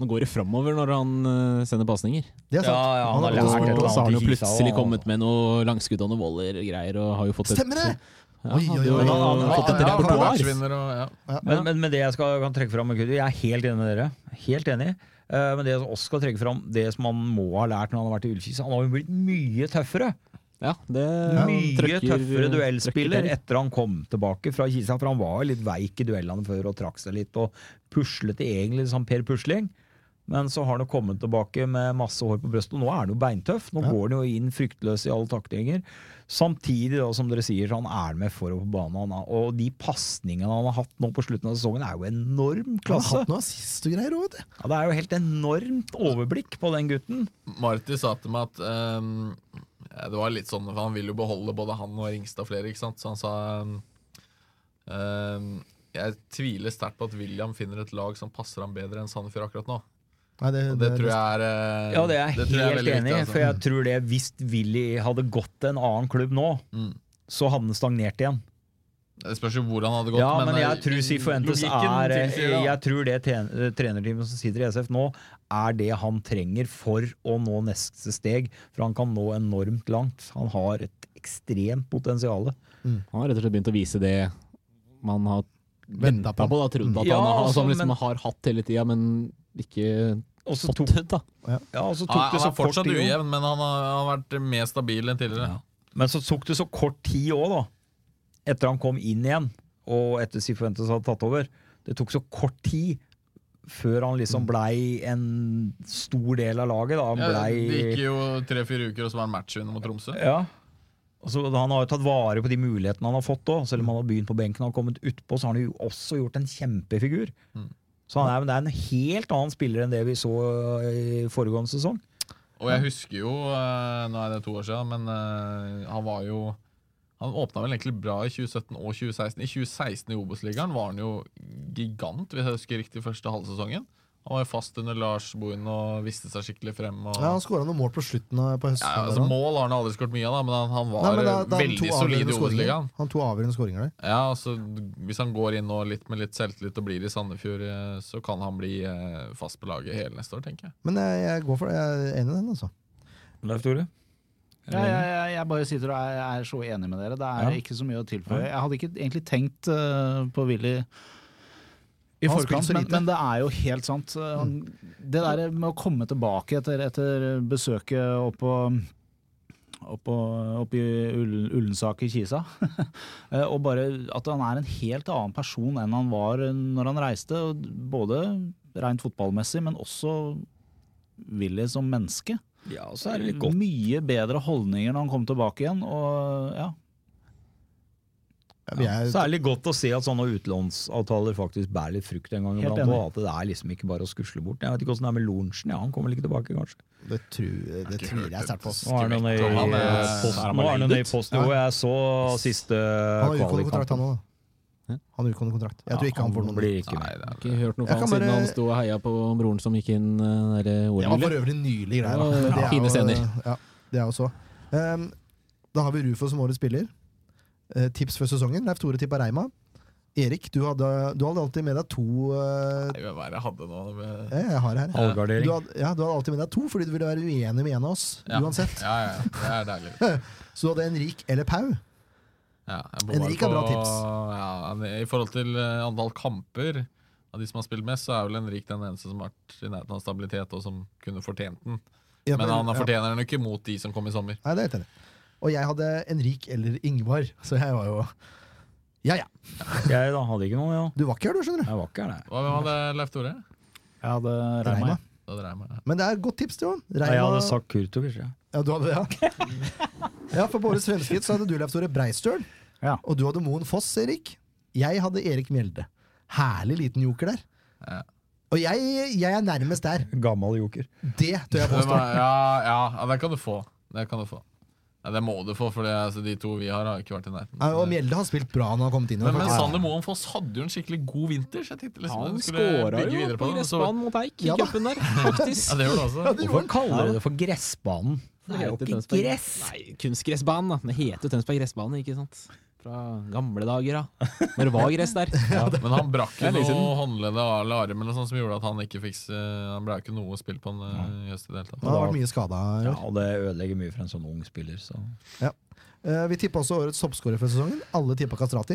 [SPEAKER 7] Nå går det framover når han eh, sender pasninger.
[SPEAKER 4] Det er sant.
[SPEAKER 8] Ja, ja, han har
[SPEAKER 4] gått
[SPEAKER 8] lært
[SPEAKER 4] over.
[SPEAKER 8] et eller
[SPEAKER 7] Og
[SPEAKER 8] annet.
[SPEAKER 7] så har han jo
[SPEAKER 8] i kisa,
[SPEAKER 7] plutselig
[SPEAKER 8] og-
[SPEAKER 7] kommet med noe langskudd og noe voller og greier. Og har jo fått et,
[SPEAKER 4] Stemmer det!
[SPEAKER 7] Ja,
[SPEAKER 4] Oi, oi, oi.
[SPEAKER 7] hadde jo
[SPEAKER 4] Han-
[SPEAKER 6] Han
[SPEAKER 4] han-
[SPEAKER 7] fått et
[SPEAKER 4] han- han-
[SPEAKER 7] repertoar.
[SPEAKER 6] matchvinner og ja.
[SPEAKER 8] Men, men, men det jeg skal, kan trekke fram med Kudri, jeg er helt enig med dere. Helt enig. Eh, men det som også skal trekke fram, det som han må ha lært når han har vært i Ullkisa, han har jo blitt mye tøffere.
[SPEAKER 7] Ja, det
[SPEAKER 8] Mye
[SPEAKER 7] trøkker-
[SPEAKER 8] tøffere duellspiller
[SPEAKER 7] trøkker til.
[SPEAKER 8] etter han kom tilbake fra Kisa, for han var jo litt veik i duellene før og trakk seg litt og puslet egentlig som Per Pusling. Men så har han jo kommet tilbake med masse hår på brystet, og nå er han jo beintøff. Nå går han jo inn fryktløs i alle taklinger. Samtidig da, som dere sier, så han er med forover på banen. Han er- Og de pasningene han har hatt nå på slutten av sesongen, er jo enorm
[SPEAKER 4] Han har
[SPEAKER 8] klasse.
[SPEAKER 4] hatt noe assist og greier òg, vet du.
[SPEAKER 8] Ja, det er jo helt enormt overblikk på den gutten.
[SPEAKER 6] Marty sa til meg at ehm, ja, Det var litt sånn, for han ville jo beholde både han og Ringstad flere, ikke sant? Så han sa ehm, ehm, Jeg tviler sterkt på at William finner et lag som passer ham bedre enn Sandefjord akkurat nå.
[SPEAKER 4] Nei, det,
[SPEAKER 6] Og det tror jeg er eh,
[SPEAKER 8] Ja, det er jeg
[SPEAKER 6] tror jeg er
[SPEAKER 8] helt
[SPEAKER 6] veldig
[SPEAKER 8] enig i.
[SPEAKER 6] viktig, altså.
[SPEAKER 8] For jeg tror det hvis Willy hadde gått til en annen klubb nå,
[SPEAKER 6] Mm.
[SPEAKER 8] så hadde han stagnert igjen.
[SPEAKER 6] Det spørs jo hvor han hadde gått,
[SPEAKER 8] ja, men jeg
[SPEAKER 6] eh,
[SPEAKER 8] tror Sifuentes
[SPEAKER 6] logikken
[SPEAKER 8] er eh,
[SPEAKER 6] tilsier det, da.
[SPEAKER 8] Jeg tror det tren- eh, trenerteamet som sitter i SF nå, er det han trenger for å nå neste steg. For han kan nå enormt langt. Han har et ekstremt potensial.
[SPEAKER 7] Han har rett og slett begynt å vise det man har
[SPEAKER 4] Ventet
[SPEAKER 7] venta
[SPEAKER 4] på.
[SPEAKER 7] på. da, trodd at
[SPEAKER 8] Ja,
[SPEAKER 7] han har,
[SPEAKER 8] altså,
[SPEAKER 7] som liksom
[SPEAKER 8] men-
[SPEAKER 7] har hatt hele tida, men ikke
[SPEAKER 8] Og så
[SPEAKER 7] fått
[SPEAKER 8] tok,
[SPEAKER 7] det. da.
[SPEAKER 8] ja, og så tok
[SPEAKER 6] Han,
[SPEAKER 8] det
[SPEAKER 6] er- han
[SPEAKER 8] så
[SPEAKER 6] er
[SPEAKER 8] kort
[SPEAKER 6] fortsatt
[SPEAKER 8] tid også.
[SPEAKER 6] ujevn, men han har, han har vært mer stabil enn tidligere.
[SPEAKER 8] Men så tok det så kort tid òg, da. Etter han kom inn igjen, og etter Sifuentes hadde tatt over. Det tok så kort tid før han liksom blei en stor del av laget. Da. Han
[SPEAKER 6] Mm. Ja, det
[SPEAKER 8] blei
[SPEAKER 6] gikk jo tre-fire uker, og så var han matchvinner mot Tromsø.
[SPEAKER 8] Ja. Og så han har jo tatt vare på de mulighetene han har fått òg. Selv om han har begynt på benken og har kommet utpå, så har han jo også gjort en kjempefigur. Så han er, det er en helt annen spiller enn det vi så eh, i foregående sesong.
[SPEAKER 6] Og jeg husker jo, eh, nå er det to år siden, men eh, han var jo Han åpna vel egentlig bra i 2017 og 2016. I 2016 i Obos-ligaen var han jo gigant, hvis jeg husker riktig, første halvsesongen. Han var jo fast under Lars Bohin og viste seg skikkelig frem. Og,
[SPEAKER 4] Ja, han skåra noen mål på slutten av på høsten.
[SPEAKER 6] ja, altså, mål har han aldri skåret mye av, da, men han, han var eh,
[SPEAKER 4] Nei, men da- da er det to
[SPEAKER 6] veldig solid
[SPEAKER 4] avgjørende skåringer.
[SPEAKER 6] i Obos-ligaen.
[SPEAKER 4] Han to avgjørende skåringer der.
[SPEAKER 6] Ja, altså, hvis han går inn nå litt med litt selvtillit og blir i Sandefjord, eh, så kan han bli eh, fast på laget hele neste år, tenker jeg.
[SPEAKER 4] Men jeg, jeg går for det. Jeg er enig i den, altså.
[SPEAKER 8] Leif Tore?
[SPEAKER 3] Ja, jeg, jeg, jeg bare sitter og er, er så enig med dere. Det er ikke så mye å tilføye. Jeg hadde ikke egentlig tenkt eh, på Willy i
[SPEAKER 4] Han spilte
[SPEAKER 3] forkant,
[SPEAKER 4] så
[SPEAKER 3] men,
[SPEAKER 4] lite. Mm.
[SPEAKER 3] men det er jo helt sant. Eh, Han- Det der med å komme tilbake etter, etter besøket opp på opp, på- opp i Ull- Ullensaker, Kisa. Eh, og bare at han er en helt annen person enn han var eh, når han reiste. og Både rent fotballmessig, men også Willy som menneske.
[SPEAKER 5] Ja, og så er det litt godt.
[SPEAKER 3] Mye bedre holdninger når han kom tilbake igjen. Og ja,
[SPEAKER 4] Ja, vi er,
[SPEAKER 8] Så er det litt godt å se at sånne utlånsavtaler faktisk bærer litt frukt en gang
[SPEAKER 3] Helt
[SPEAKER 8] iblant.
[SPEAKER 3] enig.
[SPEAKER 8] Og at det er liksom ikke bare å skusle bort. Jeg vet ikke åssen det er med Lorentzen. Ja, han kommer vel ikke tilbake, kanskje.
[SPEAKER 4] det, tru- det tviler jeg sterkt på. ass.
[SPEAKER 8] Nå er han i eh,
[SPEAKER 6] Skvett, og han eh, er-
[SPEAKER 8] post.
[SPEAKER 6] er han
[SPEAKER 8] Nå er han
[SPEAKER 6] leid
[SPEAKER 8] i
[SPEAKER 6] ut?
[SPEAKER 8] post. Jo, jeg så siste
[SPEAKER 4] Han har utgående kontrakt, han
[SPEAKER 8] kvalikkamp.
[SPEAKER 4] òg. Han har utgående kontrakt. Jeg tror ikke han får noen.
[SPEAKER 8] blir ikke
[SPEAKER 6] Nei,
[SPEAKER 8] med.
[SPEAKER 6] det er
[SPEAKER 7] Ikke hørt noe
[SPEAKER 4] Jeg
[SPEAKER 7] fra han
[SPEAKER 4] kan
[SPEAKER 7] siden
[SPEAKER 4] bare-
[SPEAKER 7] han sto og heia på broren som gikk inn eh, der i
[SPEAKER 4] Det var
[SPEAKER 7] OL.
[SPEAKER 4] for øvrig nylig greier. da.
[SPEAKER 7] Ja,
[SPEAKER 4] Men det er
[SPEAKER 7] fine
[SPEAKER 4] jo-
[SPEAKER 7] scener.
[SPEAKER 4] Ja, det er jo så. Ehm, da har vi Rufo som årets spiller. Eh, tips før sesongen. Leif Tore tippa Reima. Erik, du hadde, du hadde alltid med deg to eh,
[SPEAKER 6] Nei, Hva er det jeg hadde nå? med-
[SPEAKER 4] eh, Jeg har det her. Du
[SPEAKER 8] Halvgardering.
[SPEAKER 4] hadde, ja, du hadde alltid med deg to, fordi du ville være uenig med en av oss. Eh,
[SPEAKER 6] Ja.
[SPEAKER 4] Uansett.
[SPEAKER 6] Ja, ja, det er deilig.
[SPEAKER 4] Så du hadde Henrik eller Pau.
[SPEAKER 6] Ja, jeg bommer
[SPEAKER 4] Henrik har
[SPEAKER 6] på-
[SPEAKER 4] bra tips.
[SPEAKER 6] Ja, men I forhold til eh, antall kamper av de som har spilt mest, så er vel Henrik den eneste som har vært i nærheten av stabilitet, og som kunne fortjent den.
[SPEAKER 4] Ja,
[SPEAKER 6] Men han
[SPEAKER 4] ja.
[SPEAKER 6] fortjener den jo ikke mot de som kom i sommer.
[SPEAKER 4] Nei, det er helt enig. Og jeg hadde Henrik eller Ingvar, så jeg var jo Ja ja.
[SPEAKER 8] Jeg da hadde ikke noe, ja.
[SPEAKER 4] Du var ikke her, du, skjønner du.
[SPEAKER 8] Jeg var ikke her, nei.
[SPEAKER 6] Hva hvem hadde Leif Tore?
[SPEAKER 3] jeg hadde
[SPEAKER 4] Reima.
[SPEAKER 3] regna med
[SPEAKER 6] Da dreier jeg meg.
[SPEAKER 4] Men det er et godt tips, det òg.
[SPEAKER 8] Nei, Jeg hadde sagt Kurtovic, jeg.
[SPEAKER 4] Ja, du hadde det, ja. ja for på årets fremskritt så hadde du Leif Tore Breistøl,
[SPEAKER 3] Ja.
[SPEAKER 4] og du hadde Moen Foss, Erik. Jeg hadde Erik Mjelde. Herlig liten joker der.
[SPEAKER 6] Ja.
[SPEAKER 4] Og jeg, jeg er nærmest der.
[SPEAKER 8] Gammel joker.
[SPEAKER 4] Det tør jeg
[SPEAKER 6] Hvem
[SPEAKER 4] påstå.
[SPEAKER 6] er- Ja, ja, ja, det kan du få. Det kan du få. Ja, det må du få, for det, altså, de to vi har, har ikke vært i nærheten.
[SPEAKER 4] Ja, Og Mjelde har spilt bra når han har kommet inn.
[SPEAKER 6] Men, men
[SPEAKER 4] faktisk.
[SPEAKER 6] Sander Moen Foss hadde jo en skikkelig god vinter. Så jeg tenkte liksom
[SPEAKER 7] Han
[SPEAKER 6] at du skulle
[SPEAKER 7] skåra
[SPEAKER 6] bygge
[SPEAKER 7] jo
[SPEAKER 6] videre
[SPEAKER 7] på
[SPEAKER 6] den, så-
[SPEAKER 7] gressbanen mot Eik i
[SPEAKER 4] Ja da.
[SPEAKER 7] cupen der, faktisk.
[SPEAKER 6] Ja, det gjør du også.
[SPEAKER 4] Ja, det gjorde
[SPEAKER 8] Hvorfor
[SPEAKER 4] han.
[SPEAKER 8] kaller dere det for gressbanen? Det er jo
[SPEAKER 7] heter
[SPEAKER 8] ikke
[SPEAKER 7] Tønsberg-
[SPEAKER 8] gress!
[SPEAKER 7] Nei, kunstgressbanen, da. Det heter jo Tønsberg gressbane, ikke sant? Fra gamle dager, da. Når det var gress der.
[SPEAKER 6] Men han brakk jo
[SPEAKER 7] Det er lenge
[SPEAKER 6] noe håndledd eller arm eller sånt som gjorde at han ikke fikk se- Han ble jo ikke noe spill på han eh, i høst i det hele tatt.
[SPEAKER 4] Han har vært mye skada.
[SPEAKER 8] Ja, og det ødelegger mye for en sånn ung spiller, så
[SPEAKER 4] Eh, Vi tippa også årets toppskårer for sesongen. Alle tippa Kastrati.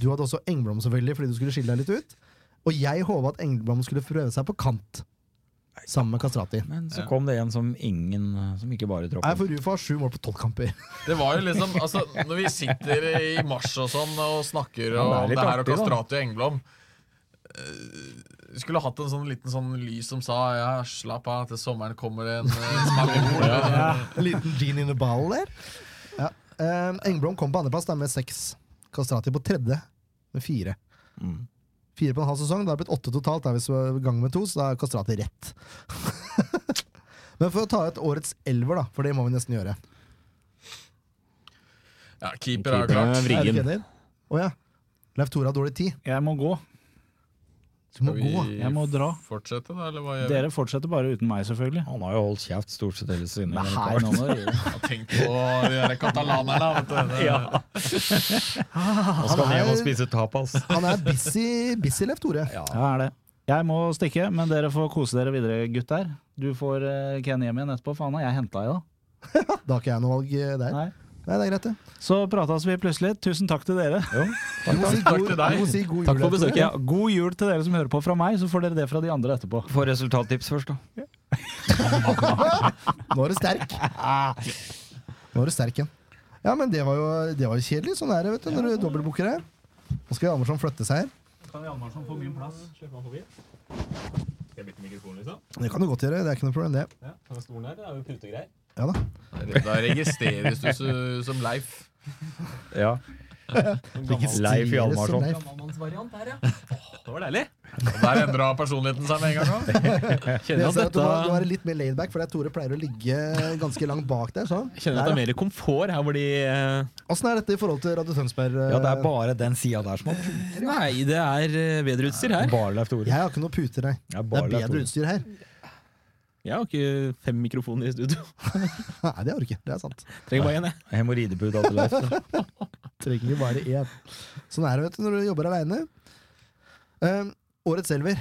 [SPEAKER 4] Du hadde også Engblom selvfølgelig fordi du skulle skille deg litt ut. Og jeg håpa at Engblom skulle prøve seg på kant sammen med Kastrati.
[SPEAKER 8] Men så kom det en som ingen eh, Som ikke bare
[SPEAKER 4] Nei,
[SPEAKER 8] tråkket.
[SPEAKER 4] for Rufa har sju mål på tolv kamper.
[SPEAKER 6] Det var jo liksom, altså Når vi sitter i mars og sånn og snakker
[SPEAKER 8] Ja, det er
[SPEAKER 6] om
[SPEAKER 8] litt
[SPEAKER 6] det her og
[SPEAKER 8] artig, da.
[SPEAKER 6] Kastrati og Engblom eh, vi skulle hatt en sånn liten sånn lys som sa Ja, slapp av, til sommeren kommer det en eh, smell i bordet.
[SPEAKER 4] En liten gin in a ball der. Ja. Eh, Engblom kom på andreplass da, med seks. Kastrati på tredje med fire. Fire på en halv sesong. Det har blitt åtte totalt. Da er vi så i gang med to, så da er Kastrati rett. Men for å ta ut årets elver, da, for det må vi nesten gjøre.
[SPEAKER 6] Ja, keeper er jo klart.
[SPEAKER 4] Er du ikke enig? Å ja. Leif Tore har dårlig tid.
[SPEAKER 3] Jeg må gå.
[SPEAKER 4] Du må
[SPEAKER 6] Skal
[SPEAKER 4] gå.
[SPEAKER 6] vi
[SPEAKER 3] Jeg må dra.
[SPEAKER 6] fortsette, da? Eller hva gjør vi?
[SPEAKER 3] Dere fortsetter bare uten meg, selvfølgelig.
[SPEAKER 8] Han har jo holdt kjeft stort sett hele siden.
[SPEAKER 3] Nei, nå må dere-
[SPEAKER 6] Ja, Tenk på de der katalanerne. vet du. Det-
[SPEAKER 8] Han
[SPEAKER 4] Han
[SPEAKER 8] skal hjem og
[SPEAKER 4] er-
[SPEAKER 8] spise tapas.
[SPEAKER 4] Han er busy, busy Leif Tore.
[SPEAKER 3] Ja, er det. Jeg må stikke, men dere får kose dere videre, gutter. Du får eh, Ken hjem igjen etterpå, for han har jeg henta i dag.
[SPEAKER 4] Da har ikke jeg noe valg eh, der.
[SPEAKER 3] Nei.
[SPEAKER 4] Nei, det er greit, det.
[SPEAKER 3] Så prates vi plutselig. Tusen takk til dere.
[SPEAKER 4] Du må si god,
[SPEAKER 6] til
[SPEAKER 4] du
[SPEAKER 6] deg.
[SPEAKER 4] må si god jul.
[SPEAKER 7] Takk for
[SPEAKER 4] Leif Tore.
[SPEAKER 7] besøket.
[SPEAKER 3] Ja, god jul til dere som hører på fra meg, så får dere det fra de andre etterpå.
[SPEAKER 8] Få resultattips først, da.
[SPEAKER 4] Nå er du sterk. Nå er du sterk igjen. Ja, men det var jo, det var jo kjedelig. Sånn er det vet du, når du dobbeltbooker her. Nå skal Hjalmarsson flytte seg her. Det kan du godt gjøre. Det er ikke noe problem, det. Ja da.
[SPEAKER 6] Da registreres du så- som Leif.
[SPEAKER 8] Ja. Leif Hjalmarsson.
[SPEAKER 4] Leif.
[SPEAKER 6] Og Der endra personligheten seg med en gang. da.
[SPEAKER 4] Jeg
[SPEAKER 7] Kjenner at
[SPEAKER 4] ser at du
[SPEAKER 7] dette
[SPEAKER 4] var, du var litt mer laidback, for det er Tore pleier å ligge ganske langt bak der. sånn.
[SPEAKER 7] Kjenner at det er mer komfort her hvor de eh,
[SPEAKER 4] Åssen er dette i forhold til Radio Tønsberg? eh?
[SPEAKER 8] ja, det er bare den sida der som har
[SPEAKER 7] Nei, det er eh, bedre utstyr her.
[SPEAKER 8] Bare Leif Tore.
[SPEAKER 4] Jeg har ikke noe puter, nei.
[SPEAKER 8] Ja,
[SPEAKER 4] Det
[SPEAKER 8] bare
[SPEAKER 4] er
[SPEAKER 8] Leif
[SPEAKER 4] bedre
[SPEAKER 8] Tore.
[SPEAKER 4] utstyr her.
[SPEAKER 7] Jeg har ikke fem mikrofoner i studio.
[SPEAKER 4] Nei, det orker jeg. Det er sant.
[SPEAKER 7] Trenger bare én, jeg.
[SPEAKER 8] Hemoroidepute til Leif. da.
[SPEAKER 4] Trenger bare én. Sånn er det vet du, når du jobber aleine. årets elver.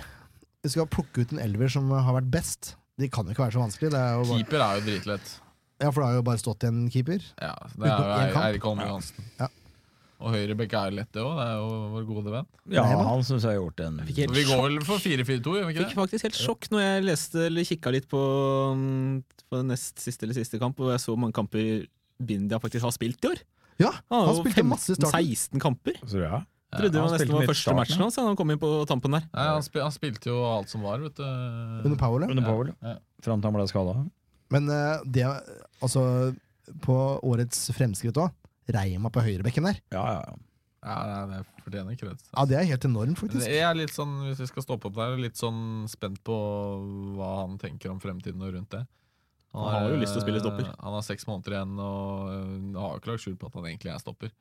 [SPEAKER 4] Vi skal plukke ut en elver som har vært best. De kan jo ikke være så vanskelig. Det er jo bare...
[SPEAKER 6] Keeper er jo dritlett.
[SPEAKER 4] Ja, for det har jo bare stått igjen keeper.
[SPEAKER 6] Ja, det
[SPEAKER 4] Utenom
[SPEAKER 6] er
[SPEAKER 4] én
[SPEAKER 6] jo
[SPEAKER 4] kamp.
[SPEAKER 6] Eirik Holmen Johansen.
[SPEAKER 4] Ja.
[SPEAKER 6] Og høyrebekk er jo lett, det òg. Det er jo vår gode venn.
[SPEAKER 8] Ja,
[SPEAKER 4] Nei, men-
[SPEAKER 8] han syns jeg har gjort en
[SPEAKER 7] Fikk helt
[SPEAKER 6] Vi går vel for 4-4-2, gjør vi ikke
[SPEAKER 7] fikk
[SPEAKER 6] det?
[SPEAKER 7] faktisk helt sjokk når jeg leste eller kikka litt på, mm, på nest siste eller siste kamp, og jeg så hvor mange kamper Bindia faktisk har spilt i år.
[SPEAKER 4] Ja,
[SPEAKER 7] har
[SPEAKER 4] han
[SPEAKER 7] jo
[SPEAKER 4] spilte masse i starten.
[SPEAKER 7] 16 kamper.
[SPEAKER 8] Så ja.
[SPEAKER 7] Trodde
[SPEAKER 8] han
[SPEAKER 7] det var nesten
[SPEAKER 8] spilte
[SPEAKER 7] var
[SPEAKER 8] midt i
[SPEAKER 7] første
[SPEAKER 8] starten,
[SPEAKER 7] matchen hans, han kom inn på tampen der.
[SPEAKER 6] Nei, han, spil, han spilte jo alt som var, vet du.
[SPEAKER 4] Under Powell, ja.
[SPEAKER 8] Under Powell, ja.
[SPEAKER 6] Ja.
[SPEAKER 8] Fram til han ble skada.
[SPEAKER 4] Men eh, det Altså, på årets fremskritt òg, Reima på høyrebekken der.
[SPEAKER 8] Ja, ja, ja.
[SPEAKER 6] Ja, nei, det fortjener kreds.
[SPEAKER 4] Ja, det er helt enormt,
[SPEAKER 6] Men
[SPEAKER 4] faktisk.
[SPEAKER 6] Jeg er litt sånn, hvis vi skal stoppe opp der, litt sånn spent på hva han tenker om fremtiden og rundt det.
[SPEAKER 7] Han har jo
[SPEAKER 6] er,
[SPEAKER 7] lyst til å spille stopper.
[SPEAKER 6] eh, Han har seks måneder igjen og eh, har jo ikke lagt skjul på at han egentlig er stopper.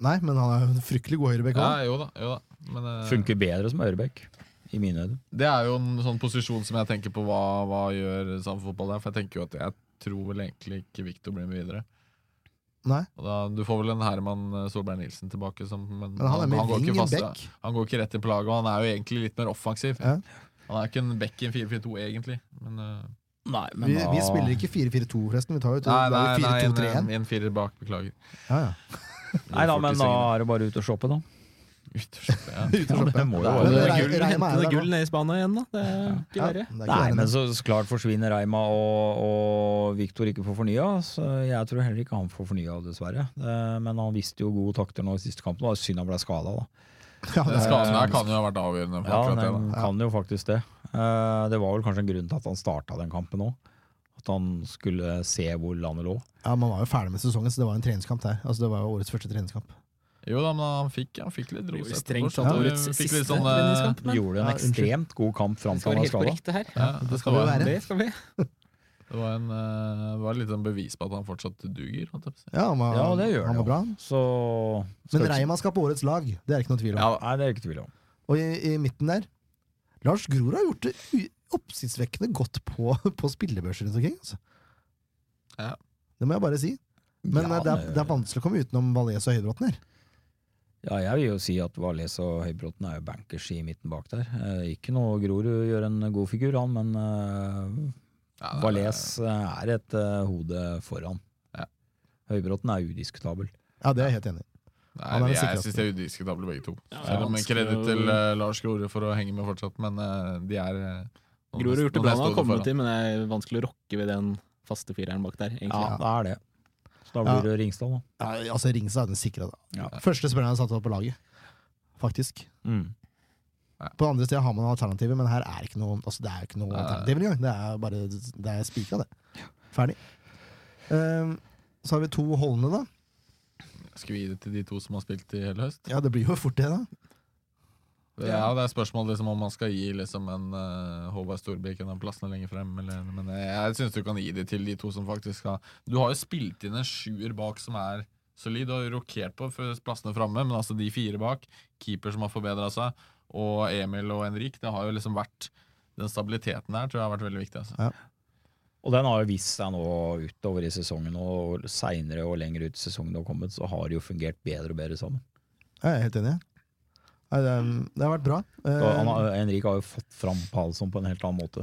[SPEAKER 4] Nei, men han er jo en fryktelig god høyrebekk
[SPEAKER 6] Ja,
[SPEAKER 4] òg.
[SPEAKER 6] jo da, jo da. Men eh,
[SPEAKER 8] Funker bedre som Ørebekk, i mine øyne.
[SPEAKER 6] det er jo en sånn posisjon som jeg tenker på hva, hva gjør sammen fotball der. For jeg tenker jo at jeg tror vel egentlig ikke Victor blir med videre.
[SPEAKER 4] Nei.
[SPEAKER 6] Og da, du får vel en Herman Solberg Nilsen tilbake, som, men,
[SPEAKER 4] Men han er med
[SPEAKER 6] går ikke
[SPEAKER 4] vingen
[SPEAKER 6] fast-
[SPEAKER 4] bekk.
[SPEAKER 6] Han går ikke rett i plaget, og han er jo egentlig litt mer offensiv.
[SPEAKER 4] Ja.
[SPEAKER 6] Han er ikke en back i en 4-4-2, egentlig. Men, eh,
[SPEAKER 8] Nei,
[SPEAKER 4] Vi, vi spiller ikke 4-4-2, forresten. Vi tar jo
[SPEAKER 6] nei, nei, nei, en,
[SPEAKER 4] 4-2-3-1.
[SPEAKER 6] en firer bak, beklager.
[SPEAKER 4] Ja, ja.
[SPEAKER 8] Nei da, men da
[SPEAKER 7] eh,
[SPEAKER 6] Fortisingen.
[SPEAKER 8] er det bare ut og shoppe, da.
[SPEAKER 6] Ut og shoppe, ja.
[SPEAKER 4] Ut og shoppe.
[SPEAKER 8] må jo
[SPEAKER 4] Ja,
[SPEAKER 8] være-
[SPEAKER 4] men
[SPEAKER 7] Det
[SPEAKER 4] Re-
[SPEAKER 7] er gull,
[SPEAKER 4] Reima
[SPEAKER 7] hentende
[SPEAKER 4] er der nå.
[SPEAKER 7] gull ned i Spania igjen, da. Det er ikke
[SPEAKER 4] Ja, det
[SPEAKER 7] verre.
[SPEAKER 4] er ikke
[SPEAKER 8] Nei,
[SPEAKER 4] verre,
[SPEAKER 8] men så så klart forsvinner Reima og, og Viktor ikke får fornya, så jeg tror heller ikke han får fornya, dessverre. Eh, Men han visste jo gode takter nå i siste kampen, og synd han ble skada, da.
[SPEAKER 4] Ja, det skal
[SPEAKER 6] Skaden her kan jo ha vært avgjørende. For
[SPEAKER 8] Ja,
[SPEAKER 6] akkurat det,
[SPEAKER 8] han
[SPEAKER 6] da.
[SPEAKER 8] kan jo faktisk det. Eh, Det var vel kanskje en grunn til at han starta den kampen òg. At han skulle se hvor landet lå.
[SPEAKER 4] Ja, Man var jo ferdig med sesongen, så det var en treningskamp der. Altså, det var jo årets første treningskamp.
[SPEAKER 6] Jo da, men han fikk, han fikk litt
[SPEAKER 7] Det blir
[SPEAKER 6] ros
[SPEAKER 7] jo
[SPEAKER 6] etterpå.
[SPEAKER 7] strengt
[SPEAKER 6] så
[SPEAKER 7] tatt
[SPEAKER 6] det
[SPEAKER 7] årets
[SPEAKER 6] fikk
[SPEAKER 7] siste
[SPEAKER 6] litt sånn, eh,
[SPEAKER 7] treningskamp, men
[SPEAKER 8] Gjorde en
[SPEAKER 4] Ja, unnskyld.
[SPEAKER 8] ekstremt god kamp fram
[SPEAKER 7] det
[SPEAKER 8] til
[SPEAKER 7] skal
[SPEAKER 8] han var
[SPEAKER 7] være helt
[SPEAKER 8] skada.
[SPEAKER 7] på riktig her.
[SPEAKER 6] ja, det,
[SPEAKER 4] skal vi
[SPEAKER 6] var,
[SPEAKER 4] være.
[SPEAKER 6] en-
[SPEAKER 7] Det skal vi.
[SPEAKER 6] det var en eh, det var litt sånn bevis på at han fortsatt duger. holdt jeg på å si.
[SPEAKER 4] Ja, han var,
[SPEAKER 8] Ja, det gjør
[SPEAKER 4] han
[SPEAKER 8] det
[SPEAKER 4] var
[SPEAKER 8] jo.
[SPEAKER 4] bra.
[SPEAKER 8] Så
[SPEAKER 4] Men
[SPEAKER 8] skal ikke-
[SPEAKER 4] Reima skal på årets lag, det er ikke noe tvil om.
[SPEAKER 6] Ja, da.
[SPEAKER 8] Nei, det er ikke tvil om.
[SPEAKER 4] Og i, i midten der Lars Grorud har gjort det u- oppsiktsvekkende godt på, på spillebørser rundt omkring. Altså.
[SPEAKER 6] Ja.
[SPEAKER 4] Det må jeg bare si. Men
[SPEAKER 8] Ja,
[SPEAKER 4] eh, det, er, det er vanskelig å komme utenom Valais og Høybråten her.
[SPEAKER 8] Ja, jeg vil jo si at Valles og Høybråten er jo bankers i midten bak der. Eh, ikke noe Grorud gjør en god figur, han, men eh,
[SPEAKER 6] Ja, det-
[SPEAKER 8] Valles er et eh, hode foran.
[SPEAKER 6] Ja.
[SPEAKER 8] Høybråten er udiskutabel.
[SPEAKER 4] Ja, det er jeg helt enig i. Han
[SPEAKER 6] Nei,
[SPEAKER 4] er den
[SPEAKER 6] jeg jeg
[SPEAKER 4] sikreste.
[SPEAKER 6] syns de er udiskutable, begge to.
[SPEAKER 7] Ja,
[SPEAKER 6] Selv om
[SPEAKER 7] han
[SPEAKER 6] kreditt
[SPEAKER 7] skal-
[SPEAKER 6] til eh, Lars Grorud for å henge med fortsatt, men eh, de er eh, noen-
[SPEAKER 7] Grorud har gjort det
[SPEAKER 6] noen
[SPEAKER 7] bra,
[SPEAKER 6] jeg
[SPEAKER 7] han har
[SPEAKER 6] stoler foran.
[SPEAKER 7] kommet til, men det er vanskelig å rokke ved den faste fireren bak der. egentlig.
[SPEAKER 8] Ja, det er det. Så da blir det Ringstad, da.
[SPEAKER 4] Ja, altså, Ringstad er den sikre. Da.
[SPEAKER 8] Ja.
[SPEAKER 4] Første spilleren jeg satte opp på laget, faktisk.
[SPEAKER 6] Mm.
[SPEAKER 4] På andre steder har man alternativer, men her er ikke noe altså Det er ikke noe
[SPEAKER 6] Nei.
[SPEAKER 4] alternativ engang. Det er bare det er spika, det. Ferdig. Ehm, så har vi to holdende, da.
[SPEAKER 6] Skal vi gi det til de to som har spilt i hele høst?
[SPEAKER 4] Ja, Det blir jo fort det, da.
[SPEAKER 6] Det er, jo- det er spørsmål liksom, om man skal gi liksom, en eh, Håvard Storbekk en av plassene lenger frem. Eller, men eh, jeg syns du kan gi det til de to som faktisk har Du har jo spilt inn en sjuer bak som er solid. Du har jo rokert på for plassene framme, men altså de fire bak, keeper som har forbedra seg, og Emil og Henrik, det har jo liksom vært Den stabiliteten der tror jeg har vært veldig viktig. Altså.
[SPEAKER 8] Og den har jo vist seg nå utover i sesongen, og seinere og lenger ut i sesongen det har kommet, så har det jo fungert bedre og bedre sammen.
[SPEAKER 4] Jeg er helt enig. Nei, det, det har vært bra.
[SPEAKER 8] Og han
[SPEAKER 4] Ehm,
[SPEAKER 8] har, Henrik har jo fått fram Palsson på en helt annen måte.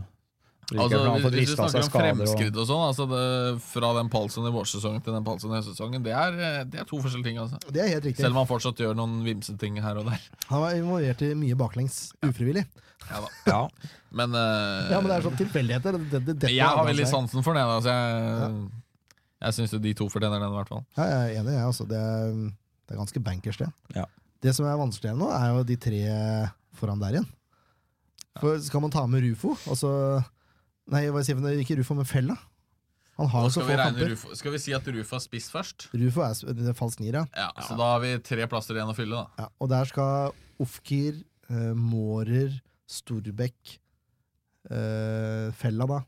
[SPEAKER 8] Virker
[SPEAKER 6] Altså,
[SPEAKER 8] som han har fått
[SPEAKER 6] hvis, hvis du
[SPEAKER 8] ristet av seg
[SPEAKER 6] snakker om
[SPEAKER 8] skader og-
[SPEAKER 6] fremskritt og sånn, altså det, fra den palsen i vårsesongen til den palsen i høstsesongen, det er, eh, det er to forskjellige ting. Altså.
[SPEAKER 4] Ehm, det er helt riktig.
[SPEAKER 6] Selv om han fortsatt gjør noen vimseting her og der.
[SPEAKER 4] Han var involvert i mye baklengs. Ufrivillig.
[SPEAKER 6] Ja, da.
[SPEAKER 8] Ja,
[SPEAKER 6] Men, eh,
[SPEAKER 4] Ja, Men det er sånn tilfeldigheter. Det, det, det,
[SPEAKER 6] jeg har veldig
[SPEAKER 4] altså-
[SPEAKER 6] sansen for det. da, så jeg jeg syns jo de to fortjener den, i hvert fall.
[SPEAKER 4] Ja, jeg er enig, jeg. Altså, det, er- det er ganske bankers, det.
[SPEAKER 8] Ja.
[SPEAKER 4] Det som er vanskeligere nå, er jo de tre foran der igjen. For skal man ta med Rufo, altså Nei, hva sier man, ikke Rufo, men Fella. Han har
[SPEAKER 6] Og
[SPEAKER 4] jo så
[SPEAKER 6] Skal
[SPEAKER 4] få
[SPEAKER 6] vi, regne
[SPEAKER 4] kamper. Rufo,
[SPEAKER 6] Rufo, skal vi si at Rufo har spist først?
[SPEAKER 4] er s- det er falsk nier, ja.
[SPEAKER 6] Ja, Så da har vi tre plasser igjen å fylle, da.
[SPEAKER 4] ja. Og der skal Ofkir, eh, Mårer, Storbekk, eh, Fella, da,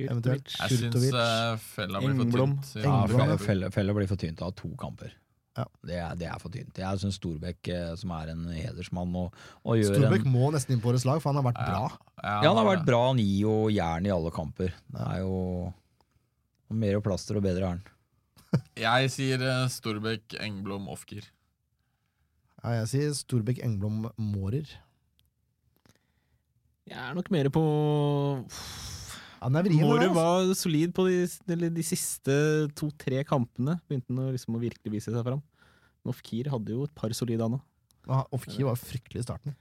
[SPEAKER 4] eventuelt.
[SPEAKER 6] Jeg syns
[SPEAKER 4] Kurtovic.
[SPEAKER 6] eh, Fella blir for
[SPEAKER 7] Engblom.
[SPEAKER 6] tynt.
[SPEAKER 8] Ja,
[SPEAKER 4] Engblom,
[SPEAKER 8] felle,
[SPEAKER 4] ja.
[SPEAKER 8] felle, felle blir for tynt av to kamper.
[SPEAKER 4] Ja.
[SPEAKER 8] Det, er, det er for tynt. Jeg syns Storbekk, eh, som er en hedersmann og, og gjør
[SPEAKER 4] Storbekk
[SPEAKER 8] en
[SPEAKER 4] må nesten inn på årets lag, for han har vært bra.
[SPEAKER 8] Ja, han har vært bra han gir jo jern i alle kamper. Det er jo mer og plaster og bedre er han.
[SPEAKER 6] Jeg sier eh, Storbekk, Engblom, Ofker.
[SPEAKER 4] Ja, jeg sier Storbekk, Engblom, Mårer.
[SPEAKER 7] Jeg er nok mer på
[SPEAKER 4] Han er vrien.
[SPEAKER 7] Mårud
[SPEAKER 4] han, altså.
[SPEAKER 7] var solid på de, eller de siste to-tre kampene. Begynte han å liksom å virkelig vise seg fram. Men Ofkir hadde jo et par solide han òg.
[SPEAKER 4] Ah, Ofki var fryktelig i starten.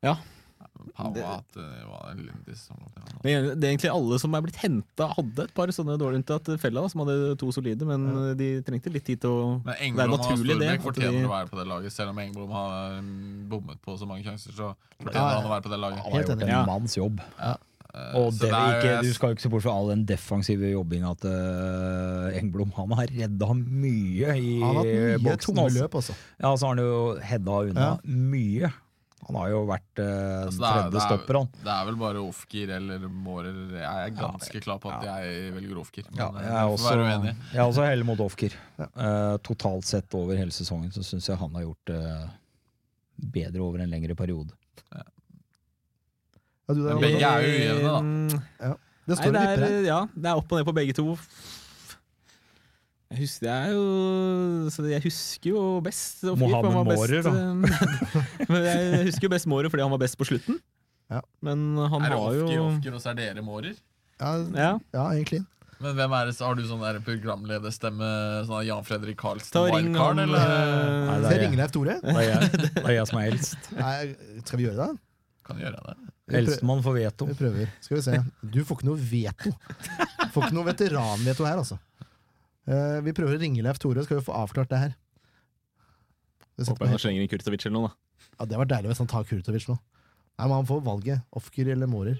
[SPEAKER 6] Powat eh, var elendig sesong.
[SPEAKER 7] Det er det er egentlig alle som er blitt henta, hadde et par sånne dårlige unntatt Fella, da, som hadde to solide, men eh, de trengte litt tid til å
[SPEAKER 6] Men Engblom og
[SPEAKER 7] naturlig, det,
[SPEAKER 6] Storbekk
[SPEAKER 7] at
[SPEAKER 6] fortjener
[SPEAKER 7] de-
[SPEAKER 6] å være på det laget. Selv om Engblom har mm, bommet på så mange sjanser, så fortjener
[SPEAKER 4] Ja, ja.
[SPEAKER 6] han å være på det laget.
[SPEAKER 5] Han har
[SPEAKER 4] Helt
[SPEAKER 5] gjort
[SPEAKER 4] enig.
[SPEAKER 5] en
[SPEAKER 7] Ja.
[SPEAKER 5] manns jobb.
[SPEAKER 6] Eh,
[SPEAKER 5] Og
[SPEAKER 6] så
[SPEAKER 5] det,
[SPEAKER 6] er-
[SPEAKER 5] ikke, du skal jo ikke se bort fra all den defensive jobbinga til eh, Engblom. Han har redda mye i
[SPEAKER 4] Han har hatt mye
[SPEAKER 5] boksen.
[SPEAKER 4] tunge
[SPEAKER 5] Altså.
[SPEAKER 4] løp, altså.
[SPEAKER 5] Ja, så har han jo heada unna mye. Han har jo vært eh,
[SPEAKER 6] Altså, det er- det
[SPEAKER 5] tredje
[SPEAKER 6] er-
[SPEAKER 5] stopper, han.
[SPEAKER 6] Det er vel bare Ofkir eller Mårer. Jeg er ganske klar på at jeg velger Ofkir. Men
[SPEAKER 5] Ja,
[SPEAKER 6] eh,
[SPEAKER 5] jeg er
[SPEAKER 6] får
[SPEAKER 5] også,
[SPEAKER 6] være uenig.
[SPEAKER 5] jeg er også heller mot Ofker. Eh, totalt sett over hele sesongen så syns jeg han har gjort det bedre over en lengre periode.
[SPEAKER 4] Ja, du, det,
[SPEAKER 6] Men
[SPEAKER 4] er,
[SPEAKER 6] jeg er jo uenig, da.
[SPEAKER 4] det står og
[SPEAKER 7] Mm, Nei,
[SPEAKER 4] vipper her.
[SPEAKER 7] det er, ja, det er opp og ned på begge to. Jeg husker, det er jo, så jeg husker jo best Ofir, for han
[SPEAKER 5] Mohammed
[SPEAKER 7] var
[SPEAKER 5] Mårer,
[SPEAKER 7] best,
[SPEAKER 5] da.
[SPEAKER 7] eh, men jeg husker jo best Mårer fordi han var best på slutten.
[SPEAKER 4] Ja.
[SPEAKER 7] Men han
[SPEAKER 6] Er det
[SPEAKER 7] har
[SPEAKER 6] Ofkir,
[SPEAKER 7] jo
[SPEAKER 6] Ofkir og så er dere Mårer?
[SPEAKER 4] Ja,
[SPEAKER 7] ja,
[SPEAKER 4] ja, egentlig.
[SPEAKER 6] Men hvem er det, så har du sånn der programlederstemme? Sånn der Jan Fredrik
[SPEAKER 7] Ta
[SPEAKER 6] Karlsen,
[SPEAKER 7] og ring
[SPEAKER 6] wildcard,
[SPEAKER 7] han
[SPEAKER 6] eller?
[SPEAKER 7] eh,
[SPEAKER 5] Nei,
[SPEAKER 4] Skal
[SPEAKER 5] det
[SPEAKER 4] jeg
[SPEAKER 5] er
[SPEAKER 4] ringe
[SPEAKER 5] jeg,
[SPEAKER 4] Leif Tore?
[SPEAKER 5] det er jeg, det er jeg som er eldst.
[SPEAKER 4] Nei, skal vi gjøre det?
[SPEAKER 6] Kan gjøre det.
[SPEAKER 4] Vi prøver.
[SPEAKER 5] Eldstemann får veto.
[SPEAKER 4] Vi prøver. Skal vi se. Du får ikke noe veto. Får ikke noe veteranveto her, altså. Eh, vi prøver å ringe Leif Tore, skal vi få avklart det her. Det, sitter på
[SPEAKER 7] Håper
[SPEAKER 4] helt-
[SPEAKER 7] han slenger inn Kurtovic eller noe, da.
[SPEAKER 4] ja, det var deilig hvis han tar Kurtovic nå. Nei, men Han får valget. Ofker eller Mårer.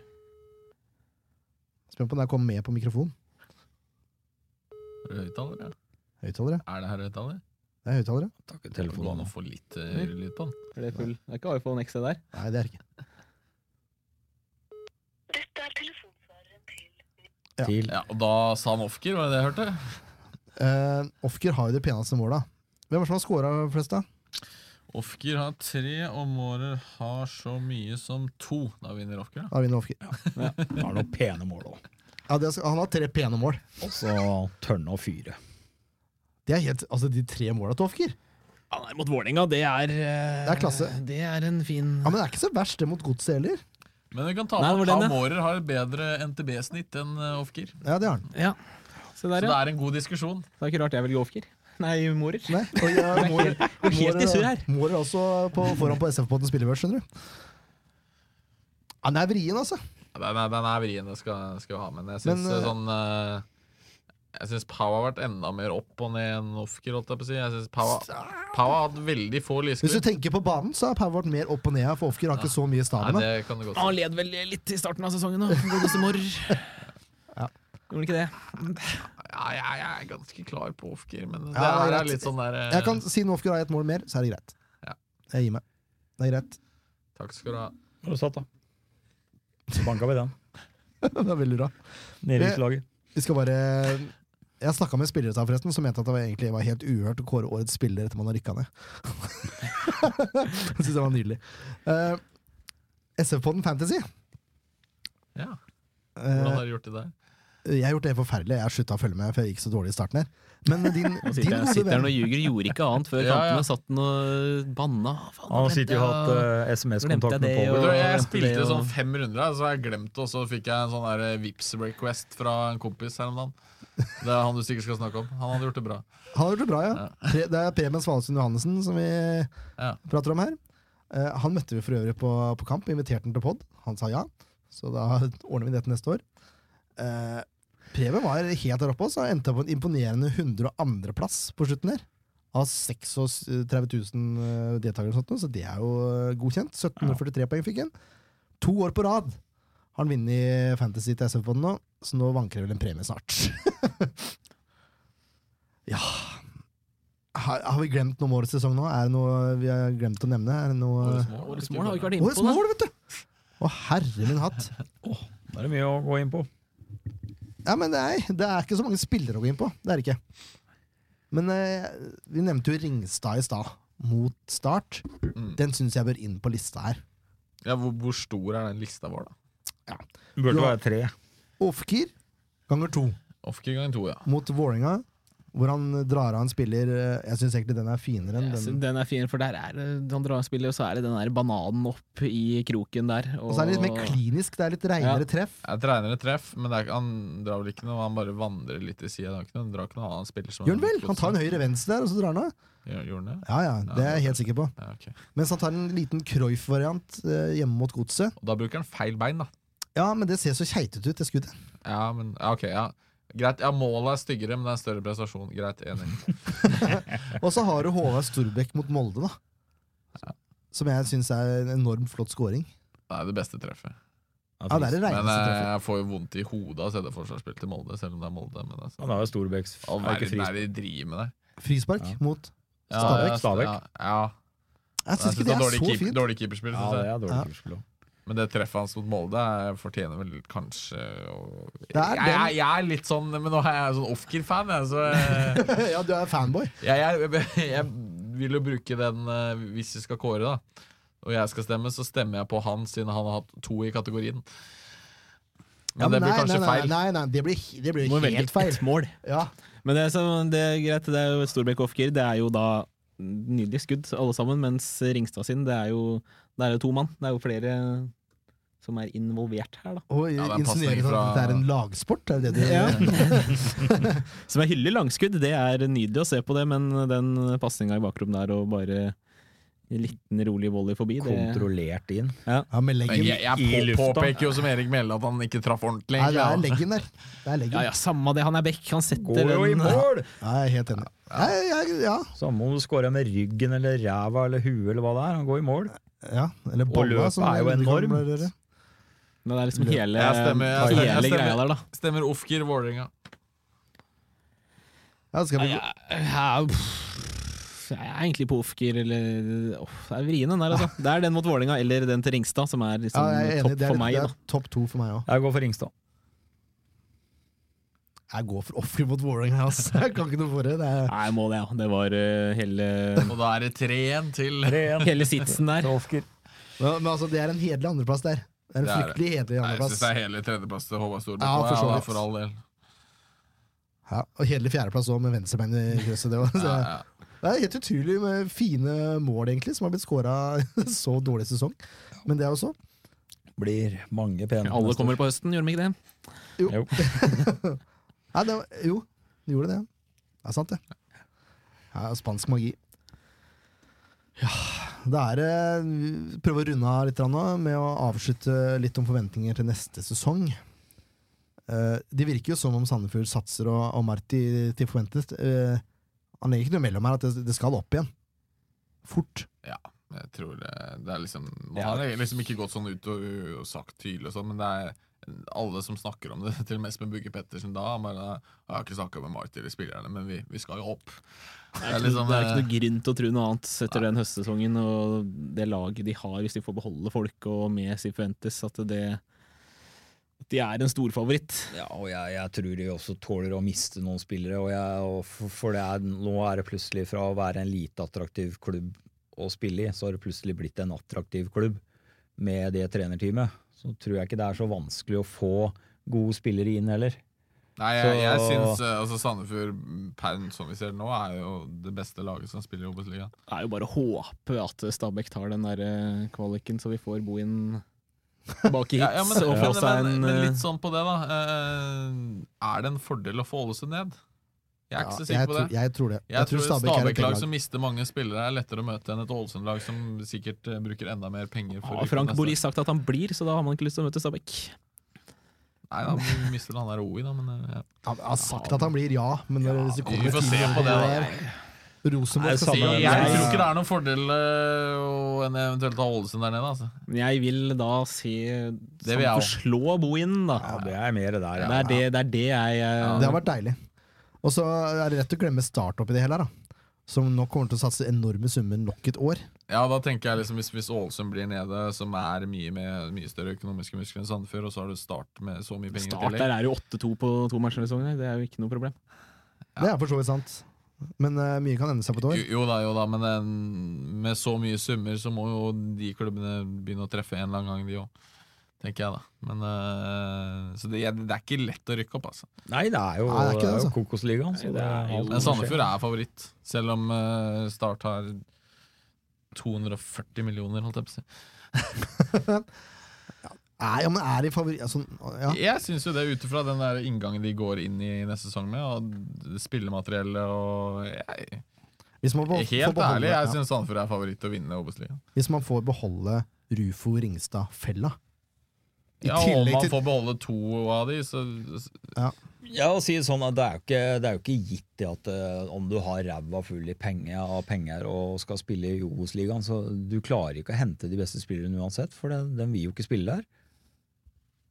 [SPEAKER 4] Spent på om jeg kommer med på mikrofon.
[SPEAKER 6] Er det høyttaler? Ja.
[SPEAKER 4] Høyttalere.
[SPEAKER 6] Er det her høyttaler?
[SPEAKER 4] Det er høyttalere.
[SPEAKER 5] Takk,
[SPEAKER 6] Går det an
[SPEAKER 5] telefonen.
[SPEAKER 6] å få litt eh, høyere lyd på den?
[SPEAKER 7] Er det, full? det er ikke iPhone XT der.
[SPEAKER 4] Nei, det er det ikke.
[SPEAKER 5] Til.
[SPEAKER 6] Ja, og da sa han Ofkir, var det det jeg hørte?
[SPEAKER 4] Eh, Ofker har jo de peneste måla. Hvem er det som har scora flest, da?
[SPEAKER 6] Ofkir har tre, og Mårer har så mye som to. Da vinner Ofkir, da.
[SPEAKER 4] Da vinner Ofker.
[SPEAKER 5] Han har noen pene mål òg.
[SPEAKER 4] Ja, det er, han har tre pene mål.
[SPEAKER 5] Og så tør han å fyre.
[SPEAKER 4] Det er helt, altså De tre måla til Ofker.
[SPEAKER 7] Han er mot Vålerenga, det er eh,
[SPEAKER 4] Det er klasse.
[SPEAKER 7] Det er en fin
[SPEAKER 4] Ja, men det er ikke så verst, det mot godset heller.
[SPEAKER 6] Men vi kan ta
[SPEAKER 7] Nei, det var den,
[SPEAKER 6] med at
[SPEAKER 7] ja.
[SPEAKER 6] han Mårer har et bedre NTB-snitt enn eh, Ofkir.
[SPEAKER 4] Ja, det har han.
[SPEAKER 7] Ja. Se
[SPEAKER 6] Så
[SPEAKER 7] der,
[SPEAKER 6] det
[SPEAKER 7] ja.
[SPEAKER 6] er en god diskusjon.
[SPEAKER 7] Det er ikke rart jeg velger Ofker. Nei, Morer.
[SPEAKER 4] Nei, og eh, jeg, Mårer,
[SPEAKER 7] helt i surr her.
[SPEAKER 4] Mårer er også på, foran på SF-båten spillebørs, skjønner du. Han er vrien, altså.
[SPEAKER 6] Ja, Den er, den er vrien, det skal, skal vi ha med. Men jeg
[SPEAKER 4] Men,
[SPEAKER 6] syns
[SPEAKER 4] eh,
[SPEAKER 6] sånn eh, Jeg synes Pau har vært enda mer opp og ned enn Ofker. holdt Jeg på å si. Jeg synes Pau, Pau har hatt veldig få
[SPEAKER 4] Hvis du
[SPEAKER 6] lysklipp.
[SPEAKER 4] tenker på banen, så har Pau vært mer opp og ned, for Ofker har ikke så mye
[SPEAKER 6] Nei,
[SPEAKER 4] stamina.
[SPEAKER 6] det kan du godt
[SPEAKER 7] Han
[SPEAKER 6] si.
[SPEAKER 7] led vel litt i starten av sesongen, da. Godeste Morer. Gjorde han ikke det?
[SPEAKER 6] Ja, jeg, jeg er ganske klar på Ofker, men
[SPEAKER 4] Ja,
[SPEAKER 6] det
[SPEAKER 4] det er
[SPEAKER 6] her
[SPEAKER 4] greit.
[SPEAKER 6] er litt sånn der eh,
[SPEAKER 4] Jeg kan, Siden Ofker har ett mål mer, så er det greit.
[SPEAKER 6] Ja.
[SPEAKER 4] Jeg gir meg. Det er greit.
[SPEAKER 6] eh, Takk skal du ha.
[SPEAKER 8] Har du satt, da? Så banka vi den.
[SPEAKER 4] det er veldig bra.
[SPEAKER 8] Nedrykkslaget.
[SPEAKER 4] Vi skal bare Jeg snakka med spillere da, forresten, som mente at det var egentlig var helt uhørt å kåre årets spiller etter man har rykka ned. Jeg syns det var nydelig. Eh, SF-podden Fantasy.
[SPEAKER 6] Ja,
[SPEAKER 4] Eh,
[SPEAKER 6] Hvordan har du gjort det der?
[SPEAKER 4] Jeg har gjort det forferdelig. Jeg har slutta å følge med, for jeg gikk så dårlig i starten her. Men din, din
[SPEAKER 7] Sitter,
[SPEAKER 4] gode
[SPEAKER 7] sitter han
[SPEAKER 4] venn
[SPEAKER 7] og ljuger? Gjorde ikke annet før
[SPEAKER 6] Ja, ja.
[SPEAKER 7] kampene. Satt han og banna. Faen,
[SPEAKER 8] Han har
[SPEAKER 7] glemte
[SPEAKER 8] sittet og
[SPEAKER 7] jeg
[SPEAKER 8] hatt
[SPEAKER 7] å-
[SPEAKER 8] eh, SMS-kontakt med
[SPEAKER 7] Glemte jeg det,
[SPEAKER 8] Paul.
[SPEAKER 6] Vet du,
[SPEAKER 7] og-
[SPEAKER 6] jeg spilte
[SPEAKER 7] det og-
[SPEAKER 6] sånn fem runder, her, så har jeg glemt det, og så fikk jeg en sånn der vips request fra en kompis her om dagen. Det er han du sikkert skal snakke om. Han hadde gjort det bra.
[SPEAKER 4] Han har gjort det bra, ja. Pre, det er Preben Svalesund Johannessen som vi
[SPEAKER 6] Ja.
[SPEAKER 4] prater om her. Eh, han møtte vi for øvrig på, på kamp. Vi inviterte han til pod. Han sa ja. Så da ordner vi det til neste år. Eh, Preben var helt der oppe også. Han endte på en imponerende 102.-plass på slutten der. Av 36 000 deltakere, og sånt, noe, så det er jo eh, godkjent. 1743 poeng fikk han. To år på rad har han vunnet Fantasy til SF på den nå, så nå vanker det vel en premie snart. Har, har vi glemt noe om årets sesong nå? Er det noe vi har glemt å nevne? Er det noe
[SPEAKER 6] Årets mål,
[SPEAKER 7] Årets mål har vi ikke vært
[SPEAKER 4] Årets
[SPEAKER 7] inne på.
[SPEAKER 4] mål, vet du! Å, herre min hatt.
[SPEAKER 8] Da er det mye å gå inn på.
[SPEAKER 4] Ja, men nei, Det er ikke så mange spillere å gå inn på. Det er det ikke. Men eh, vi nevnte jo Ringstad i stad, mot Start.
[SPEAKER 6] Mm.
[SPEAKER 4] Den syns jeg bør inn på lista her.
[SPEAKER 6] Ja, hvor, hvor stor er den lista vår, da?
[SPEAKER 8] Det burde være tre.
[SPEAKER 4] Ofkir ganger to
[SPEAKER 6] Ofker gang to, ja.
[SPEAKER 4] mot Vålerenga. Hvor han drar av en spiller eh, Jeg syns egentlig den er finere enn
[SPEAKER 7] Jeg synes
[SPEAKER 4] den.
[SPEAKER 7] Den er fin, for der er det- han drar spillet, og så er det den der bananen opp i kroken der.
[SPEAKER 4] Og så er det litt mer klinisk, det er litt
[SPEAKER 7] Ja.
[SPEAKER 4] reinere treff.
[SPEAKER 6] Jeg trener et treff, men det er, ikke- han drar vel ikke noe Han bare vandrer litt til sida. Han drar ikke noe annet spiller som
[SPEAKER 4] Gjør han vel? Han tar en høyre-venstre der, og så drar han av.
[SPEAKER 6] Gjør- Gjorde han det?
[SPEAKER 4] Ja, ja, det er jeg helt sikker på.
[SPEAKER 6] Ja, ok.
[SPEAKER 4] Mens han tar en liten Cruyff-variant eh, hjemme mot godset.
[SPEAKER 6] Og da bruker han feil bein, da.
[SPEAKER 4] Ja, men det ser så keitete ut, det skuddet.
[SPEAKER 6] Ja, men ja, ok, ja. Greit, ja, målet er styggere, men det er en større prestasjon. Greit, enig.
[SPEAKER 4] Og så har du Håvard Storbekk mot Molde, da. Som jeg syns er en enormt flott scoring.
[SPEAKER 6] Det er det beste treffet.
[SPEAKER 4] Ja, det er det
[SPEAKER 6] Men
[SPEAKER 4] reineste
[SPEAKER 6] eh,
[SPEAKER 4] treffet.
[SPEAKER 6] jeg får jo vondt i hodet av å se det forsvarsspillet til Molde, selv om det er Molde. Men altså,
[SPEAKER 8] Han er jo Storbecks
[SPEAKER 6] all
[SPEAKER 8] er ikke
[SPEAKER 6] verden
[SPEAKER 8] frispark.
[SPEAKER 6] er det de driver med der.
[SPEAKER 4] Frispark mot
[SPEAKER 6] Ja,
[SPEAKER 4] Stabæk,
[SPEAKER 6] ja,
[SPEAKER 8] Stabæk.
[SPEAKER 6] Ja, ja.
[SPEAKER 4] Jeg
[SPEAKER 6] Jeg
[SPEAKER 4] syns
[SPEAKER 6] synes
[SPEAKER 4] ikke det
[SPEAKER 6] det er
[SPEAKER 4] er
[SPEAKER 6] dårlig,
[SPEAKER 4] så
[SPEAKER 6] keep,
[SPEAKER 4] fint.
[SPEAKER 6] dårlig keeperspill.
[SPEAKER 8] Ja,
[SPEAKER 6] synes
[SPEAKER 8] det er
[SPEAKER 6] jeg.
[SPEAKER 4] Ja.
[SPEAKER 8] dårlig skuespill. også.
[SPEAKER 6] Men det treffet hans mot Molde eh, fortjener vel kanskje å-
[SPEAKER 4] er den-
[SPEAKER 6] jeg, jeg, jeg er litt sånn Men nå er jeg sånn Ofker-fan, jeg, så eh,
[SPEAKER 4] ja, du er fanboy.
[SPEAKER 6] jeg, jeg, jeg vil jo bruke den eh, hvis vi skal kåre, da. Og jeg skal stemme, så stemmer jeg på han, siden han har hatt to i kategorien. Men
[SPEAKER 4] Ja,
[SPEAKER 6] det blir
[SPEAKER 4] nei,
[SPEAKER 6] kanskje
[SPEAKER 4] nei, nei,
[SPEAKER 6] feil.
[SPEAKER 4] Nei, nei, det blir, he- det blir
[SPEAKER 7] Må velge
[SPEAKER 4] helt feil.
[SPEAKER 7] ett mål.
[SPEAKER 4] Ja,
[SPEAKER 7] Men det, er så, det er greit, det er jo et Storbekk off-gear. Det er jo da nydelige skudd, alle sammen. Mens Ringstad sin, det er jo, det er jo to mann. Det er jo flere som er involvert her, da.
[SPEAKER 4] og
[SPEAKER 6] Ja, det er en
[SPEAKER 4] insinuere
[SPEAKER 6] pasning
[SPEAKER 4] sånn
[SPEAKER 6] fra-
[SPEAKER 4] at det er en lagsport, er det det du
[SPEAKER 7] Som jeg hyller langskudd, det er nydelig å se på det, men den pasninga i bakrommet der og bare en liten rolig volley forbi, det
[SPEAKER 8] Kontrollert inn.
[SPEAKER 4] Ja, med
[SPEAKER 6] Men
[SPEAKER 4] leggen.
[SPEAKER 8] I
[SPEAKER 6] jeg, jeg på,
[SPEAKER 8] lufta.
[SPEAKER 6] påpeker jo som Erik Mjelde at han ikke traff ordentlig.
[SPEAKER 4] Nei, det er
[SPEAKER 6] egentlig,
[SPEAKER 4] leggen der. Det er leggen.
[SPEAKER 7] Ja ja, samme det, han er back, han setter
[SPEAKER 8] Går jo i
[SPEAKER 7] den
[SPEAKER 8] mål!
[SPEAKER 4] Ja, jeg er helt enig. Nei, jeg- ja,
[SPEAKER 8] Samme om du scorer med ryggen eller ræva eller huet eller hva det er, han går i mål.
[SPEAKER 4] ja. Eller bolla,
[SPEAKER 8] løpet
[SPEAKER 4] som
[SPEAKER 8] er jo
[SPEAKER 4] det kommer
[SPEAKER 8] enormt.
[SPEAKER 4] til å gjøre.
[SPEAKER 7] Men det er liksom hele,
[SPEAKER 6] Jeg stemmer, jeg
[SPEAKER 7] hele
[SPEAKER 6] stemmer, jeg stemmer.
[SPEAKER 7] greia der, da.
[SPEAKER 6] da. Stemmer Ofker Vålerenga.
[SPEAKER 4] Ja, skal vi...
[SPEAKER 7] Jeg, jeg, pff, jeg er egentlig på Ofker eller åh, Det er vrien, den der, altså. Det er den mot Vålerenga eller den til Ringstad som er
[SPEAKER 4] ja,
[SPEAKER 7] liksom
[SPEAKER 4] jeg er enig.
[SPEAKER 7] topp
[SPEAKER 4] Det er,
[SPEAKER 7] for meg.
[SPEAKER 4] det
[SPEAKER 7] Da.
[SPEAKER 4] er topp to for meg òg.
[SPEAKER 8] Jeg går for Ringstad.
[SPEAKER 4] Jeg går for offer mot Vålerenga, ass. Jeg kan ikke noe for det. det er...
[SPEAKER 7] Nei, må det, ja. Det var eh, hele,
[SPEAKER 6] Og da er det 3-1 til
[SPEAKER 7] hele sitsen der.
[SPEAKER 4] Men, men altså, det er en hederlig andreplass der. Det er en
[SPEAKER 6] Det er det.
[SPEAKER 4] fryktelig hederlig
[SPEAKER 6] Nei, Jeg syns
[SPEAKER 4] andreplass.
[SPEAKER 6] det er hele tredjeplass til Håvard Storbekk.
[SPEAKER 4] Ja, for
[SPEAKER 6] Ja,
[SPEAKER 4] så
[SPEAKER 6] da,
[SPEAKER 4] vidt.
[SPEAKER 6] for all del.
[SPEAKER 4] Ja, og hederlig fjerdeplass òg, med venstrebein i krysset. Det, var- så
[SPEAKER 6] Ja,
[SPEAKER 4] det-
[SPEAKER 6] ja.
[SPEAKER 4] det er helt utrolig med fine mål, egentlig, som har blitt skåra så dårlig sesong. Men det er jo så.
[SPEAKER 8] Blir mange pene.
[SPEAKER 7] Alle kommer på høsten, gjør de ikke det?
[SPEAKER 4] Nei, det var, jo, det gjorde det. Det er sant, det. Ja, spansk magi. Ja, det er eh, vi Prøver å runde av litt grann nå, med å avslutte litt om forventninger til neste sesong. Eh, det virker jo som om Sandefjord satser og, og Marti til forventet. eh, han legger ikke noe mellom her at det, det skal opp igjen. Fort.
[SPEAKER 6] Jeg tror det, det er liksom Man har liksom ikke gått sånn ut og, og sagt tydelig og sånn, men det er alle som snakker om det, til og med Espen Bugge Pettersen da. Han bare Jeg har ikke snakka med Marty eller spillerne, men vi, vi skal jo opp.
[SPEAKER 7] Det er,
[SPEAKER 6] liksom,
[SPEAKER 7] ikke, det er ikke
[SPEAKER 6] eh,
[SPEAKER 7] noe grunn til å tro noe annet etter den høstsesongen og det laget de har, hvis de får beholde folk og med Sifuentes, at det at de er en storfavoritt.
[SPEAKER 8] Ja, og jeg, jeg tror de også tåler å miste noen spillere. Og jeg, og for for det er, nå er det plutselig fra å være en lite attraktiv klubb å spille i, så har det plutselig blitt en attraktiv klubb med det trenerteamet. Så tror jeg ikke det er så vanskelig å få gode spillere inn heller.
[SPEAKER 6] Nei, jeg, jeg
[SPEAKER 8] Så-
[SPEAKER 6] syns eh, altså Sandefjord per som vi ser nå, er jo det beste laget som spiller i Obos-ligaen.
[SPEAKER 7] Det er jo bare å håpe at Stabæk tar den der eh, kvaliken, så vi får Bohin tilbake hit.
[SPEAKER 6] Ja, ja, men,
[SPEAKER 7] og få
[SPEAKER 6] men,
[SPEAKER 7] seg
[SPEAKER 6] men,
[SPEAKER 7] en,
[SPEAKER 6] men
[SPEAKER 7] eh,
[SPEAKER 6] litt sånn på det, da. eh, er det en fordel å få Ålesund ned? Jeg er ikke
[SPEAKER 4] Ja,
[SPEAKER 6] så sikker på det.
[SPEAKER 4] tror- jeg tror det.
[SPEAKER 6] Jeg, tror et
[SPEAKER 4] Stabæk er et
[SPEAKER 6] Stabæk-lag
[SPEAKER 4] B-lag.
[SPEAKER 6] som mister mange spillere, er lettere å møte enn et Ålesund-lag som sikkert eh, bruker enda mer penger. å
[SPEAKER 7] har
[SPEAKER 6] rykke
[SPEAKER 7] Ah, Frank
[SPEAKER 6] neste.
[SPEAKER 7] Boris sagt at han blir, så da har man ikke lyst til å møte Stabæk.
[SPEAKER 6] Nei da, vi mister han der OI, da, men eh, ja.
[SPEAKER 4] Han har sagt at han blir ja, men når det kommer
[SPEAKER 6] Vi får se
[SPEAKER 4] til
[SPEAKER 6] på det, da.
[SPEAKER 4] Rosenborg skal
[SPEAKER 6] Jeg,
[SPEAKER 4] se
[SPEAKER 6] jeg,
[SPEAKER 4] Ja,
[SPEAKER 6] tror ikke det er noen fordel eh, å- enn eventuelt å ha Ålesund der nede, altså.
[SPEAKER 7] Men jeg vil da se
[SPEAKER 6] Det vil jeg
[SPEAKER 7] Sandefjord
[SPEAKER 6] også.
[SPEAKER 7] slå Bohin, da.
[SPEAKER 8] Ja, det er mer der,
[SPEAKER 7] Det, er det, det er det jeg eh,
[SPEAKER 4] Det har vært deilig. Og så er det rett å glemme start oppi det hele, her, da. Som nok kommer til å satse enorme summer nok et år.
[SPEAKER 6] Ja, da tenker jeg liksom hvis, hvis Ålesund blir nede, som er mye, med, mye større økonomiske muskler enn Sandefjord, og så har du Start med så mye penger i
[SPEAKER 7] Start
[SPEAKER 6] tillegg
[SPEAKER 7] der er jo 8-2 på to matcher i sesongen. Det er jo ikke noe problem.
[SPEAKER 4] Det er for så vidt sant. Men eh, mye kan ende seg på et
[SPEAKER 6] jo,
[SPEAKER 4] år.
[SPEAKER 6] jo da, jo da, men eh, med så mye summer så må jo de klubbene begynne å treffe en eller annen gang, de òg. tenker jeg da. Men, eh, så det, det er ikke lett å rykke opp, altså.
[SPEAKER 8] Nei, det er jo,
[SPEAKER 4] Nei, det er ikke det,
[SPEAKER 8] det er jo
[SPEAKER 4] altså.
[SPEAKER 8] Kokosligaen. Så det er alt
[SPEAKER 6] Men
[SPEAKER 8] som skjer.
[SPEAKER 6] Sandefjord er favoritt, selv om eh, Start har 240 millioner, holdt jeg på å si.
[SPEAKER 4] Nei, ja, men er i favoritt altså, ja.
[SPEAKER 6] Jeg syns jo det, ut ifra den der inngangen de går inn i neste sesong med, og spillemateriellet og jeg,
[SPEAKER 4] Hvis man får, får
[SPEAKER 6] Helt
[SPEAKER 4] beholde,
[SPEAKER 6] ærlig, jeg
[SPEAKER 4] ja.
[SPEAKER 6] syns Sandefjord er favoritt til å vinne Obos-ligaen.
[SPEAKER 4] Hvis man får beholde Rufo Ringstad-fella. I
[SPEAKER 6] Ja, og om
[SPEAKER 4] tillegg
[SPEAKER 6] man
[SPEAKER 4] til-
[SPEAKER 6] får beholde to av de, så
[SPEAKER 8] Ja, å si det sånn at det er jo ikke, det er jo ikke gitt det at eh, om du har ræva full i penger, av penger og skal spille i Obos-ligaen, så du klarer ikke å hente de beste spillerne uansett, for den, den vil jo ikke spille der.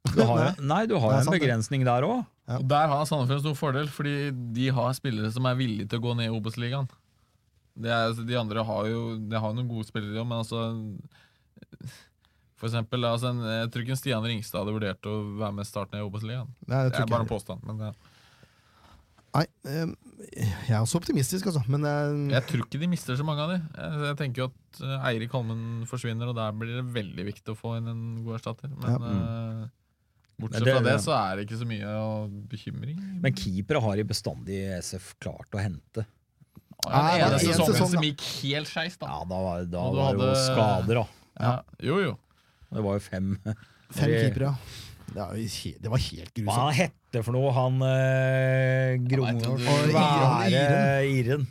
[SPEAKER 8] Du har, jo- nei, du har
[SPEAKER 4] Det er
[SPEAKER 8] jo en
[SPEAKER 4] sant, det.
[SPEAKER 8] begrensning der òg.
[SPEAKER 4] Ja.
[SPEAKER 6] Og Der har Sandefjord en stor fordel, fordi de har spillere som er villige til å gå ned i Obos-ligaen. Det er- altså, De andre har jo de har noen gode spillere, men altså For eksempel, altså, en, jeg tror ikke en Stian Ringstad hadde vurdert å være med Start ned i Obos-ligaen.
[SPEAKER 4] Nei, jeg
[SPEAKER 6] Det
[SPEAKER 4] tror
[SPEAKER 6] er
[SPEAKER 4] ikke
[SPEAKER 6] bare en
[SPEAKER 4] jeg-
[SPEAKER 6] påstand. Men det,
[SPEAKER 4] Nei, ehm, jeg er også optimistisk, altså. Men ehm,
[SPEAKER 6] jeg tror ikke de mister så mange av de. Jeg, jeg tenker jo at eh, Eirik Holmen forsvinner, og der blir det veldig viktig å få inn en god erstatter. Men
[SPEAKER 4] Ja. Mm.
[SPEAKER 6] eh, bortsett
[SPEAKER 8] Men det-
[SPEAKER 6] fra det, så er det ikke så mye å bekymring.
[SPEAKER 8] Men keepere har de bestandig i SF klart å hente.
[SPEAKER 6] Ja,
[SPEAKER 4] Nei,
[SPEAKER 6] den ene
[SPEAKER 4] det er en
[SPEAKER 6] sesongen
[SPEAKER 4] sesong,
[SPEAKER 6] som
[SPEAKER 4] da.
[SPEAKER 6] gikk helt skeis, da.
[SPEAKER 8] Ja, da var, da
[SPEAKER 6] Og du
[SPEAKER 8] var det jo
[SPEAKER 6] hadde-
[SPEAKER 8] skader, da.
[SPEAKER 6] Ja. Jo, jo.
[SPEAKER 8] Det var jo fem
[SPEAKER 4] fem
[SPEAKER 8] det-
[SPEAKER 4] keepere, ja. Det, er jo he- det var helt
[SPEAKER 8] Hva han
[SPEAKER 4] grusomt.
[SPEAKER 8] hette for noe, han eh,
[SPEAKER 6] Jeg vet
[SPEAKER 8] Gromvold
[SPEAKER 6] ikke.
[SPEAKER 8] Svære Iren.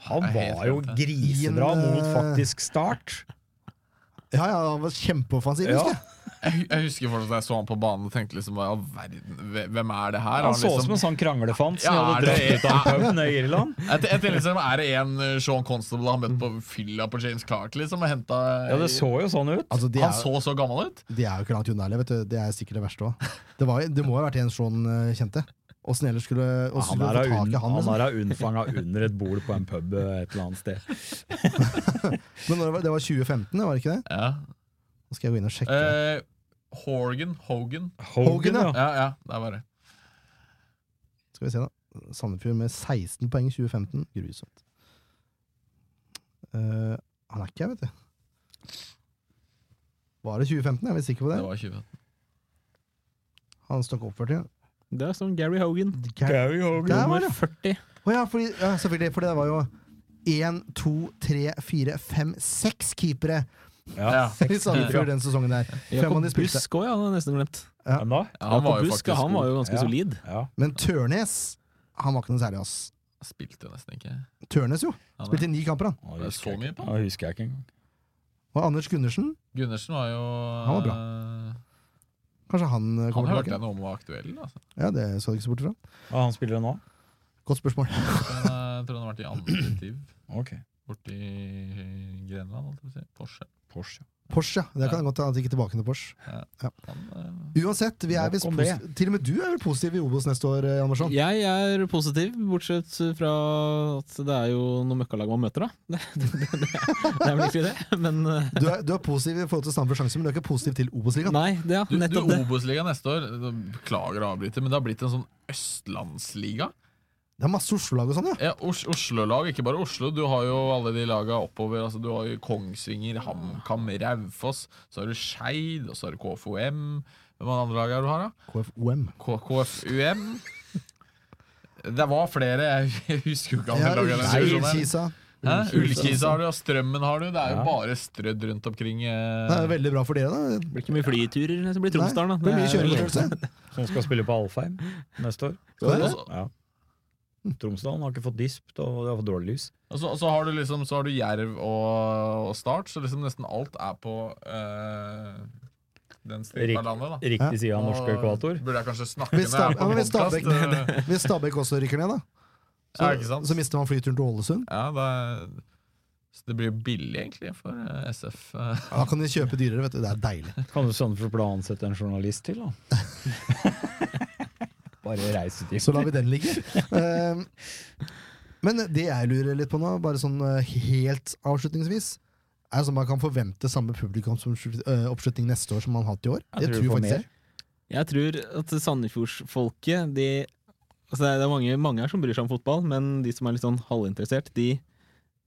[SPEAKER 8] Han
[SPEAKER 6] Jeg er helt
[SPEAKER 8] var jo
[SPEAKER 6] glemt det.
[SPEAKER 8] grisebra
[SPEAKER 4] Iren, eh,
[SPEAKER 8] mot faktisk start.
[SPEAKER 4] Ja, ja, han var kjempeoffensiv,
[SPEAKER 8] Ja.
[SPEAKER 4] husker jeg.
[SPEAKER 6] Jeg, jeg husker fortsatt at jeg så han på banen og tenkte liksom hva i all verden, hve- Hvem er det her? Har
[SPEAKER 8] Han så ut som
[SPEAKER 6] liksom,
[SPEAKER 8] en sånn kranglefant som
[SPEAKER 6] Ja,
[SPEAKER 8] hadde
[SPEAKER 6] er
[SPEAKER 8] dratt
[SPEAKER 6] det-
[SPEAKER 8] ut av en pub nede i Irland.
[SPEAKER 6] jeg, te- jeg tenkte liksom Er det en eh, Sean Constable han møtte på fylla på James Clark? liksom og hentet-
[SPEAKER 8] Ja, det så jo sånn ut.
[SPEAKER 4] Altså, de,
[SPEAKER 6] Han
[SPEAKER 4] er,
[SPEAKER 6] så så gammel ut?
[SPEAKER 4] de er jo ikke langt unna heller, vet du. Det er sikkert det verste òg. Det, var jo- det må jo ha vært en sånn eh, kjente. Åssen ellers skulle åssen
[SPEAKER 8] Han
[SPEAKER 4] skulle du få
[SPEAKER 8] der er,
[SPEAKER 4] tak
[SPEAKER 8] un,
[SPEAKER 4] i han?
[SPEAKER 8] han
[SPEAKER 4] Liksom.
[SPEAKER 8] der er unnfanga under et bord på en pub eh, et eller annet sted.
[SPEAKER 4] Men når det, var, det var 2015, det var det ikke det?
[SPEAKER 6] Ja.
[SPEAKER 4] Nå skal jeg gå inn og sjekke.
[SPEAKER 6] Eh, Horgan Hogan.
[SPEAKER 4] Hogan, ja.
[SPEAKER 6] Ja, ja, der var det.
[SPEAKER 4] Skal vi se, da. Sandefjord med 16 poeng i 2015. Grusomt. Eh, han er ikke her, vet du. Var det 2015? Jeg er litt sikker på det.
[SPEAKER 6] Det var 20.
[SPEAKER 4] Han stokk oppført, ja.
[SPEAKER 7] Det er som Gary Hogan.
[SPEAKER 8] Gary
[SPEAKER 4] Der
[SPEAKER 8] Hogan.
[SPEAKER 4] var
[SPEAKER 7] Nummer
[SPEAKER 4] det!
[SPEAKER 7] 40.
[SPEAKER 4] Å ja, fordi, ja, selvfølgelig. For det var jo én, to, tre, fire, fem, seks keepere
[SPEAKER 8] Ja.
[SPEAKER 6] Ja.
[SPEAKER 4] i Sandefjord den sesongen der. Fem av
[SPEAKER 7] Jakob
[SPEAKER 4] de spilte.
[SPEAKER 7] Busk òg, ja. Han har jeg nesten glemt.
[SPEAKER 8] Hvem da?
[SPEAKER 6] Ja, han
[SPEAKER 7] Jakob
[SPEAKER 6] var jo
[SPEAKER 7] Busk,
[SPEAKER 6] faktisk
[SPEAKER 7] han var jo ganske
[SPEAKER 8] Ja.
[SPEAKER 7] solid.
[SPEAKER 8] Ja.
[SPEAKER 4] Men Tørnes han var ikke noe særlig, ass.
[SPEAKER 6] god. Spilte jo nesten ikke.
[SPEAKER 4] Tørnes, jo.
[SPEAKER 6] Han,
[SPEAKER 4] Spilte ni kamper, han.
[SPEAKER 8] Nå
[SPEAKER 6] det er
[SPEAKER 8] husker
[SPEAKER 6] så
[SPEAKER 8] jeg ikke.
[SPEAKER 6] mye på han.
[SPEAKER 8] Nå husker jeg ikke engang.
[SPEAKER 4] Og Anders Gundersen.
[SPEAKER 6] Gundersen var jo
[SPEAKER 4] Han var
[SPEAKER 6] bra.
[SPEAKER 4] Kanskje han eh,
[SPEAKER 6] Han
[SPEAKER 4] kommer
[SPEAKER 6] hørte
[SPEAKER 4] tilbake?
[SPEAKER 6] jeg noe om var aktuell. Altså.
[SPEAKER 4] Ja, det så jeg ikke så bort fra.
[SPEAKER 8] Ja, han spiller nå?
[SPEAKER 4] Godt spørsmål.
[SPEAKER 6] Men, eh, jeg tror han har vært i andre div
[SPEAKER 8] Ok.
[SPEAKER 6] borti Grenland. holdt jeg på å si. Porsche.
[SPEAKER 8] Porsche.
[SPEAKER 4] Porsche, ja. Det kan jeg godt ta at ikke tilbake til Porsche.
[SPEAKER 6] Han, eh,
[SPEAKER 4] Uansett, vi er
[SPEAKER 8] Nok
[SPEAKER 4] visst
[SPEAKER 8] om
[SPEAKER 4] posi- til og med du er vel positiv i Obos neste år, eh, Jan Marsson?
[SPEAKER 7] Jeg er positiv, bortsett fra at det er jo noen møkkalag man møter, da. Det, det, det, det, det er vel ikke det, men eh,
[SPEAKER 4] Du er, du er positiv i forhold til Stamford sjanse, men du er ikke positiv til Obos-ligaen.
[SPEAKER 7] Nei, det, ja.
[SPEAKER 6] Du, du
[SPEAKER 7] Nettopp det.
[SPEAKER 6] Obos-liga neste år, da beklager å avbryte, men det har blitt en sånn østlandsliga.
[SPEAKER 4] Det er masse Oslo-lag og sånn, ja.
[SPEAKER 6] Ja, Os Oslo-lag, ikke bare Oslo. Du har jo alle de laga oppover. Altså, du har jo Kongsvinger, HamKam, Raufoss. Så har du Skeid, og så har du KFUM. Hvem er det andre lag er du har, da?
[SPEAKER 4] KFOM.
[SPEAKER 6] K KFUM. Det var flere, jeg husker jo ikke
[SPEAKER 4] Ja,
[SPEAKER 6] alle lagene. i den
[SPEAKER 4] Ullkisa.
[SPEAKER 6] divisjonen her.
[SPEAKER 4] Ullkisa.
[SPEAKER 6] Hæ? Ullkisa har du, og Strømmen har du. Det er jo
[SPEAKER 8] Ja.
[SPEAKER 6] bare strødd rundt omkring. eh.
[SPEAKER 4] Det er veldig bra for dere, da.
[SPEAKER 7] Det blir ikke mye flyturer. Det blir Tromsdalen,
[SPEAKER 4] Nei,
[SPEAKER 7] da.
[SPEAKER 4] Det blir mye
[SPEAKER 7] er vel-
[SPEAKER 4] kjøreforstyrrelse.
[SPEAKER 8] Som skal spille på Alfheim neste år.
[SPEAKER 4] Skal
[SPEAKER 6] Og
[SPEAKER 4] dere?
[SPEAKER 6] så-
[SPEAKER 8] Ja. Tromsdalen har ikke fått disp, og det har fått dårlig lys.
[SPEAKER 6] Og så, og så har du liksom Så har du Jerv og, og Start, så liksom nesten alt er på eh, den stripa
[SPEAKER 8] Rik-
[SPEAKER 6] landet, da.
[SPEAKER 8] Riktig side av norsk
[SPEAKER 6] Nå
[SPEAKER 8] ekvator.
[SPEAKER 6] Burde jeg kanskje snakke
[SPEAKER 4] Hvis
[SPEAKER 6] når jeg er
[SPEAKER 4] Stab- ja,
[SPEAKER 6] på
[SPEAKER 4] men hvis Stabæk-
[SPEAKER 6] podkast?
[SPEAKER 4] Hvis Stabæk også rykker ned, da,
[SPEAKER 6] Ja, ikke sant?
[SPEAKER 4] så mister man flyturen til Ålesund.
[SPEAKER 6] Ja, det, er- så det blir jo billig, egentlig, for eh, SF. eh.
[SPEAKER 4] Ja, Da kan de kjøpe dyrere, vet du. Det er deilig.
[SPEAKER 8] Kan du sånn for å ansette en journalist til, da? Bare reise til
[SPEAKER 4] Så lar vi den ligge. Ehm, Men det jeg lurer litt på nå, bare sånn eh, helt avslutningsvis, er sånn man kan forvente samme publikumsoppslutning eh, neste år som man har hatt i år. Det tror jeg
[SPEAKER 8] får
[SPEAKER 4] faktisk jeg.
[SPEAKER 8] mer.
[SPEAKER 7] Jeg tror at Sandefjordsfolket de, altså Det er det er mange, mange her som bryr seg om fotball, men de som er litt sånn halvinteressert, de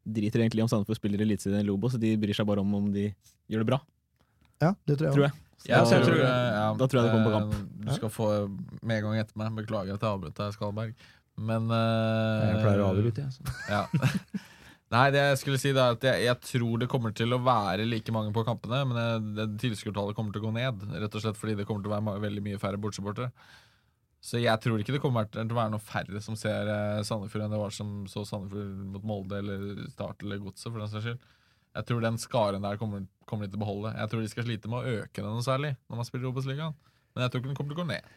[SPEAKER 7] driter egentlig om Sandefjord spiller i Eliteserien eller Obos, de bryr seg bare om om de gjør det bra.
[SPEAKER 4] Ja, det tror jeg.
[SPEAKER 7] Tror
[SPEAKER 4] også.
[SPEAKER 7] jeg.
[SPEAKER 6] Så
[SPEAKER 3] Ja,
[SPEAKER 6] da
[SPEAKER 3] så jeg tror-
[SPEAKER 6] eh, ja,
[SPEAKER 7] da tror jeg det kommer på
[SPEAKER 6] eh, Du skal få med en gang etter meg. Beklager at jeg avbrøt deg, Skalberg. Men eh,
[SPEAKER 3] Jeg pleier å avbryte, jeg. så.
[SPEAKER 6] Ja. Nei, det jeg skulle si det er at jeg, jeg tror det kommer til å være like mange på kampene, men jeg- det tilskuertallet kommer til å gå ned. Rett og slett fordi det kommer til å være ma- veldig mye færre bortsupportere. Så jeg tror ikke det kommer til å være noe færre som ser eh, Sandefjord enn det var som så Sandefjord mot Molde eller Start eller Godset, for den saks skyld. Jeg tror den skaren der kommer, kommer de til å beholde. Jeg tror de skal slite med å øke den noe særlig når man spiller Obos-ligaen. Men jeg tror ikke den kommer til å gå ned.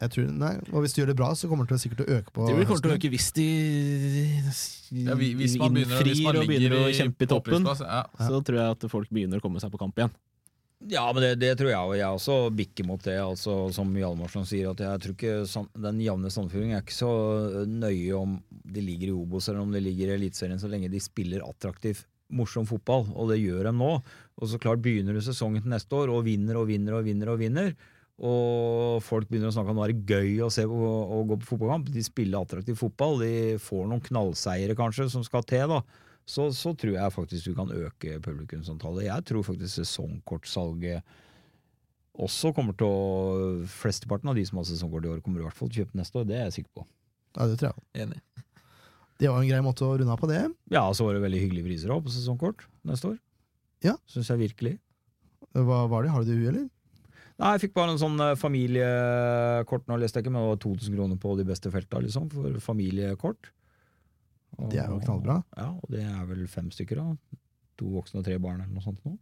[SPEAKER 4] Jeg tror, nei, og hvis de gjør det bra, så kommer det til å sikkert å øke på
[SPEAKER 7] Det blir kommer til å
[SPEAKER 4] høsten.
[SPEAKER 7] øke hvis de
[SPEAKER 6] Ja, vi- hvis man begynner, hvis man
[SPEAKER 7] innfrir og begynner å
[SPEAKER 6] ligger i
[SPEAKER 7] kjempe i toppen,
[SPEAKER 6] opprykksplass, Ja.
[SPEAKER 7] så tror jeg at folk begynner å komme seg på kamp igjen.
[SPEAKER 8] Ja, men det, det tror jeg òg. Jeg er også bikker mot det. Altså, som Hjalmarsson sier, at jeg tror ikke sam- den jevne Sandefjording er ikke så øh, nøye om de ligger i Obos eller om de ligger i Eliteserien, så lenge de spiller attraktiv, morsom fotball. Og det gjør de nå. Og så klart begynner du sesongen til neste år og vinner og vinner og vinner. Og vinner og folk begynner å snakke om det er gøy å, se på, å gå på fotballkamp. De spiller attraktiv fotball, de får noen knallseiere kanskje som skal til. da så, så tror jeg faktisk du kan øke publikumsantallet. Jeg tror faktisk sesongkortsalget også kommer til å Flesteparten av de som har sesongkort i år, kommer i hvert fall til å kjøpe neste år. Det er jeg sikker på.
[SPEAKER 4] Ja, det tror jeg.
[SPEAKER 6] Enig.
[SPEAKER 4] Det var en grei måte å runde av på det.
[SPEAKER 8] Ja, så var det veldig hyggelige priser også på sesongkort neste år.
[SPEAKER 4] Ja.
[SPEAKER 8] Syns jeg virkelig.
[SPEAKER 4] Hva var det? Har du det i huet, eller?
[SPEAKER 8] Nei, jeg fikk bare en sånn eh, familiekort nå, leste jeg ikke, men det var 2000 kroner på de beste felta, liksom, for familiekort. Og-
[SPEAKER 4] Det er jo knallbra.
[SPEAKER 8] Ja, og det er vel fem stykker, da. To voksne og tre barn, eller noe sånt nå.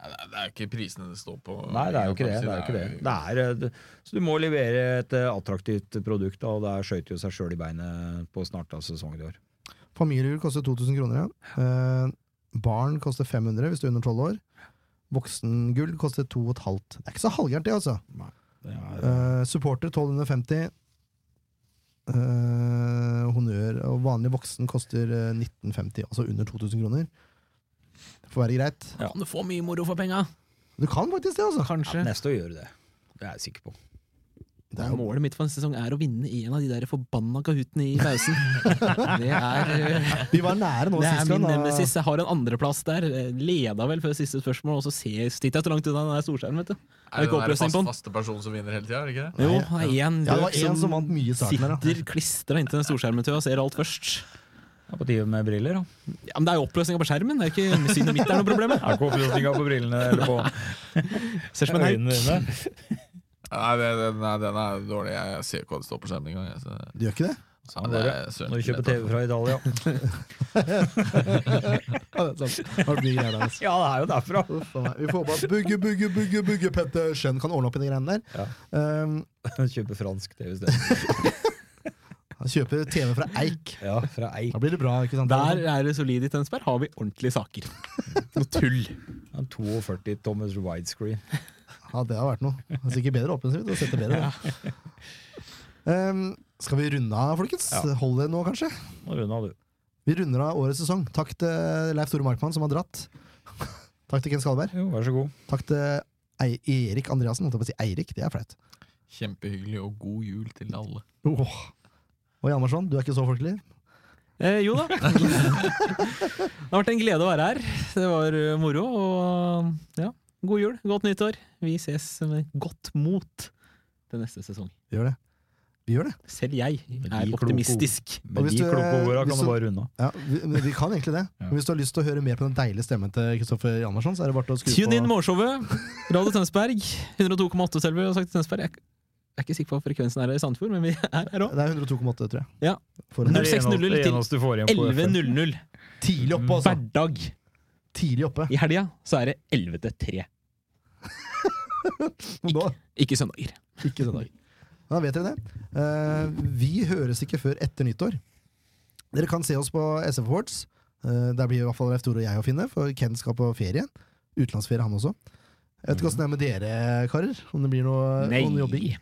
[SPEAKER 6] Ja, det er- det er jo ikke prisene det står på.
[SPEAKER 8] Nei, det er jo ikke det. det, er jo ikke det. det er, eh, det- så du må levere et eh, attraktivt produkt, da, og det skøyt jo seg sjøl i beinet på snart av sesongen i år.
[SPEAKER 4] Familiehjul koster 2000 kroner. Ja. Eh, barn koster 500 hvis du er under 12 år. Voksengull koster 2500. Det er ikke så halvgærent, det, altså. Eh, supporter 1250. Eh, honnør og vanlig voksen koster eh, 1950, altså under 2000 kroner. Det får være greit.
[SPEAKER 7] Kan du få mye moro for penga?
[SPEAKER 4] Du kan faktisk det, altså!
[SPEAKER 7] Kanskje.
[SPEAKER 8] Neste år gjør det det. Det er jeg sikker på.
[SPEAKER 4] Det er jo
[SPEAKER 7] Målet mitt for en sesong er å vinne i en av de der forbanna kahootene i pausen. det er, eh,
[SPEAKER 4] Vi var nære nå
[SPEAKER 7] det
[SPEAKER 4] sist
[SPEAKER 7] er
[SPEAKER 4] gang.
[SPEAKER 7] min
[SPEAKER 4] da.
[SPEAKER 7] nemesis. Jeg har en andreplass der. Eh, Leda vel før siste spørsmål, og så ser jeg stikker jeg så langt unna den der storskjermen. vet du.
[SPEAKER 6] Er det
[SPEAKER 7] ikke
[SPEAKER 6] den der
[SPEAKER 7] oppløsning
[SPEAKER 6] fast,
[SPEAKER 7] på den?
[SPEAKER 6] faste personen som vinner hele tida? er det ikke det?
[SPEAKER 7] Jo, det er én
[SPEAKER 4] Ja, det var
[SPEAKER 7] løk
[SPEAKER 4] én som vant mye i starten her, da.
[SPEAKER 7] sitter klistra inntil den storskjermen til og ser alt først.
[SPEAKER 8] Det er på tide med briller, da.
[SPEAKER 7] Ja, Men det er jo oppløsninga på skjermen, det er jo ikke synet mitt er noe problem.
[SPEAKER 3] Er ikke oppløsninga på brillene eller på
[SPEAKER 7] Ser som en hauk.
[SPEAKER 3] øynene dine?
[SPEAKER 6] Nei, det, det, nei, den er dårlig. Jeg ser ikke hva det står på skjermen engang. jeg, så-
[SPEAKER 4] Du gjør ikke det?
[SPEAKER 6] Ja, det er søren
[SPEAKER 8] Når du kjøper
[SPEAKER 6] lett, altså.
[SPEAKER 8] TV fra Italia.
[SPEAKER 4] Ja, det er sant. Det var mye greier der, altså.
[SPEAKER 8] Ja, det er jo derfra!
[SPEAKER 4] Uff a meg. Vi får bare Bugge, bugge, bugge, bugge Pettersen kan ordne opp i de greiene der. Um,
[SPEAKER 8] Kjøper fransk TV isteden.
[SPEAKER 4] han kjøper TV fra Eik.
[SPEAKER 8] Ja, fra Eik.
[SPEAKER 4] Da blir det bra, ikke sant?
[SPEAKER 7] Der er det solid i Tønsberg. Har vi ordentlige saker. Noe tull.
[SPEAKER 8] En 42 tommers widescreen.
[SPEAKER 4] Ja, det har vært noe. Det er sikkert bedre offensivt. og setter bedre. det. Um, skal vi runde av, folkens?
[SPEAKER 8] Ja.
[SPEAKER 4] Hold det nå, kanskje?
[SPEAKER 8] Nå runda du.
[SPEAKER 4] Vi runder av årets sesong. Takk til Leif Tore Markmann, som har dratt. Takk til Ken Skalberg.
[SPEAKER 8] Jo, vær så god.
[SPEAKER 4] Takk til Ei- Erik Andreassen. Holdt jeg på å si Eirik, det er flaut.
[SPEAKER 6] Kjempehyggelig, og god jul til alle.
[SPEAKER 4] Åh. Og Hjalmarsson, du er ikke så folkelig.
[SPEAKER 7] Eh, jo da. det har vært en glede å være her. Det var eh, moro. Og ja, god jul, godt nyttår. Vi ses med godt mot til neste sesong.
[SPEAKER 4] Vi gjør det. Vi gjør det.
[SPEAKER 7] Selv jeg
[SPEAKER 8] de
[SPEAKER 7] er
[SPEAKER 8] kloke
[SPEAKER 7] optimistisk.
[SPEAKER 4] Og
[SPEAKER 8] Med
[SPEAKER 4] hvis
[SPEAKER 8] de
[SPEAKER 4] du-
[SPEAKER 8] kloke orda
[SPEAKER 4] hvis
[SPEAKER 8] kan
[SPEAKER 4] du-
[SPEAKER 8] du bare runde av.
[SPEAKER 4] Ja, vi, men vi kan egentlig det. Men hvis du har lyst til å høre mer på den deilige stemmen til Kristoffer Hjalmarsson, så er det bare til å skru
[SPEAKER 7] Tune inn
[SPEAKER 4] på
[SPEAKER 7] morgenshowet. Radio Tønsberg. 102,8 selv, vi har sagt til Tønsberg. Jeg er ikke sikker på hva frekvensen er i Sandefjord, men vi er her òg.
[SPEAKER 4] Det er 102,8, tror jeg.
[SPEAKER 7] Ja.
[SPEAKER 4] For
[SPEAKER 7] Men
[SPEAKER 4] en
[SPEAKER 7] det er 06.00
[SPEAKER 3] Det
[SPEAKER 7] til
[SPEAKER 3] eneste du får igjen på FM.
[SPEAKER 7] 11.00
[SPEAKER 4] tidlig oppe, altså.
[SPEAKER 7] hverdag.
[SPEAKER 4] Tidlig oppe.
[SPEAKER 7] I helga så er det 11 til 3.
[SPEAKER 4] Nå,
[SPEAKER 7] Ikke søndager.
[SPEAKER 4] ikke søndag. Da vet dere det. Eh, vi høres ikke før etter nyttår. Dere kan se oss på SF Awards. Eh, der blir i hvert fall Leif Tore og jeg å finne, for Ken skal på ferie. Utenlandsferie, han også. Jeg
[SPEAKER 8] Mm.
[SPEAKER 4] vet ikke åssen det er med dere, karer. Om det blir noe noen jobbing.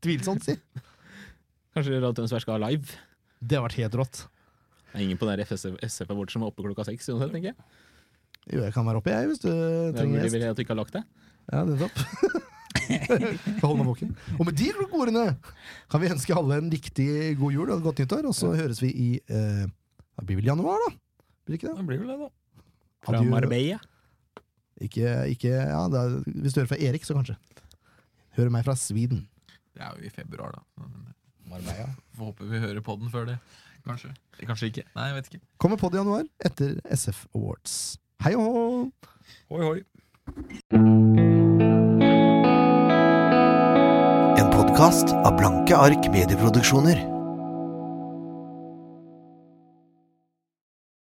[SPEAKER 4] Tvilsomt, si.
[SPEAKER 7] Kanskje Radio Tønsberg skal ha live?
[SPEAKER 4] Det har vært helt rått.
[SPEAKER 7] Det er ingen på den der FSF SF Award som er oppe klokka seks uansett, tenker jeg.
[SPEAKER 4] Jo, jeg kan være oppe, jeg, hvis du
[SPEAKER 7] Det er
[SPEAKER 4] trenger
[SPEAKER 7] mulig
[SPEAKER 4] gjest.
[SPEAKER 7] vel at du ikke har lagt deg.
[SPEAKER 4] Ja, nettopp. For å holde meg våken. Og med de kloke ordene kan vi ønske alle en riktig god jul og et godt nyttår, og så høres vi i eh, Det blir vel januar, da? Blir det ikke det?
[SPEAKER 7] Fra
[SPEAKER 4] Adjø.
[SPEAKER 7] Marbella.
[SPEAKER 4] Ikke, ikke ja, det er, Hvis du hører fra Erik, så kanskje. Hører meg fra Sweden.
[SPEAKER 6] Det er jo i februar, da. Men
[SPEAKER 5] Marbella.
[SPEAKER 6] Får håpe vi hører på den før det. Kanskje. Kanskje ikke. Nei, jeg vet ikke.
[SPEAKER 4] Kommer på det i januar, etter SF Awards. Hei og hå!
[SPEAKER 8] Hoi, hoi.
[SPEAKER 1] En podkast av Blanke ark medieproduksjoner.